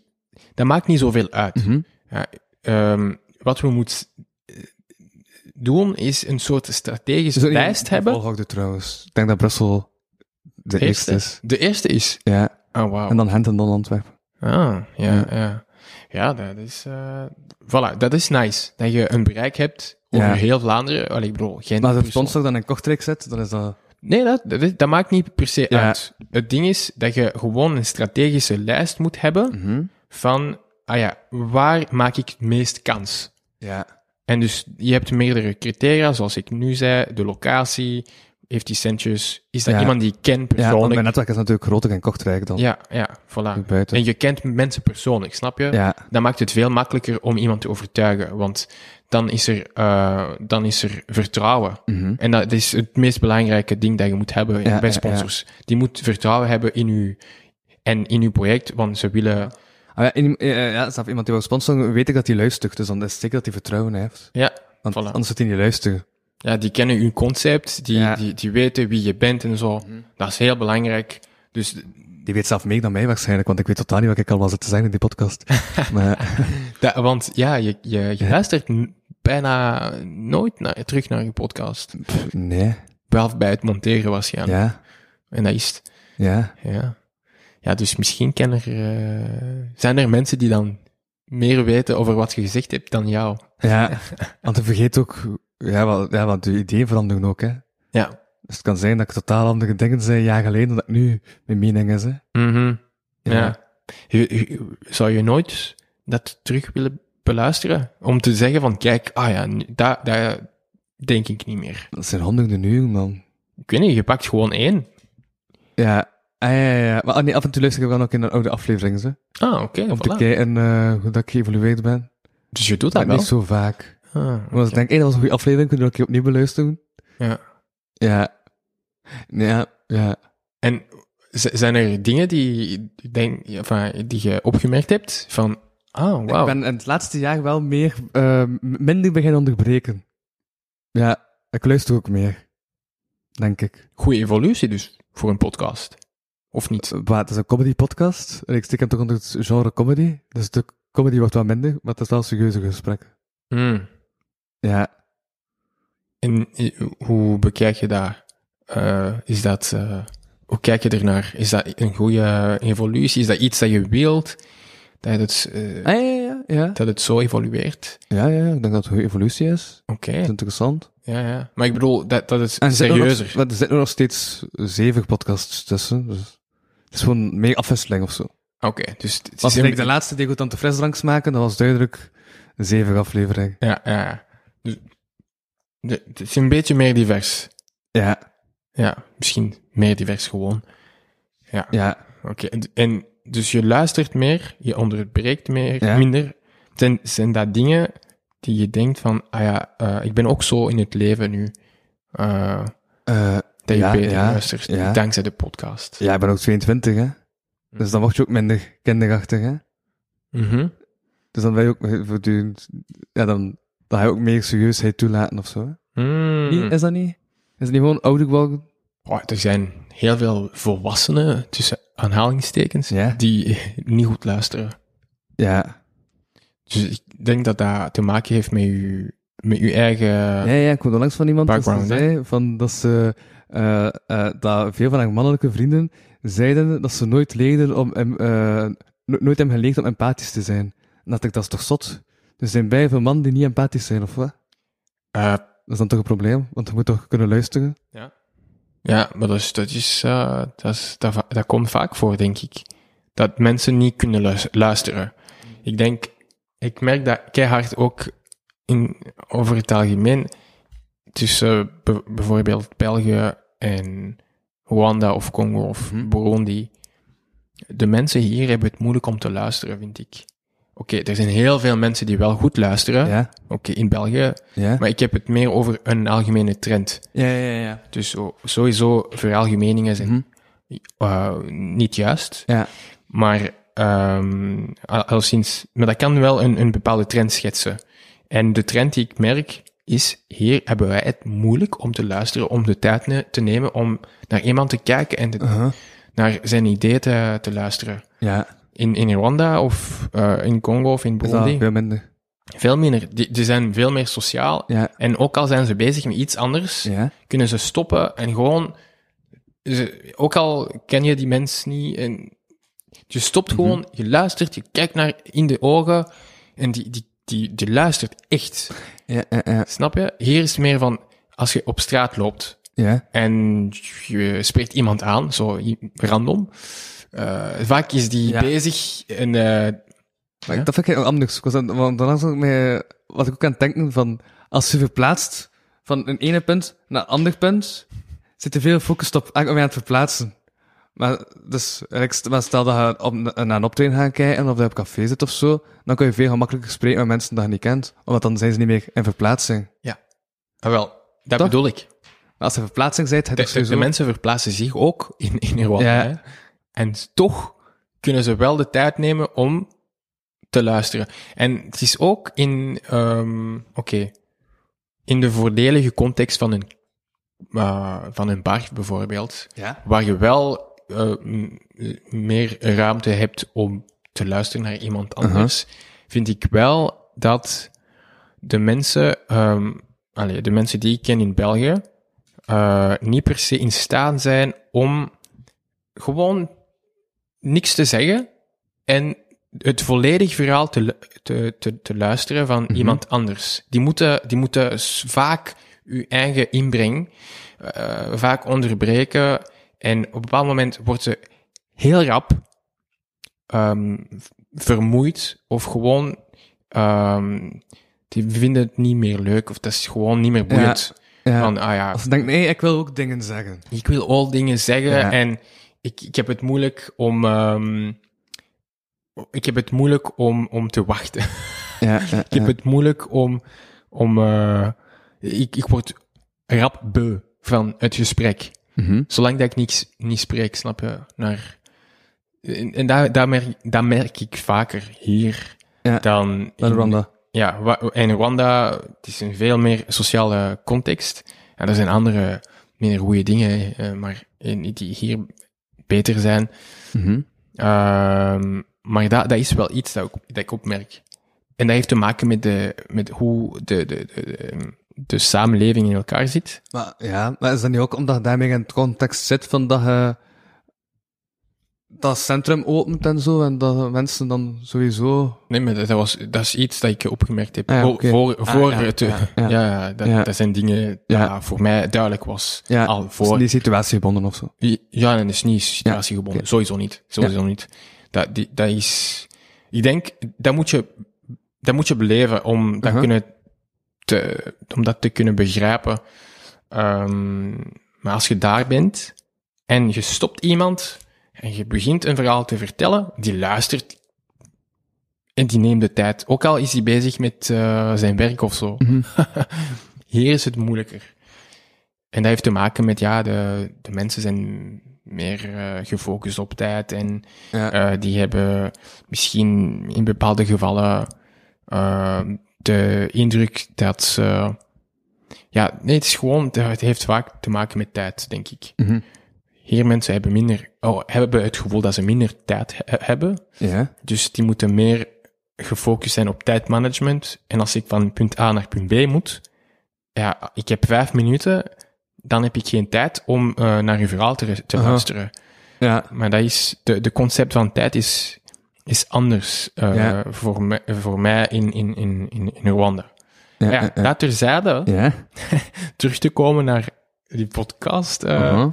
[SPEAKER 4] dat maakt niet zoveel uit.
[SPEAKER 3] Mhm.
[SPEAKER 4] Ja, ehm, wat we moeten eh, doen, is een soort strategische lijst hebben.
[SPEAKER 3] Volgorde trouwens. Ik denk dat Brussel de eerste is.
[SPEAKER 4] De eerste is...
[SPEAKER 3] Ja.
[SPEAKER 4] Oh, wauw.
[SPEAKER 3] En dan Gent en dan Antwerpen.
[SPEAKER 4] Ah, ja, ja. Ja, dat is... eh, voilà, dat is nice. Dat je een bereik hebt over
[SPEAKER 3] Ja.
[SPEAKER 4] heel Vlaanderen. Allee, ik bedoel, geen...
[SPEAKER 3] Maar als het sponsor dan in Kortrijk zit, dan is dat...
[SPEAKER 4] Nee, dat, dat, is- dat maakt niet per se
[SPEAKER 8] Ja.
[SPEAKER 4] uit. Het ding is dat je gewoon een strategische lijst moet hebben
[SPEAKER 3] Mm. Mhm.
[SPEAKER 4] van, ah ja, waar maak ik het meest kans?
[SPEAKER 8] Ja.
[SPEAKER 4] En dus je hebt meerdere criteria, zoals ik nu zei, de locatie, heeft die centjes, is dat
[SPEAKER 3] Ja.
[SPEAKER 4] iemand die ik ken
[SPEAKER 3] Ja, want mijn
[SPEAKER 4] persoonlijk?
[SPEAKER 3] netwerk is natuurlijk groter en Kortrijk dan.
[SPEAKER 4] Ja, ja, voilà.
[SPEAKER 3] Buiten.
[SPEAKER 4] En je kent mensen persoonlijk, snap je?
[SPEAKER 3] Ja.
[SPEAKER 4] Dat maakt het veel makkelijker om iemand te overtuigen, want dan is er, eh, dan is er vertrouwen. En dat is het meest belangrijke ding dat je moet hebben
[SPEAKER 3] Mhm. Ja,
[SPEAKER 4] bij
[SPEAKER 3] ja,
[SPEAKER 4] sponsors. Die moet vertrouwen hebben in u en in uw project, want ze willen...
[SPEAKER 3] Ah, ja, in, eh, ja, zelf iemand die wil sponsoren, weet ik dat hij luistert. Dus dan is het zeker dat hij vertrouwen heeft.
[SPEAKER 4] Ja,
[SPEAKER 3] Want
[SPEAKER 4] Voilà.
[SPEAKER 3] anders zit hij niet luisteren.
[SPEAKER 4] ja die kennen uw concept, die,
[SPEAKER 3] Ja. Mhm.
[SPEAKER 4] die, die weten wie je bent en zo. Dat is heel belangrijk. Dus
[SPEAKER 3] Die weet zelf meer dan mij waarschijnlijk, want ik weet totaal niet wat ik allemaal zit te zeggen in die podcast. maar,
[SPEAKER 4] Da- want ja, je, je, je luistert n- bijna nooit naar, terug naar je podcast.
[SPEAKER 3] pff, nee.
[SPEAKER 4] Behalve bij het monteren was je aan.
[SPEAKER 3] Ja.
[SPEAKER 4] En dat is het.
[SPEAKER 3] Ja.
[SPEAKER 4] Ja. ja, dus misschien ken er, eh, zijn er mensen die dan meer weten over wat je gezegd hebt dan jou.
[SPEAKER 3] Ja. Want ik vergeet ook, ja, wel, ja, want de ideeën veranderen ook, hè.
[SPEAKER 4] Ja.
[SPEAKER 3] Dus het kan zijn dat ik totaal andere dingen zei een jaar geleden dan dat nu mijn mening is, hè.
[SPEAKER 4] Mhm. ja.
[SPEAKER 3] Ja.
[SPEAKER 4] Je- je- zou je nooit dat terug willen beluisteren? Om te zeggen van, kijk, ah ja, nu- daar daar denk ik niet meer.
[SPEAKER 3] Dat zijn honderden uren, man.
[SPEAKER 4] Ik weet niet, je pakt gewoon één.
[SPEAKER 3] Ja. Ah, ja, ja, ja. Maar ah, nee, af en toe luister ik dan ook in de oude afleveringen, hè.
[SPEAKER 4] Ah, oké,
[SPEAKER 3] Om te
[SPEAKER 4] voilà.
[SPEAKER 3] kijken eh, hoe dat ik geëvolueerd ben.
[SPEAKER 4] Dus je doet dat
[SPEAKER 3] Maar
[SPEAKER 4] wel.
[SPEAKER 3] niet zo vaak.
[SPEAKER 4] Ah,
[SPEAKER 3] Maar als ik denk, hé, dat was een goede aflevering, kunnen we dat een keer opnieuw beluisteren?
[SPEAKER 4] Ja.
[SPEAKER 3] Ja. Ja, ja.
[SPEAKER 4] En z- zijn er dingen die, denk, ja, van, die je opgemerkt hebt van, ah, wauw.
[SPEAKER 3] Ik ben in het laatste jaar wel meer, eh, m- minder beginnen onderbreken. Ja, ik luister ook meer. Denk ik.
[SPEAKER 4] Goede evolutie dus voor een podcast. Of niet?
[SPEAKER 3] Maar het is een comedy podcast. En ik stik hem toch onder het genre comedy. Dus de comedy wordt wel minder, maar het is wel serieuze gesprekken.
[SPEAKER 4] Mm.
[SPEAKER 3] Ja.
[SPEAKER 4] En eh, hoe bekijk je daar? Eh, is dat, eh, hoe kijk je ernaar? Is dat een goede evolutie? Is dat iets dat je wilt? Dat het, eh,
[SPEAKER 3] Ah, ja, ja, ja.
[SPEAKER 4] dat het zo evolueert?
[SPEAKER 3] Ja, ja, ik denk dat het een goede evolutie is.
[SPEAKER 4] Oké,
[SPEAKER 3] Dat is interessant.
[SPEAKER 4] ja, ja. Maar ik bedoel, dat, dat is
[SPEAKER 3] En er zitten
[SPEAKER 4] serieuzer.
[SPEAKER 3] nog- maar Er zitten nog steeds zeven podcasts tussen. Dus het is gewoon meer afwisseling of zo.
[SPEAKER 4] Oké, dus het
[SPEAKER 3] Als
[SPEAKER 4] is
[SPEAKER 3] ik de laatste degotante frisdranks maken, dat was duidelijk een zeven aflevering.
[SPEAKER 4] Ja, ja, ja. Dus, de- het is een beetje meer divers.
[SPEAKER 3] Ja,
[SPEAKER 4] Ja, misschien meer divers gewoon. Ja,
[SPEAKER 3] ja.
[SPEAKER 4] oké. En, en dus je luistert meer, je onderbreekt meer,
[SPEAKER 3] Ja.
[SPEAKER 4] minder. Zijn, zijn dat dingen die je denkt van, ah ja, eh, ik ben ook zo in het leven nu. eh,
[SPEAKER 3] Eh,
[SPEAKER 4] dat je
[SPEAKER 3] Ja,
[SPEAKER 4] beter
[SPEAKER 3] ja,
[SPEAKER 4] luistert,
[SPEAKER 3] ja.
[SPEAKER 4] dankzij de podcast.
[SPEAKER 3] ja, ik ben ook 22, hè. Dus dan word je ook minder kinderachtig, hè.
[SPEAKER 4] Mhm.
[SPEAKER 3] Dus dan ben je ook voortdurend... Ja, dan, dan ga je ook meer serieusheid toelaten of zo, hè.
[SPEAKER 4] Mm.
[SPEAKER 3] Nee, Is dat niet? Is het niet gewoon ouder geworden?
[SPEAKER 4] Oh, er zijn heel veel volwassenen, tussen aanhalingstekens,
[SPEAKER 3] Ja.
[SPEAKER 4] die niet goed luisteren.
[SPEAKER 3] Ja.
[SPEAKER 4] Dus ik denk dat dat te maken heeft met je, met je eigen...
[SPEAKER 3] Ja, ja, ik hoorde langs van iemand dat ze
[SPEAKER 4] Background, hè?
[SPEAKER 3] zei van dat ze... eh, eh, dat veel van haar mannelijke vrienden zeiden dat ze nooit leerden om... em- eh, no- nooit hebben geleerd om empathisch te zijn. En dat ik, dat is toch zot? Er zijn bij veel mannen die niet empathisch zijn, of wat?
[SPEAKER 4] Eh,
[SPEAKER 3] Dat is dan toch een probleem? Want je moet toch kunnen luisteren?
[SPEAKER 4] ja, maar dat, is, dat, is, eh, dat, is, dat, va- dat komt vaak voor, denk ik. Dat mensen niet kunnen luis- luisteren. Ik denk... Ik merk dat keihard ook in, over het algemeen tussen be- bijvoorbeeld België en Rwanda of Congo of Burundi. De mensen hier hebben het moeilijk om te luisteren, vind ik. Oké, er zijn heel veel mensen die wel goed luisteren.
[SPEAKER 3] Ja.
[SPEAKER 4] Oké, in België
[SPEAKER 3] Ja?
[SPEAKER 4] Maar ik heb het meer over een algemene trend.
[SPEAKER 3] Ja, ja, ja.
[SPEAKER 4] Dus zo- sowieso veralgemeningen zijn
[SPEAKER 3] Mhm.
[SPEAKER 4] eh, niet juist.
[SPEAKER 3] Ja.
[SPEAKER 4] Maar ehm al- alleszins, maar dat kan wel een, een bepaalde trend schetsen. En de trend die ik merk is, hier hebben wij het moeilijk om te luisteren, om de tijd ne- te nemen om naar iemand te kijken en te-
[SPEAKER 3] Uh-huh.
[SPEAKER 4] naar zijn ideeën te, te luisteren.
[SPEAKER 3] Ja.
[SPEAKER 4] In, in Rwanda of eh, in Congo of in
[SPEAKER 3] Is dat
[SPEAKER 4] Burundi.
[SPEAKER 3] veel minder?
[SPEAKER 4] Veel minder. Die, die zijn veel meer sociaal.
[SPEAKER 3] Ja.
[SPEAKER 4] En ook al zijn ze bezig met iets anders,
[SPEAKER 3] Ja.
[SPEAKER 4] kunnen ze stoppen en gewoon. ze- ook al ken je die mens niet. En je stopt
[SPEAKER 3] Mhm.
[SPEAKER 4] gewoon, je luistert, je kijkt naar in de ogen. En die, die, die, die luistert echt.
[SPEAKER 3] Ja, ja, ja.
[SPEAKER 4] Snap je? Hier is het meer van als je op straat loopt.
[SPEAKER 3] Ja.
[SPEAKER 4] en je spreekt iemand aan, zo i- random. Eh, vaak is die
[SPEAKER 3] Ja.
[SPEAKER 4] bezig en eh,
[SPEAKER 3] Maar
[SPEAKER 4] Ja.
[SPEAKER 3] dat vind ik heel anders. Ik was aan- Want daarna zat ik mij, wat ik ook aan het denken van, als je verplaatst van een ene punt naar een ander punt, zit er veel focus op eigenlijk om je aan het verplaatsen. Maar, dus, eigenlijk, maar stel dat je op, naar een optreden gaat kijken of dat je op café zit of zo, dan kun je veel gemakkelijker spreken met mensen die je niet kent, omdat dan zijn ze niet meer in verplaatsing.
[SPEAKER 4] ah, wel, dat
[SPEAKER 3] Toch?
[SPEAKER 4] bedoel ik.
[SPEAKER 3] Maar als je in verplaatsing bent, heb
[SPEAKER 4] De,
[SPEAKER 3] je
[SPEAKER 4] de-
[SPEAKER 3] sowieso...
[SPEAKER 4] de mensen verplaatsen zich ook in, in hun
[SPEAKER 3] Ja.
[SPEAKER 4] wandelen. hè. En toch kunnen ze wel de tijd nemen om te luisteren. En het is ook in, ehm, oké, in de voordelige context van een, eh, van een bar bijvoorbeeld,
[SPEAKER 3] Ja.
[SPEAKER 4] waar je wel eh, m- meer ruimte hebt om te luisteren naar iemand
[SPEAKER 3] Uh-huh.
[SPEAKER 4] anders, vind ik wel dat de mensen, ehm allee, de mensen die ik ken in België, eh, niet per se in staat zijn om gewoon niks te zeggen en het volledig verhaal te, lu- te, te, te luisteren
[SPEAKER 3] Mhm.
[SPEAKER 4] van iemand anders. Die moeten, die moeten s- vaak uw eigen inbreng eh, vaak onderbreken. En op een bepaald moment wordt ze heel rap ehm, v- vermoeid of gewoon... ehm, die vinden het niet meer leuk of dat is gewoon niet meer boeiend.
[SPEAKER 3] Ja.
[SPEAKER 4] Van, ah ja,
[SPEAKER 3] Als je denkt, nee, ik wil ook dingen zeggen.
[SPEAKER 4] ik wil al dingen zeggen
[SPEAKER 3] Ja.
[SPEAKER 4] en ik, ik heb het moeilijk om... ehm, ik heb het moeilijk om, om te wachten.
[SPEAKER 3] Ja,
[SPEAKER 4] Ik heb het moeilijk om... om eh, ik, ik word rap beu van het gesprek.
[SPEAKER 3] Mhm.
[SPEAKER 4] Zolang dat ik niks, niet spreek, snap je? Naar, en en daar, daar, merk, daar merk ik vaker hier
[SPEAKER 3] Ja,
[SPEAKER 4] dan...
[SPEAKER 3] Naar
[SPEAKER 4] in-
[SPEAKER 3] Rwanda.
[SPEAKER 4] ja, wa- in Rwanda het is een veel meer sociale context. En er zijn andere minder goede dingen, eh, maar in, die hier beter zijn. Mhm. Ehm, maar dat, dat is wel iets dat, ik- dat ik opmerk. En dat heeft te maken met, de, met hoe de, de, de, de, de samenleving in elkaar zit.
[SPEAKER 3] Maar, ja, maar is dat niet ook omdat je daarmee in het context zit van dat je dat centrum opent en zo, en dat mensen dan sowieso...
[SPEAKER 4] Nee, maar dat, dat was, dat is iets dat ik opgemerkt heb.
[SPEAKER 3] Ah, ja,
[SPEAKER 4] Voor-
[SPEAKER 3] oké.
[SPEAKER 4] Voor, voor
[SPEAKER 3] ja,
[SPEAKER 4] het... Ja,
[SPEAKER 3] ja.
[SPEAKER 4] dat,
[SPEAKER 3] Ja.
[SPEAKER 4] dat zijn dingen dat
[SPEAKER 3] Ja.
[SPEAKER 4] voor mij duidelijk was. al
[SPEAKER 3] is
[SPEAKER 4] voor
[SPEAKER 3] niet situatiegebonden of zo.
[SPEAKER 4] Ja, en dat is niet situatiegebonden.
[SPEAKER 3] Ja, oké.
[SPEAKER 4] Sowieso niet. Sowieso niet. Dat, die, dat is... Ik denk, dat moet je, dat moet je beleven om dat,
[SPEAKER 3] Uh-huh.
[SPEAKER 4] kunnen te, om dat te kunnen begrijpen. Ehm, maar als je daar bent en je stopt iemand en je begint een verhaal te vertellen, die luistert en die neemt de tijd. Ook al is hij bezig met eh, zijn werk of zo.
[SPEAKER 3] Mhm.
[SPEAKER 4] Hier is het moeilijker. En dat heeft te maken met, ja, de, de mensen zijn meer eh, gefocust op tijd en
[SPEAKER 3] Ja.
[SPEAKER 4] eh, die hebben misschien in bepaalde gevallen eh, de indruk dat ze... Ja, nee, het is gewoon, het heeft vaak te maken met tijd, denk ik. Hier mensen hebben minder, oh, hebben het gevoel dat ze minder tijd he- hebben.
[SPEAKER 3] Ja.
[SPEAKER 4] Dus die moeten meer gefocust zijn op tijdmanagement. En als ik van punt A naar punt B moet, ja, ik heb vijf minuten, dan heb ik geen tijd om eh, naar uw verhaal te, ru- te
[SPEAKER 3] Aha.
[SPEAKER 4] luisteren.
[SPEAKER 3] Ja.
[SPEAKER 4] Maar dat is, de, de concept van tijd is, is anders eh,
[SPEAKER 3] Ja.
[SPEAKER 4] voor, me- voor mij in, in, in, in, in Rwanda.
[SPEAKER 3] Ja.
[SPEAKER 4] Maar ja,
[SPEAKER 3] eh, eh.
[SPEAKER 4] dat terzijde,
[SPEAKER 3] Ja.
[SPEAKER 4] terug te komen naar die podcast, eh,
[SPEAKER 3] Uh-huh.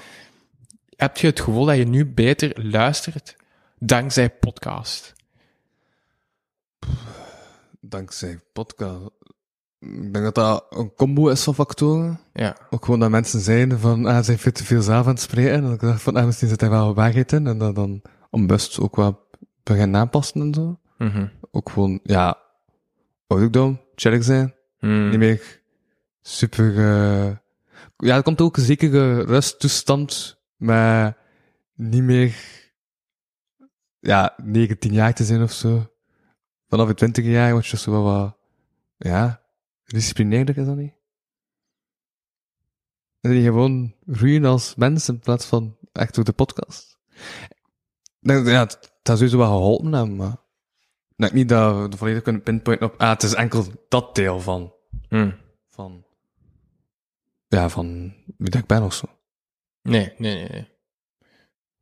[SPEAKER 4] heb je het gevoel dat je nu beter luistert dankzij podcast?
[SPEAKER 3] Dankzij podcast. Ik denk dat dat een combo is van factoren.
[SPEAKER 4] Ja.
[SPEAKER 3] Ook gewoon dat mensen zeiden van, ah, ze zijn veel te veel zelf aan het spreken. En ik dacht van, ah, misschien zit hij wel waarheid in. En dat dan onbewust ook wat beginnen aanpassen en zo.
[SPEAKER 4] Mhm.
[SPEAKER 3] Ook gewoon, ja, ouderdom, chillig zijn.
[SPEAKER 4] Mm.
[SPEAKER 3] niet meer super. eh, ja, er komt ook een zekere rusttoestand, maar niet meer. Ja, 19 jaar te zijn of zo. Vanaf je 20 jaar word je zo wel wat. Ja, disciplineerder is dat niet? En die gewoon groeien als mens in plaats van echt door de podcast. Ik denk, Ja, het, het zou sowieso wel geholpen hebben, maar. Ik denk niet dat we het volledig kunnen pinpointen op. Ah, het is enkel dat deel van
[SPEAKER 4] Mm.
[SPEAKER 3] van. Ja, van wie dat ik ben of zo.
[SPEAKER 4] Nee, nee, nee, nee.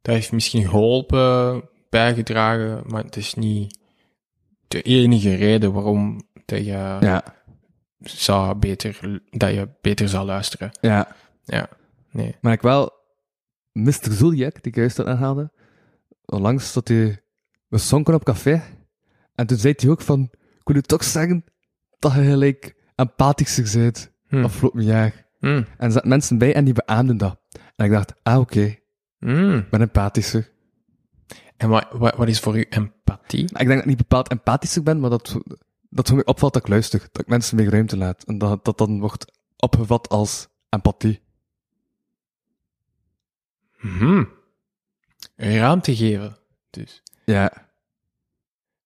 [SPEAKER 4] Dat heeft misschien geholpen, bijgedragen, maar het is niet de enige reden waarom dat je,
[SPEAKER 3] Oh, Ja,
[SPEAKER 4] zou beter, dat je beter zou luisteren.
[SPEAKER 3] ja.
[SPEAKER 4] Ja. Nee.
[SPEAKER 3] Maar ik wel Mr. Zuljak, die ik juist had aanhaalde, onlangs zat hij... We zonken op café. En toen zei hij ook van... Ik wil u toch zeggen dat je gelijk empathischer bent
[SPEAKER 4] Hm.
[SPEAKER 3] afgelopen jaar.
[SPEAKER 4] Mm.
[SPEAKER 3] En er zaten mensen bij en die beaamden dat. En ik dacht, ah oké,
[SPEAKER 4] Mm.
[SPEAKER 3] ik ben empathischer.
[SPEAKER 4] En wat, wat, wat is voor u empathie?
[SPEAKER 3] Maar ik denk dat ik niet bepaald empathischer ben, maar dat, dat het me opvalt dat ik luister. Dat ik mensen meer ruimte laat. En dat dat dan wordt opgevat als empathie.
[SPEAKER 4] Mhm. Ruimte geven. Dus,
[SPEAKER 3] Ja.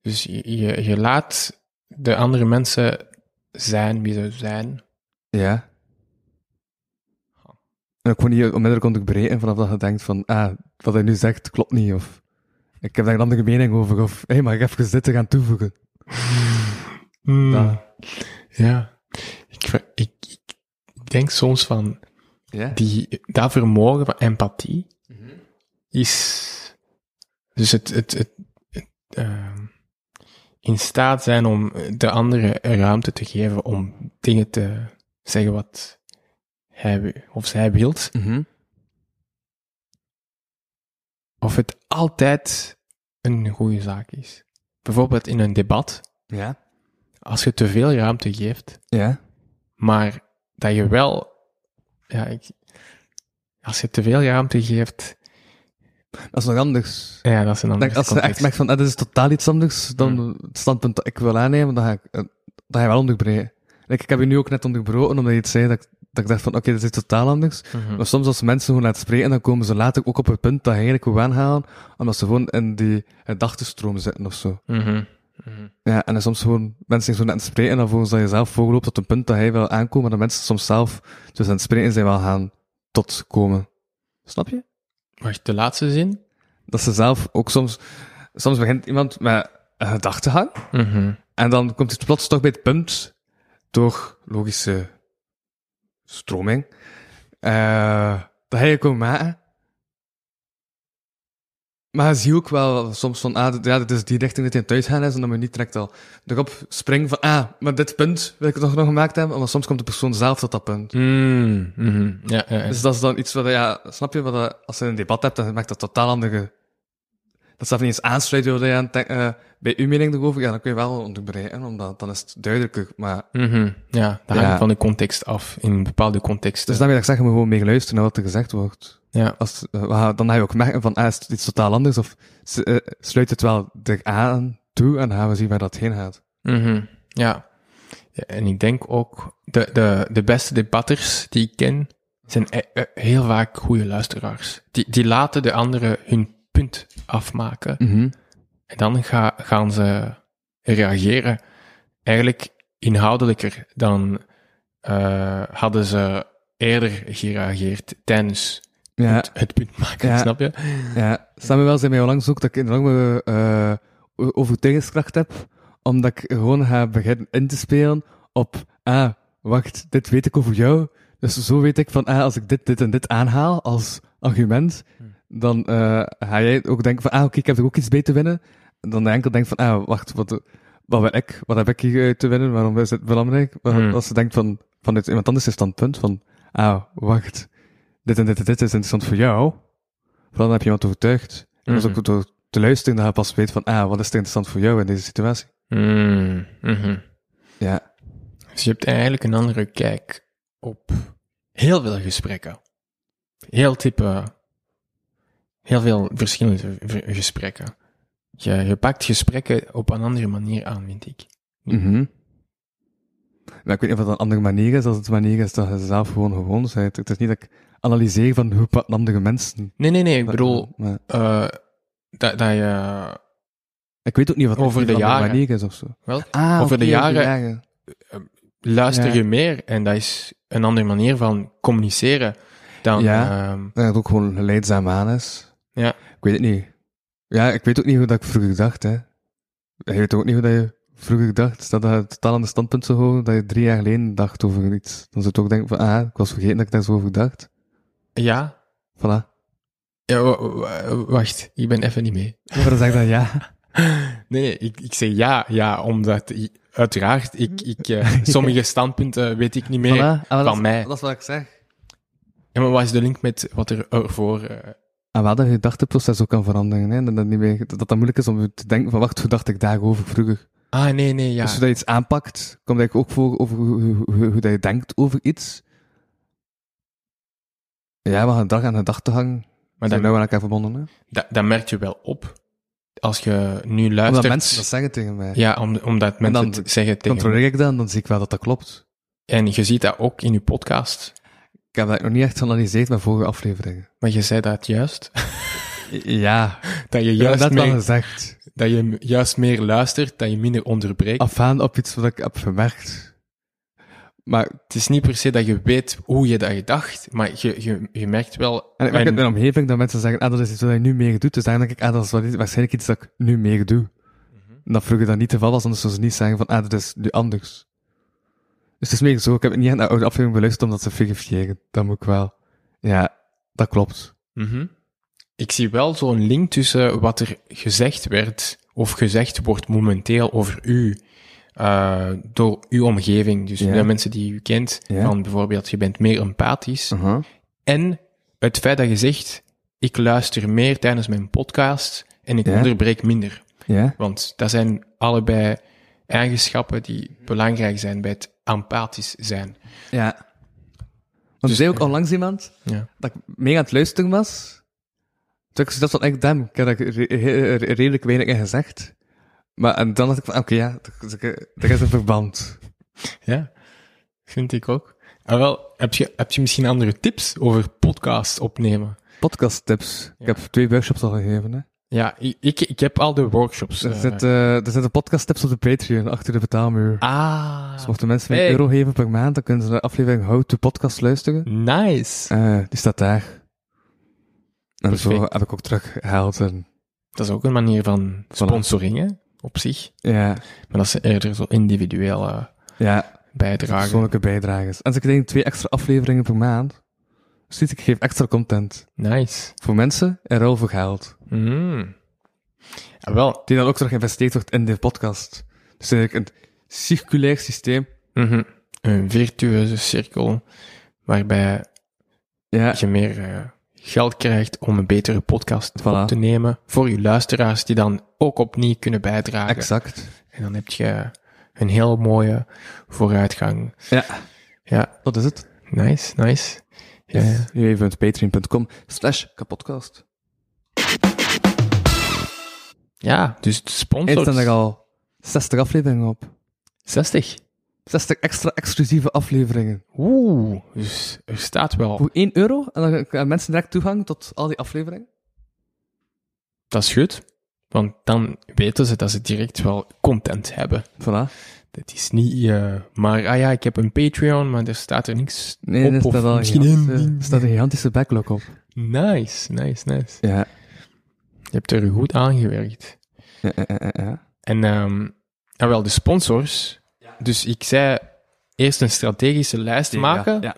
[SPEAKER 4] dus je, je, je laat de andere mensen zijn wie ze zijn.
[SPEAKER 3] Ja. En ook gewoon niet onmiddellijk onderbreken vanaf dat je denkt van, ah, wat hij nu zegt klopt niet, of ik heb daar een andere mening over, of hé, hey, maar ik even dit gaan toevoegen.
[SPEAKER 4] Ja. Ja. Ik, ver- ik, ik- ik denk soms van,
[SPEAKER 3] Ja.
[SPEAKER 4] die, dat vermogen van empathie is... Dus het, het, het, het, ehm, in staat zijn om de andere ruimte te geven om dingen te zeggen wat hij wi- of zij wilt.
[SPEAKER 3] Mhm.
[SPEAKER 4] Of het altijd een goede zaak is. Bijvoorbeeld in een debat,
[SPEAKER 3] Ja.
[SPEAKER 4] als je te veel ruimte geeft,
[SPEAKER 3] Ja.
[SPEAKER 4] maar dat je wel, ja, ik, als je te veel ruimte geeft,
[SPEAKER 3] Dat is nog anders.
[SPEAKER 4] ja, dat is een
[SPEAKER 3] Ik
[SPEAKER 4] ander
[SPEAKER 3] denk, als je echt
[SPEAKER 4] context.
[SPEAKER 3] merkt van, eh, dit is totaal iets anders dan het standpunt dat ik wil aannemen, dan ga ik, eh, dan ga je wel onderbreken. Like, ik heb je nu ook net onderbroken omdat je iets zei dat ik, dat ik dacht van, oké, dit is iets totaal anders.
[SPEAKER 4] Mhm.
[SPEAKER 3] Maar soms als mensen gewoon laten spreken, dan komen ze later ook op het punt dat je eigenlijk wil aanhalen, omdat ze gewoon in die gedachtenstroom zitten of zo.
[SPEAKER 4] Mhm. Mhm.
[SPEAKER 3] Ja, en dan soms gewoon mensen die zo net aan het spreken en dan volgens dat je zelf voorloopt tot een punt dat hij wil aankomen, maar dat mensen soms zelf dus aan het spreken zijn wel gaan tot komen. Snap je?
[SPEAKER 4] Wacht, de laatste zin?
[SPEAKER 3] Dat ze zelf ook soms, soms begint iemand met een gedachtegang
[SPEAKER 4] Mhm.
[SPEAKER 3] en dan komt het plots toch bij het punt door logische stroming, eh, dat hij je komt maken. Maar je ziet ook wel soms van, ah, dit- ja, dit is die richting dat hij thuis gaan is, en dat men niet direct al erop springt van, ah, maar dit punt wil ik toch nog gemaakt hebben, want soms komt de persoon zelf tot dat punt.
[SPEAKER 4] Mm, mhm. Ja, ja, ja.
[SPEAKER 3] Dus dat is dan iets wat, ja, snap je, wat, dat- als je een debat hebt, dan maakt dat totaal andere... Dat zelf niet eens aansluit bij wat je aan het denken- eh, bij uw mening erover, ja, dan kun je wel onderbreken, omdat dan is het duidelijker, maar...
[SPEAKER 4] Mhm. ja dat hangt
[SPEAKER 3] Ja.
[SPEAKER 4] van de context af, in bepaalde contexten.
[SPEAKER 3] Dus dan wil ik zeggen, we gewoon meer luisteren naar wat er gezegd wordt.
[SPEAKER 4] ja.
[SPEAKER 3] Als, eh, wa- dan ga je ook merken van, ah, is het iets totaal anders? Of s- eh, sluit het wel eraan toe en dan gaan we zien waar dat heen gaat.
[SPEAKER 4] Mhm. ja. Ja, En ik denk ook, de, de, de beste debatters die ik ken, zijn e- e- heel vaak goede luisteraars. Die, die laten de anderen hun punt afmaken.
[SPEAKER 3] Mhm.
[SPEAKER 4] En dan ga- gaan ze reageren eigenlijk inhoudelijker dan eh, hadden ze eerder gereageerd tijdens
[SPEAKER 3] Ja,
[SPEAKER 4] het, het punt maken,
[SPEAKER 3] Ja.
[SPEAKER 4] snap je?
[SPEAKER 3] ja. Samuel zei mij onlangs ook dat ik een enorme eh, o- overtuigingskracht heb, omdat ik gewoon ga beginnen in te spelen op, ah, wacht, dit weet ik over jou. Dus zo weet ik van, ah, als ik dit, dit en dit aanhaal als argument, dan eh, ga jij ook denken van, ah, oké, ik heb er ook iets bij te winnen. En dan de enkel denkt van, ah, wacht, wat, wat ben ik? Wat heb ik hier eh, te winnen? Waarom is dit belangrijk? Maar
[SPEAKER 4] Hmm.
[SPEAKER 3] Als ze denkt van, vanuit iemand anders zijn standpunt van, ah, wacht, dit en dit en dit is interessant voor jou. Vooral dan heb je iemand overtuigd. En dat is
[SPEAKER 4] Mhm.
[SPEAKER 3] ook door te luisteren dat je pas weet van, ah, wat is er interessant voor jou in deze situatie?
[SPEAKER 4] Mm, mhm.
[SPEAKER 3] Ja.
[SPEAKER 4] Dus je hebt eigenlijk een andere kijk op heel veel gesprekken. Heel type, heel veel verschillende v- gesprekken. Je, je pakt gesprekken op een andere manier aan, vind ik.
[SPEAKER 3] Mhm. Maar ik weet niet of dat een andere manier is, als het een manier is dat je zelf gewoon gewoon bent. Het is niet dat ik analyseer van hoe pakken andere mensen.
[SPEAKER 4] Nee, nee, nee, ik bedoel,
[SPEAKER 3] Maar
[SPEAKER 4] eh, dat, dat je
[SPEAKER 3] ik weet ook niet wat
[SPEAKER 4] Over
[SPEAKER 3] een
[SPEAKER 4] de
[SPEAKER 3] andere
[SPEAKER 4] jaren.
[SPEAKER 3] manier is of zo.
[SPEAKER 4] Wel,
[SPEAKER 3] Ah,
[SPEAKER 4] over de
[SPEAKER 3] oké,
[SPEAKER 4] jaren. luister
[SPEAKER 3] Ja.
[SPEAKER 4] je meer en dat is een andere manier van communiceren dan...
[SPEAKER 3] Ja.
[SPEAKER 4] ehm,
[SPEAKER 3] Dat het ook gewoon leidzaam aan is.
[SPEAKER 4] Ja.
[SPEAKER 3] Ik weet het niet. Ja, ik weet ook niet hoe dat ik vroeger dacht, hè. Je weet ook niet hoe dat je vroeger dacht. Stel dat je totaal aan de standpunt zou houden, dat je drie jaar geleden dacht over iets. Dan zou je ook denken van, ah, ik was vergeten dat ik daar zo over dacht.
[SPEAKER 4] ja?
[SPEAKER 3] Voilà.
[SPEAKER 4] Ja, wa- wa- wacht, ik ben even niet mee.
[SPEAKER 3] Maar dan zeg ik dan ja.
[SPEAKER 4] Nee, nee, ik, ik zeg ja, ja, omdat i- uiteraard, ik, ik, eh, sommige standpunten weet ik niet meer
[SPEAKER 3] Voilà. Ah, maar dat
[SPEAKER 4] van
[SPEAKER 3] is-
[SPEAKER 4] mij.
[SPEAKER 3] Dat is wat ik zeg.
[SPEAKER 4] Ja, maar wat is de link met wat er ervoor... eh,
[SPEAKER 3] En Ah, wel dat je gedachteproces ook kan veranderen. Hè? Dat, dat, niet meer, dat dat moeilijk is om te denken van, wacht, hoe dacht ik daarover vroeger?
[SPEAKER 4] Ah, nee, nee, ja.
[SPEAKER 3] Dus hoe dat je iets aanpakt, komt eigenlijk ook voor over hoe, hoe, hoe- hoe dat je denkt over iets. Ja, maar gedag en gedachtegang zijn
[SPEAKER 4] maar dat,
[SPEAKER 3] nou aan elkaar verbonden. Hè?
[SPEAKER 4] dat, dat merk je wel op. Als je nu luistert...
[SPEAKER 3] Omdat mensen dat zeggen tegen mij.
[SPEAKER 4] Ja, om, omdat mensen
[SPEAKER 3] dan
[SPEAKER 4] het zeggen tegen...
[SPEAKER 3] Controleer ik dat en dan zie ik wel dat dat klopt.
[SPEAKER 4] En je ziet dat ook in je podcast.
[SPEAKER 3] Ik heb dat nog niet echt geanalyseerd met vorige afleveringen.
[SPEAKER 4] Maar je zei dat juist.
[SPEAKER 3] Ja,
[SPEAKER 4] Dat je
[SPEAKER 3] ik heb
[SPEAKER 4] juist,
[SPEAKER 3] dat al
[SPEAKER 4] meer,
[SPEAKER 3] gezegd.
[SPEAKER 4] dat je juist meer luistert, dat je minder onderbreekt.
[SPEAKER 3] Afhaan op iets wat ik heb gemerkt. Maar
[SPEAKER 4] Het is niet per se dat je weet hoe je dat gedacht, maar je, je, je merkt wel...
[SPEAKER 3] En ik merk
[SPEAKER 4] en-
[SPEAKER 3] het in mijn omgeving dat mensen zeggen, ah, dat is iets wat je nu meer doet. Dus dan denk ik, ah, dat is wel iets- waarschijnlijk iets dat ik nu meer doe.
[SPEAKER 4] Mhm.
[SPEAKER 3] En dat vroeger dan niet het geval was, anders zouden ze niet zeggen van, ah, dat is nu anders. Dus het is meer zo, ik heb het niet echt naar oude aflevering beluisterd omdat ze verifiëren. Dat moet ik wel. Ja, dat klopt.
[SPEAKER 4] Mhm. Ik zie wel zo'n link tussen wat er gezegd werd of gezegd wordt momenteel over u eh, door uw omgeving. Dus
[SPEAKER 3] Ja.
[SPEAKER 4] de mensen die u kent,
[SPEAKER 3] Ja.
[SPEAKER 4] van bijvoorbeeld je bent meer empathisch. En het feit dat je zegt, ik luister meer tijdens mijn podcast en ik
[SPEAKER 3] Ja.
[SPEAKER 4] onderbreek minder.
[SPEAKER 3] Ja?
[SPEAKER 4] Want dat zijn allebei eigenschappen die belangrijk zijn bij het empathisch zijn.
[SPEAKER 3] Ja. Want er zei ook onlangs iemand
[SPEAKER 4] Dus- Ja.
[SPEAKER 3] dat ik mee aan het luisteren was. Toen ik zoiets had van, ik damn, ik heb daar re- re- re- redelijk weinig in gezegd. Maar en dan dacht ik van, oké, ja, er- er er is een verband.
[SPEAKER 4] Ja, vind ik ook. Ah, wel, heb je, heb je misschien andere tips over podcast opnemen?
[SPEAKER 3] Podcasttips. Ik heb twee workshops al gegeven. Hè.
[SPEAKER 4] Ja, i- ik, ik heb al de workshops.
[SPEAKER 3] Er,
[SPEAKER 4] eh,
[SPEAKER 3] zitten, eh, er zitten podcasttips op de Patreon, achter de betaalmuur. Dus
[SPEAKER 4] Ah,
[SPEAKER 3] mochten mensen mij
[SPEAKER 4] Hey.
[SPEAKER 3] een euro geven per maand, dan kunnen ze de aflevering How to Podcast luisteren.
[SPEAKER 4] nice.
[SPEAKER 3] Eh, die staat daar. En zo
[SPEAKER 4] Perfect.
[SPEAKER 3] heb ik ook teruggehaald. En,
[SPEAKER 4] Dat is ook een manier van sponsoring, hè, op zich.
[SPEAKER 3] ja,
[SPEAKER 4] Maar dat ze eerder zo individuele
[SPEAKER 3] ja
[SPEAKER 4] bijdragen.
[SPEAKER 3] persoonlijke bijdragers. En ze krijgen twee extra afleveringen per maand. Dus ziet, ik geef extra content.
[SPEAKER 4] Nice.
[SPEAKER 3] Voor mensen en ruil voor geld.
[SPEAKER 4] Mm. Ah, wel,
[SPEAKER 3] Die dan ook terug geïnvesteerd wordt in de podcast. Dus eigenlijk een circulair systeem.
[SPEAKER 4] mhm, een virtueuze cirkel waarbij
[SPEAKER 3] Ja,
[SPEAKER 4] je meer eh, geld krijgt om een betere podcast
[SPEAKER 3] Voilà.
[SPEAKER 4] op te nemen voor je luisteraars die dan ook opnieuw kunnen bijdragen.
[SPEAKER 3] exact.
[SPEAKER 4] En dan heb je een heel mooie vooruitgang.
[SPEAKER 3] Ja.
[SPEAKER 4] Ja,
[SPEAKER 3] Dat is het.
[SPEAKER 4] nice, nice. Ja, ja.
[SPEAKER 3] www.patreon.com slash kapodcast.
[SPEAKER 4] ja dus de
[SPEAKER 3] Eens staan er
[SPEAKER 4] sponsors.
[SPEAKER 3] al 60 afleveringen op.
[SPEAKER 4] 60.
[SPEAKER 3] 60 extra exclusieve afleveringen.
[SPEAKER 4] Oeh, dus er staat wel.
[SPEAKER 3] Voor 1 euro en dan hebben mensen direct toegang tot al die afleveringen.
[SPEAKER 4] Dat is goed. Want dan weten ze dat ze direct wel content hebben.
[SPEAKER 3] Voilà.
[SPEAKER 4] Het is niet eh, maar, ah ja, ik heb een Patreon, maar er staat er niks
[SPEAKER 3] Nee,
[SPEAKER 4] op.
[SPEAKER 3] er
[SPEAKER 4] of
[SPEAKER 3] staat, al een
[SPEAKER 4] misschien
[SPEAKER 3] gigantische,
[SPEAKER 4] een-
[SPEAKER 3] er staat een gigantische backlog op.
[SPEAKER 4] Nice, nice, nice.
[SPEAKER 3] Ja.
[SPEAKER 4] Je hebt er goed aan gewerkt.
[SPEAKER 3] Ja, ja, ja, ja.
[SPEAKER 4] En ehm ah wel, de sponsors. Dus ik zei eerst een strategische lijst maken
[SPEAKER 3] Ja.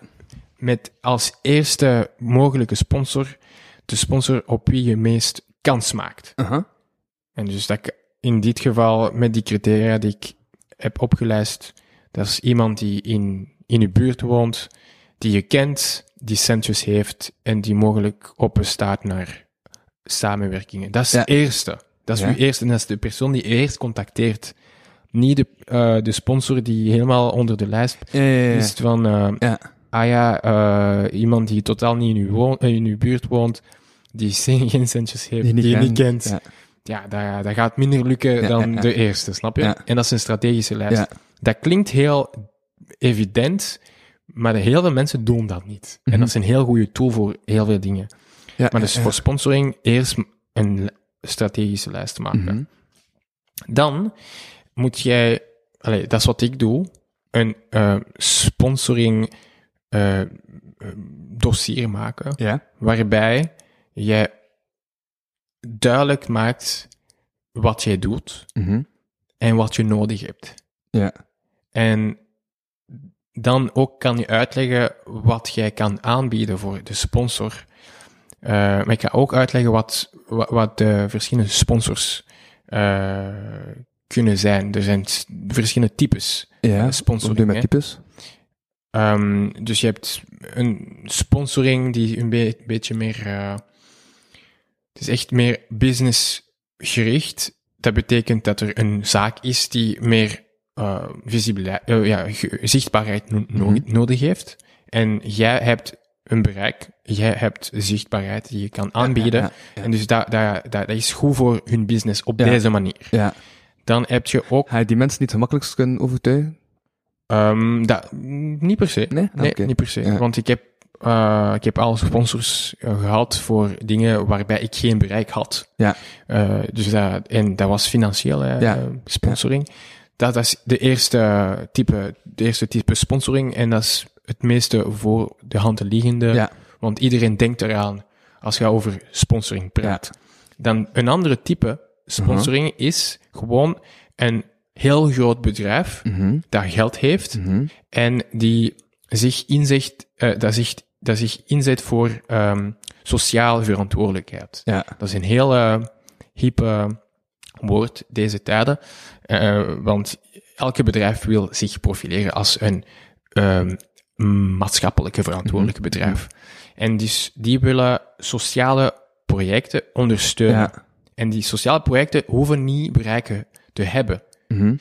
[SPEAKER 4] met als eerste mogelijke sponsor de sponsor op wie je meest kans maakt.
[SPEAKER 3] Aha.
[SPEAKER 4] En dus dat ik in dit geval met die criteria die ik heb opgelijst, dat is iemand die in, in je buurt woont, die je kent, die centjes heeft en die mogelijk openstaat naar samenwerkingen. Dat is
[SPEAKER 3] Ja.
[SPEAKER 4] het eerste. Dat is
[SPEAKER 3] Ja.
[SPEAKER 4] uw eerste en dat is de persoon die je eerst contacteert. Niet de, eh, de sponsor die helemaal onder de lijst
[SPEAKER 3] Ja, ja, ja.
[SPEAKER 4] is van, eh,
[SPEAKER 3] Ja.
[SPEAKER 4] ah ja, eh, iemand die totaal niet in uw, woon- eh, in uw buurt woont, die geen centjes heeft, die, je niet kent
[SPEAKER 3] Ja.
[SPEAKER 4] ja, dat, dat gaat minder lukken
[SPEAKER 3] Ja,
[SPEAKER 4] dan
[SPEAKER 3] ja, ja.
[SPEAKER 4] de eerste, snap je?
[SPEAKER 3] Ja.
[SPEAKER 4] En dat is een strategische lijst.
[SPEAKER 3] Ja.
[SPEAKER 4] Dat klinkt heel evident, maar de heel veel mensen doen dat niet.
[SPEAKER 3] Mhm.
[SPEAKER 4] En dat is een heel goede tool voor heel veel dingen.
[SPEAKER 3] Ja, eh,
[SPEAKER 4] Maar dus
[SPEAKER 3] ja,
[SPEAKER 4] voor sponsoring eerst een li- strategische lijst maken.
[SPEAKER 3] Mhm.
[SPEAKER 4] Dan moet jij, allee, dat is wat ik doe, een eh, sponsoring eh, eh, dossier maken
[SPEAKER 3] ja.
[SPEAKER 4] waarbij jij duidelijk maakt wat jij doet
[SPEAKER 3] Mhm.
[SPEAKER 4] en wat je nodig hebt.
[SPEAKER 3] Ja.
[SPEAKER 4] En dan ook kan je uitleggen wat jij kan aanbieden voor de sponsor. Eh, maar ik ga ook uitleggen wat, wa- wat, de verschillende sponsors eh, kunnen zijn. Er zijn s- verschillende types
[SPEAKER 3] ja.
[SPEAKER 4] eh, sponsoring.
[SPEAKER 3] Wat doe je
[SPEAKER 4] hè.
[SPEAKER 3] met types?
[SPEAKER 4] Ehm, dus je hebt een sponsoring die een be- beetje meer. eh, het is echt meer businessgericht. Dat betekent dat er een zaak is die meer eh, visibili- eh, ja, ge- zichtbaarheid no-
[SPEAKER 3] Mhm.
[SPEAKER 4] no- nodig heeft. En jij hebt een bereik, jij hebt zichtbaarheid die je kan aanbieden.
[SPEAKER 3] ja, ja.
[SPEAKER 4] En dus dat, dat, dat, dat is goed voor hun business op
[SPEAKER 3] Ja.
[SPEAKER 4] deze manier.
[SPEAKER 3] Ja.
[SPEAKER 4] Dan heb je ook
[SPEAKER 3] Ga je die mensen niet gemakkelijk kunnen overtuigen?
[SPEAKER 4] Ehm, dat, niet per se.
[SPEAKER 3] Nee?
[SPEAKER 4] Nee,
[SPEAKER 3] Oké.
[SPEAKER 4] niet per se.
[SPEAKER 3] Ja.
[SPEAKER 4] Want ik heb, eh, ik heb al sponsors eh, gehad voor dingen waarbij ik geen bereik had.
[SPEAKER 3] Ja.
[SPEAKER 4] Eh, dus dat, en dat was financieel eh,
[SPEAKER 3] Ja.
[SPEAKER 4] eh, sponsoring. Dat, dat is de eerste type, de eerste type sponsoring en dat is het meeste voor de hand liggende.
[SPEAKER 3] Ja.
[SPEAKER 4] Want iedereen denkt eraan als je over sponsoring praat. Dan een andere type sponsoring
[SPEAKER 3] Mhm.
[SPEAKER 4] is gewoon een heel groot bedrijf
[SPEAKER 3] Mhm.
[SPEAKER 4] dat geld heeft
[SPEAKER 3] Mhm.
[SPEAKER 4] en die zich, inzicht, eh, dat zich, dat zich inzet voor ehm sociale verantwoordelijkheid.
[SPEAKER 3] Ja.
[SPEAKER 4] Dat is een heel eh hip eh, woord deze tijden, eh, want elke bedrijf wil zich profileren als een ehm, maatschappelijke verantwoordelijke
[SPEAKER 3] Mhm.
[SPEAKER 4] bedrijf. En dus die willen sociale projecten ondersteunen.
[SPEAKER 3] Ja.
[SPEAKER 4] En die sociale projecten hoeven niet bereiken te hebben
[SPEAKER 3] Mhm.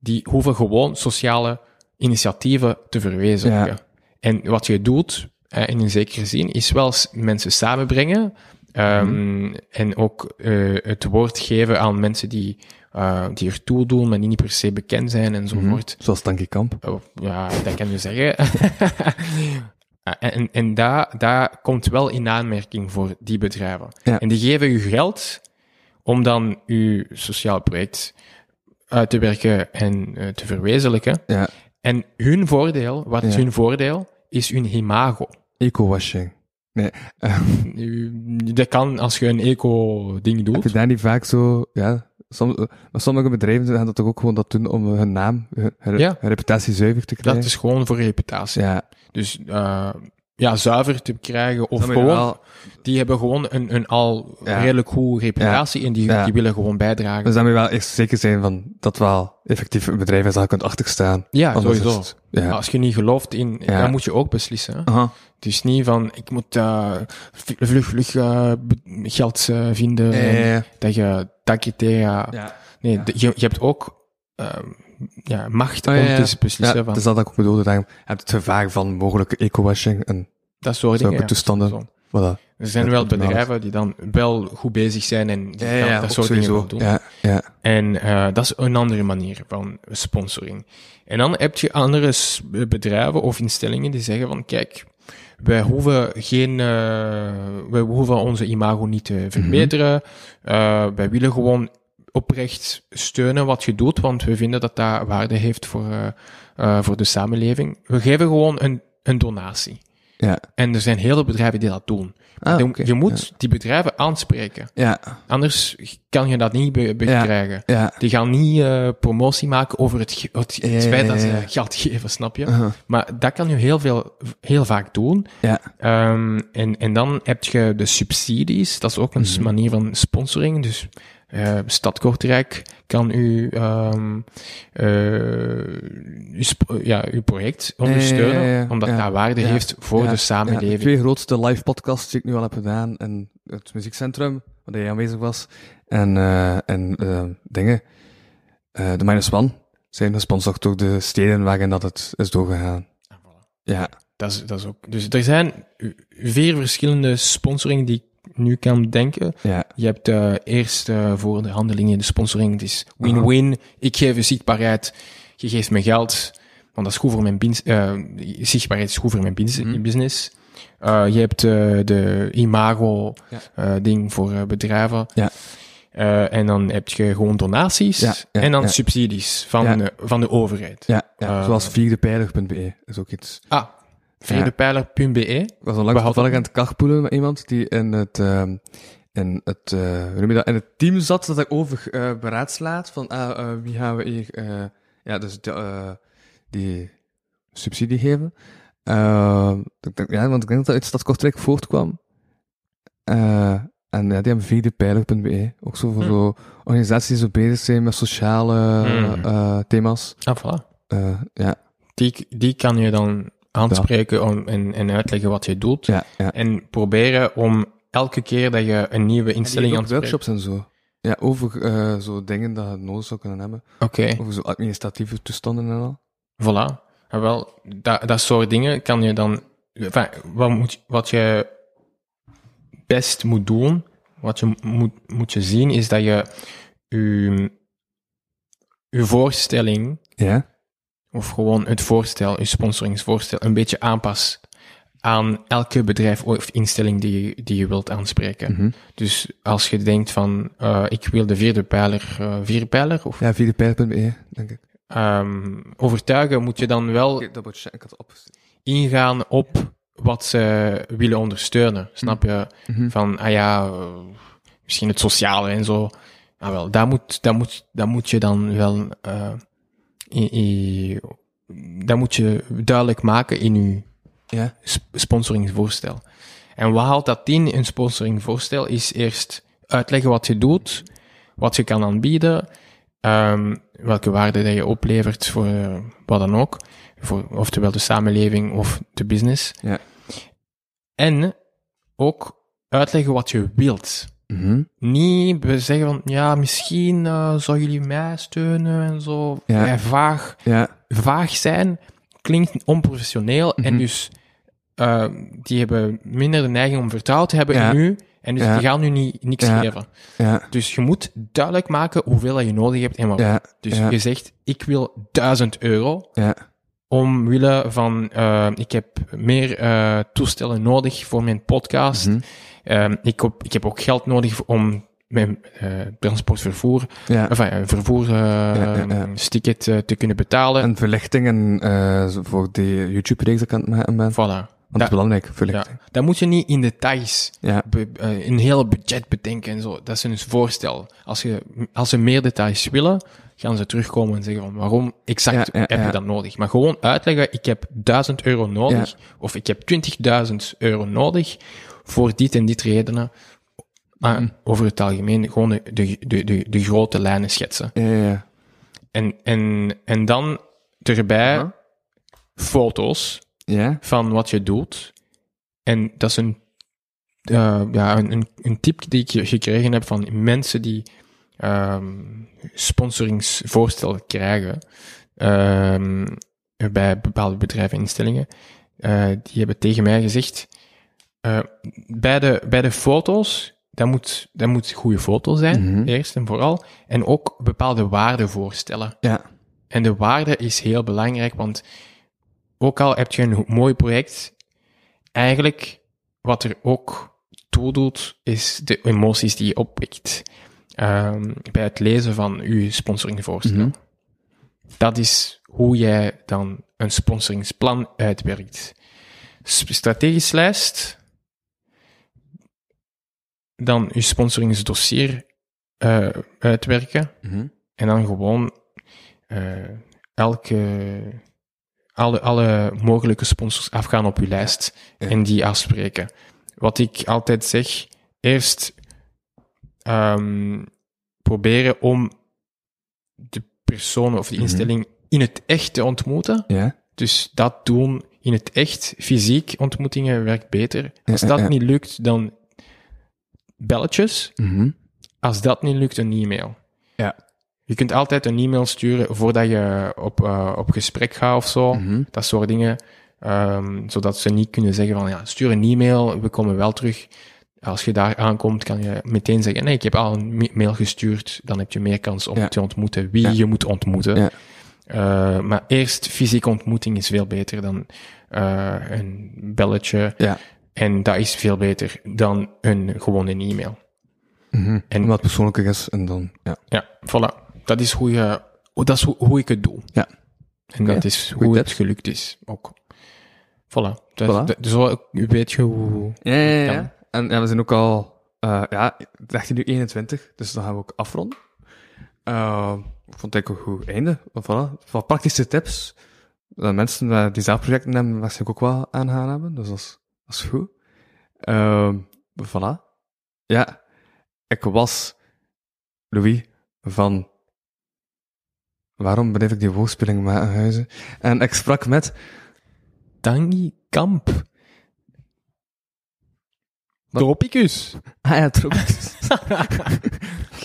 [SPEAKER 4] die hoeven gewoon sociale initiatieven te verwezenlijken.
[SPEAKER 3] Ja.
[SPEAKER 4] En wat je doet, eh, in een zekere zin, is wel s- mensen samenbrengen ehm,
[SPEAKER 3] Mhm.
[SPEAKER 4] en ook eh, het woord geven aan mensen die, eh die ertoe doen, maar die niet per se bekend zijn enzovoort.
[SPEAKER 3] Zoals Tanky Kamp.
[SPEAKER 4] Oh, ja, dat kan je zeggen. Ah, en en daar daar komt wel in aanmerking voor die bedrijven.
[SPEAKER 3] Ja.
[SPEAKER 4] En die geven je geld om dan je sociaal project uit te werken en eh, te verwezenlijken.
[SPEAKER 3] Ja.
[SPEAKER 4] En hun voordeel, wat is
[SPEAKER 3] Ja.
[SPEAKER 4] hun voordeel? Is hun imago.
[SPEAKER 3] Eco-washing. Nee. eh,
[SPEAKER 4] Nu, Dat kan als je een eco-ding
[SPEAKER 3] heb je
[SPEAKER 4] doet.
[SPEAKER 3] daar niet vaak zo... Ja, soms, maar sommige bedrijven gaan dat toch ook gewoon dat doen om hun naam, hun, hun-
[SPEAKER 4] Ja.
[SPEAKER 3] hun reputatie zuiver te krijgen?
[SPEAKER 4] Dat is gewoon voor reputatie.
[SPEAKER 3] Ja.
[SPEAKER 4] Dus eh, ja, zuiver te krijgen of
[SPEAKER 3] Dat moet je
[SPEAKER 4] gewoon...
[SPEAKER 3] wel-
[SPEAKER 4] Die hebben gewoon een, een al
[SPEAKER 3] Ja.
[SPEAKER 4] redelijk goede reputatie en die,
[SPEAKER 3] Ja.
[SPEAKER 4] die willen gewoon bijdragen.
[SPEAKER 3] Dus dan moet je wel echt zeker zijn van dat wel effectief een bedrijf is dat je kunt achterstaan.
[SPEAKER 4] ja,
[SPEAKER 3] Anders is
[SPEAKER 4] sowieso. Ah,
[SPEAKER 3] het- Ja.
[SPEAKER 4] Als je niet gelooft in,
[SPEAKER 3] Ja.
[SPEAKER 4] dan moet je ook beslissen. hè.
[SPEAKER 3] Aha.
[SPEAKER 4] Het is niet van, ik moet eh, v- vlug, vlug eh, be- geld eh, vinden. en
[SPEAKER 3] Eh,
[SPEAKER 4] Dat je dat criteria...
[SPEAKER 3] Ja.
[SPEAKER 4] Nee, de- je, je hebt ook ehm, ja, macht
[SPEAKER 3] Oh,
[SPEAKER 4] om
[SPEAKER 3] ja, ja.
[SPEAKER 4] te beslissen
[SPEAKER 3] Ja,
[SPEAKER 4] van
[SPEAKER 3] dat is dat ik ook bedoelde. Daarom heb je het gevaar van mogelijke eco-washing en
[SPEAKER 4] dat soort dingen.
[SPEAKER 3] zulke
[SPEAKER 4] ja.
[SPEAKER 3] toestanden.
[SPEAKER 4] Zo.
[SPEAKER 3] Voilà.
[SPEAKER 4] Er zijn
[SPEAKER 3] Dat
[SPEAKER 4] wel
[SPEAKER 3] komt wel eens.
[SPEAKER 4] bedrijven die dan wel goed bezig zijn en die dan dat soort dingen wel doen.
[SPEAKER 3] Ja, ja.
[SPEAKER 4] En eh, dat is een andere manier van sponsoring. En dan heb je andere s- bedrijven of instellingen die zeggen van kijk, wij hoeven, geen, eh, wij hoeven onze imago niet te verbeteren. Eh, wij willen gewoon oprecht steunen wat je doet, want we vinden dat dat waarde heeft voor, eh, eh, voor de samenleving. We geven gewoon een, een donatie.
[SPEAKER 3] Ja.
[SPEAKER 4] En er zijn heel veel bedrijven die dat doen.
[SPEAKER 3] Ah,
[SPEAKER 4] Je-
[SPEAKER 3] oké.
[SPEAKER 4] Je moet die bedrijven aanspreken.
[SPEAKER 3] Ja,
[SPEAKER 4] Anders kan je dat niet be- bekrijgen.
[SPEAKER 3] ja.
[SPEAKER 4] Die gaan niet eh, promotie maken over het, ge- het, het
[SPEAKER 3] Ja, ja,
[SPEAKER 4] feit dat
[SPEAKER 3] ja,
[SPEAKER 4] ze
[SPEAKER 3] ja.
[SPEAKER 4] geld geven, snap je?
[SPEAKER 3] Aha.
[SPEAKER 4] Maar dat kan je heel, veel, heel vaak doen.
[SPEAKER 3] Ja.
[SPEAKER 4] Ehm, en, en dan heb je de subsidies. Dat is ook een s-
[SPEAKER 3] Mhm.
[SPEAKER 4] manier van sponsoring. Dus eh Stad Kortrijk kan u, ehm, eh, uw sp- ja, uw project ondersteunen,
[SPEAKER 3] ja, ja.
[SPEAKER 4] omdat
[SPEAKER 3] Ja.
[SPEAKER 4] dat waarde
[SPEAKER 3] Ja.
[SPEAKER 4] heeft voor
[SPEAKER 3] Ja.
[SPEAKER 4] de
[SPEAKER 3] Ja, de
[SPEAKER 4] samenleving.
[SPEAKER 3] twee grootste live podcasts die ik nu al heb gedaan. En het muziekcentrum, waar jij aanwezig was. En, eh, en eh, dingen. Eh, de Minus One zijn gesponsord door de steden waarin dat het is doorgegaan. Ja,
[SPEAKER 4] Dat is, dat is ook. Dus er zijn vier verschillende sponsoring die ik nu kan denken.
[SPEAKER 3] ja.
[SPEAKER 4] Je hebt eh, eerst eh, voor de handelingen de sponsoring. Het is win-win. Ik geef je zichtbaarheid. Je geeft me geld. Want dat is goed voor mijn bins- eh, zichtbaarheid is goed voor mijn bins-
[SPEAKER 3] Mhm.
[SPEAKER 4] business. Eh, je hebt eh, de imago
[SPEAKER 3] Ja.
[SPEAKER 4] eh, ding voor eh, bedrijven.
[SPEAKER 3] Ja.
[SPEAKER 4] Eh, en dan heb je gewoon donaties.
[SPEAKER 3] Ja, ja,
[SPEAKER 4] en dan
[SPEAKER 3] ja.
[SPEAKER 4] subsidies van,
[SPEAKER 3] Ja.
[SPEAKER 4] eh, van de overheid.
[SPEAKER 3] ja, ja.
[SPEAKER 4] Eh,
[SPEAKER 3] Zoals vierdepeiler.be E is ook iets.
[SPEAKER 4] Ah, vredepijler.be.
[SPEAKER 3] Ik was onlangs
[SPEAKER 4] Behalve-
[SPEAKER 3] toevallig aan het kachpoelen met iemand die in het, ehm, in het, eh, hoe noem je dat, in het team zat dat ik over eh, beraadslaat van ah, eh, wie gaan we hier, eh, ja, dus de, eh, die subsidie geven. Ehm, ik denk, ja, want ik denk dat dat uit Stad Kortrijk voortkwam. Eh, en ja, die hebben vdpeiler.be, E. ook zo voor
[SPEAKER 4] Hm.
[SPEAKER 3] zo organisaties die zo bezig zijn met sociale
[SPEAKER 4] Hm.
[SPEAKER 3] eh, thema's.
[SPEAKER 4] Ah, voilà.
[SPEAKER 3] Eh, ja,
[SPEAKER 4] Die, die kan je dan aanspreken om, en, en uitleggen wat je doet.
[SPEAKER 3] Ja, ja.
[SPEAKER 4] En proberen om elke keer dat je een nieuwe instelling aan
[SPEAKER 3] aan workshops en zo. Ja, over eh, zo dingen dat je nodig zou kunnen hebben.
[SPEAKER 4] Oké,
[SPEAKER 3] Over zo administratieve toestanden en al.
[SPEAKER 4] voilà. Ah, wel, dat, dat soort dingen kan je dan... Enfin, wat, moet, wat je best moet doen, wat je moet, moet je zien, is dat je je, je voorstelling
[SPEAKER 3] Ja?
[SPEAKER 4] of gewoon het voorstel, je sponsoringsvoorstel, een beetje aanpast aan elke bedrijf of instelling die je, die je wilt aanspreken. Dus als je denkt van, eh, ik wil de vierde pijler, eh vierde pijler, of
[SPEAKER 3] Ja, via de denk ik.
[SPEAKER 4] ehm, overtuigen, moet je dan wel
[SPEAKER 3] dat wordt ik had opgezet.
[SPEAKER 4] ingaan op wat ze willen ondersteunen. Snap je? Van, ah ja, eh, misschien het sociale en zo. Ah wel, daar moet, daar moet, daar moet je dan wel, eh in, in- daar moet je duidelijk maken in je
[SPEAKER 3] Ja.
[SPEAKER 4] sp- sponsoringsvoorstel. En wat haalt dat in, een sponsoringvoorstel, is eerst uitleggen wat je doet, wat je kan aanbieden, ehm, welke waarde dat je oplevert voor eh, wat dan ook, voor, oftewel de samenleving of de business.
[SPEAKER 3] Ja.
[SPEAKER 4] En ook uitleggen wat je wilt.
[SPEAKER 3] Mhm.
[SPEAKER 4] Niet be- zeggen van, ja, misschien eh zou jullie mij steunen en zo.
[SPEAKER 3] Ja.
[SPEAKER 4] Vrij vaag
[SPEAKER 3] Ja.
[SPEAKER 4] vaag zijn klinkt onprofessioneel en
[SPEAKER 3] Mhm.
[SPEAKER 4] dus eh, die hebben minder de neiging om vertrouwd te hebben
[SPEAKER 3] Ja.
[SPEAKER 4] in u en dus
[SPEAKER 3] Ja.
[SPEAKER 4] die gaan nu niet, niks
[SPEAKER 3] Ja.
[SPEAKER 4] geven.
[SPEAKER 3] Ja.
[SPEAKER 4] Dus je moet duidelijk maken hoeveel dat je nodig hebt en wat.
[SPEAKER 3] Ja.
[SPEAKER 4] Dus
[SPEAKER 3] ja.
[SPEAKER 4] je zegt, ik wil 1000 euro
[SPEAKER 3] Ja.
[SPEAKER 4] omwille van, eh, ik heb meer eh, toestellen nodig voor mijn podcast.
[SPEAKER 3] Mhm.
[SPEAKER 4] Ehm, ik, heb, ik heb ook geld nodig om mijn eh, transportvervoer,
[SPEAKER 3] Ja.
[SPEAKER 4] enfin, eh, vervoer, eh,
[SPEAKER 3] ja, ja.
[SPEAKER 4] ticket eh, te kunnen betalen.
[SPEAKER 3] En verlichtingen eh, zo voor die YouTube-reeks dat ik aan het maken ben. Want
[SPEAKER 4] voilà.
[SPEAKER 3] dat is belangrijk, verlichting.
[SPEAKER 4] Ja, dan moet je niet in details
[SPEAKER 3] Ja.
[SPEAKER 4] be- eh, een heel budget bedenken en zo. Dat is een dus voorstel. Als, je, als ze meer details willen, gaan ze terugkomen en zeggen van waarom exact
[SPEAKER 3] Ja, ja,
[SPEAKER 4] heb
[SPEAKER 3] ja.
[SPEAKER 4] je dat nodig. Maar gewoon uitleggen, ik heb 1000 euro nodig of ik heb 20.000 euro nodig voor dit en dit redenen. Maar
[SPEAKER 3] Mhm.
[SPEAKER 4] over het algemeen gewoon de, de, de, de, de grote lijnen schetsen.
[SPEAKER 3] Ja, ja, ja.
[SPEAKER 4] En, en, en dan erbij
[SPEAKER 3] Mhm.
[SPEAKER 4] foto's
[SPEAKER 3] Ja?
[SPEAKER 4] van wat je doet. En dat is een, eh, ja, een, een, een tip die ik ge- gekregen heb van mensen die ehm, sponsoringsvoorstellen krijgen ehm, bij bepaalde bedrijven en instellingen. Eh, die hebben tegen mij gezegd, eh, bij, de, bij de foto's, dat moet, dat moet goede foto zijn, eerst en vooral. En ook bepaalde waarden voorstellen.
[SPEAKER 3] Ja.
[SPEAKER 4] En de waarde is heel belangrijk, want ook al heb je een mooi project, eigenlijk wat er ook toe doet, is de emoties die je oppikt ehm, bij het lezen van je sponsoringvoorstel. Dat is hoe jij dan een sponsoringsplan uitwerkt. S- Strategisch lijst, dan je sponsoringsdossier eh, uitwerken
[SPEAKER 3] Mhm.
[SPEAKER 4] en dan gewoon eh, elke alle, alle mogelijke sponsors afgaan op uw lijst en die afspreken. Wat ik altijd zeg, eerst ehm, proberen om de persoon of de instelling in het echt te ontmoeten.
[SPEAKER 3] Ja?
[SPEAKER 4] Dus dat doen in het echt, fysiek ontmoetingen werkt beter. Als
[SPEAKER 3] ja,
[SPEAKER 4] dat
[SPEAKER 3] ja.
[SPEAKER 4] niet lukt, dan belletjes.
[SPEAKER 3] Mhm.
[SPEAKER 4] Als dat niet lukt, een e-mail.
[SPEAKER 3] Ja.
[SPEAKER 4] Je kunt altijd een e-mail sturen voordat je op, eh, op gesprek gaat of zo.
[SPEAKER 3] Mhm.
[SPEAKER 4] Dat soort dingen. ehm, zodat ze niet kunnen zeggen van ja, stuur een e-mail, we komen wel terug. Als je daar aankomt, kan je meteen zeggen: nee, ik heb al een ma- mail gestuurd. Dan heb je meer kans om
[SPEAKER 3] Ja.
[SPEAKER 4] te ontmoeten wie je moet ontmoeten.
[SPEAKER 3] Ja.
[SPEAKER 4] Eh, maar eerst fysieke ontmoeting is veel beter dan eh, een belletje.
[SPEAKER 3] Ja.
[SPEAKER 4] En dat is veel beter dan een gewone e-mail.
[SPEAKER 3] En wat persoonlijker is en dan... Ja.
[SPEAKER 4] Ja, voilà. Dat is hoe, je, hoe- dat is hoe, hoe ik het doe.
[SPEAKER 3] Ja.
[SPEAKER 4] En dat is hoe
[SPEAKER 3] goeie
[SPEAKER 4] het
[SPEAKER 3] tips.
[SPEAKER 4] gelukt is ook. Voilà. Dus Dat,
[SPEAKER 3] Voilà.
[SPEAKER 4] dat- zo weet je hoe...
[SPEAKER 3] Ja, ja, ja.
[SPEAKER 4] Ja.
[SPEAKER 3] En ja, we zijn ook al, eh ja, het is echt nu 21, dus dan gaan we ook afronden. Eh, ik vond het eigenlijk een goed einde. Maar Voilà. Wat praktische tips. Dat mensen eh, die zelf projecten hebben, waarschijnlijk ook wel aan gaan hebben. Dus dat is, dat is goed. Ehm, voilà. Ja. Ik was Louis van... Waarom bedrijf ik die woordspeling met huizen? En ik sprak met
[SPEAKER 4] Tangi Kamp. Tropicus.
[SPEAKER 3] Ah ja, Tropicus.
[SPEAKER 4] Maar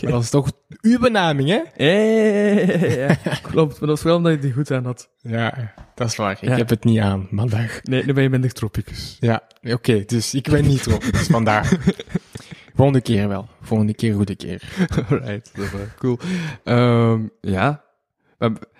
[SPEAKER 4] Dat is toch uw benaming, hè?
[SPEAKER 3] Eh, ja, klopt. Maar dat is wel omdat je die goed aan had.
[SPEAKER 4] Ja, dat is waar. Ik
[SPEAKER 3] Ja.
[SPEAKER 4] heb het niet aan, maandag.
[SPEAKER 3] Nee, nu ben je minder Tropicus.
[SPEAKER 4] Ja, oké, dus ik ben niet op. Dus vandaag. Volgende keer wel. Volgende keer, goede keer.
[SPEAKER 3] Alright, dat is wel cool. Ehm, ja. Maar b-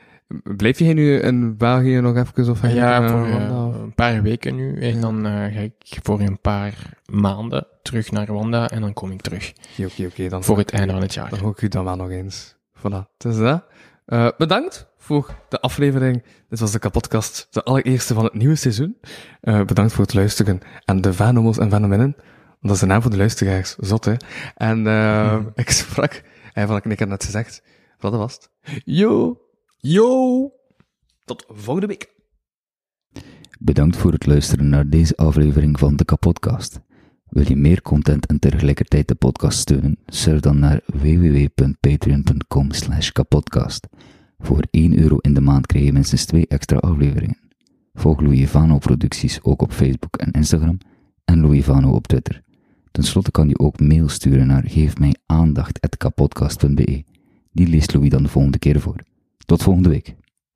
[SPEAKER 3] Blijf jij nu in België nog even? Of ga je
[SPEAKER 4] Ja,
[SPEAKER 3] naar
[SPEAKER 4] voor eh,
[SPEAKER 3] Rwanda, of-
[SPEAKER 4] een paar weken nu. En dan eh, ga ik voor een paar maanden terug naar Rwanda. En dan kom ik terug.
[SPEAKER 3] Oké, oké, oké. Dan
[SPEAKER 4] Voor het einde van het jaar.
[SPEAKER 3] Dan hoor ik u dan wel nog eens. Voilà, het is dat. Eh, bedankt voor de aflevering. Dit was de kapotkast, de allereerste van het nieuwe seizoen. Eh, bedankt voor het luisteren aan de Vanomos en Vanominnen. Dat is de naam voor de luisteraars. Zot, hè? En eh, ik sprak... Hij van, ik heb net gezegd. Wat dat was het. Yo! Yo! Tot volgende week.
[SPEAKER 9] Bedankt voor het luisteren naar deze aflevering van de Kapodcast. Wil je meer content en tegelijkertijd de podcast steunen? Surf dan naar www.patreon.com slash kapodcast. Voor 1 euro in de maand krijg je minstens 2 extra afleveringen. Volg Louis Vano producties ook op Facebook en Instagram en Louis Vano op Twitter. Ten slotte kan je ook mail sturen naar geefmijaandacht.kapodcast.be. Die leest Louis dan de volgende keer voor. Tot volgende week.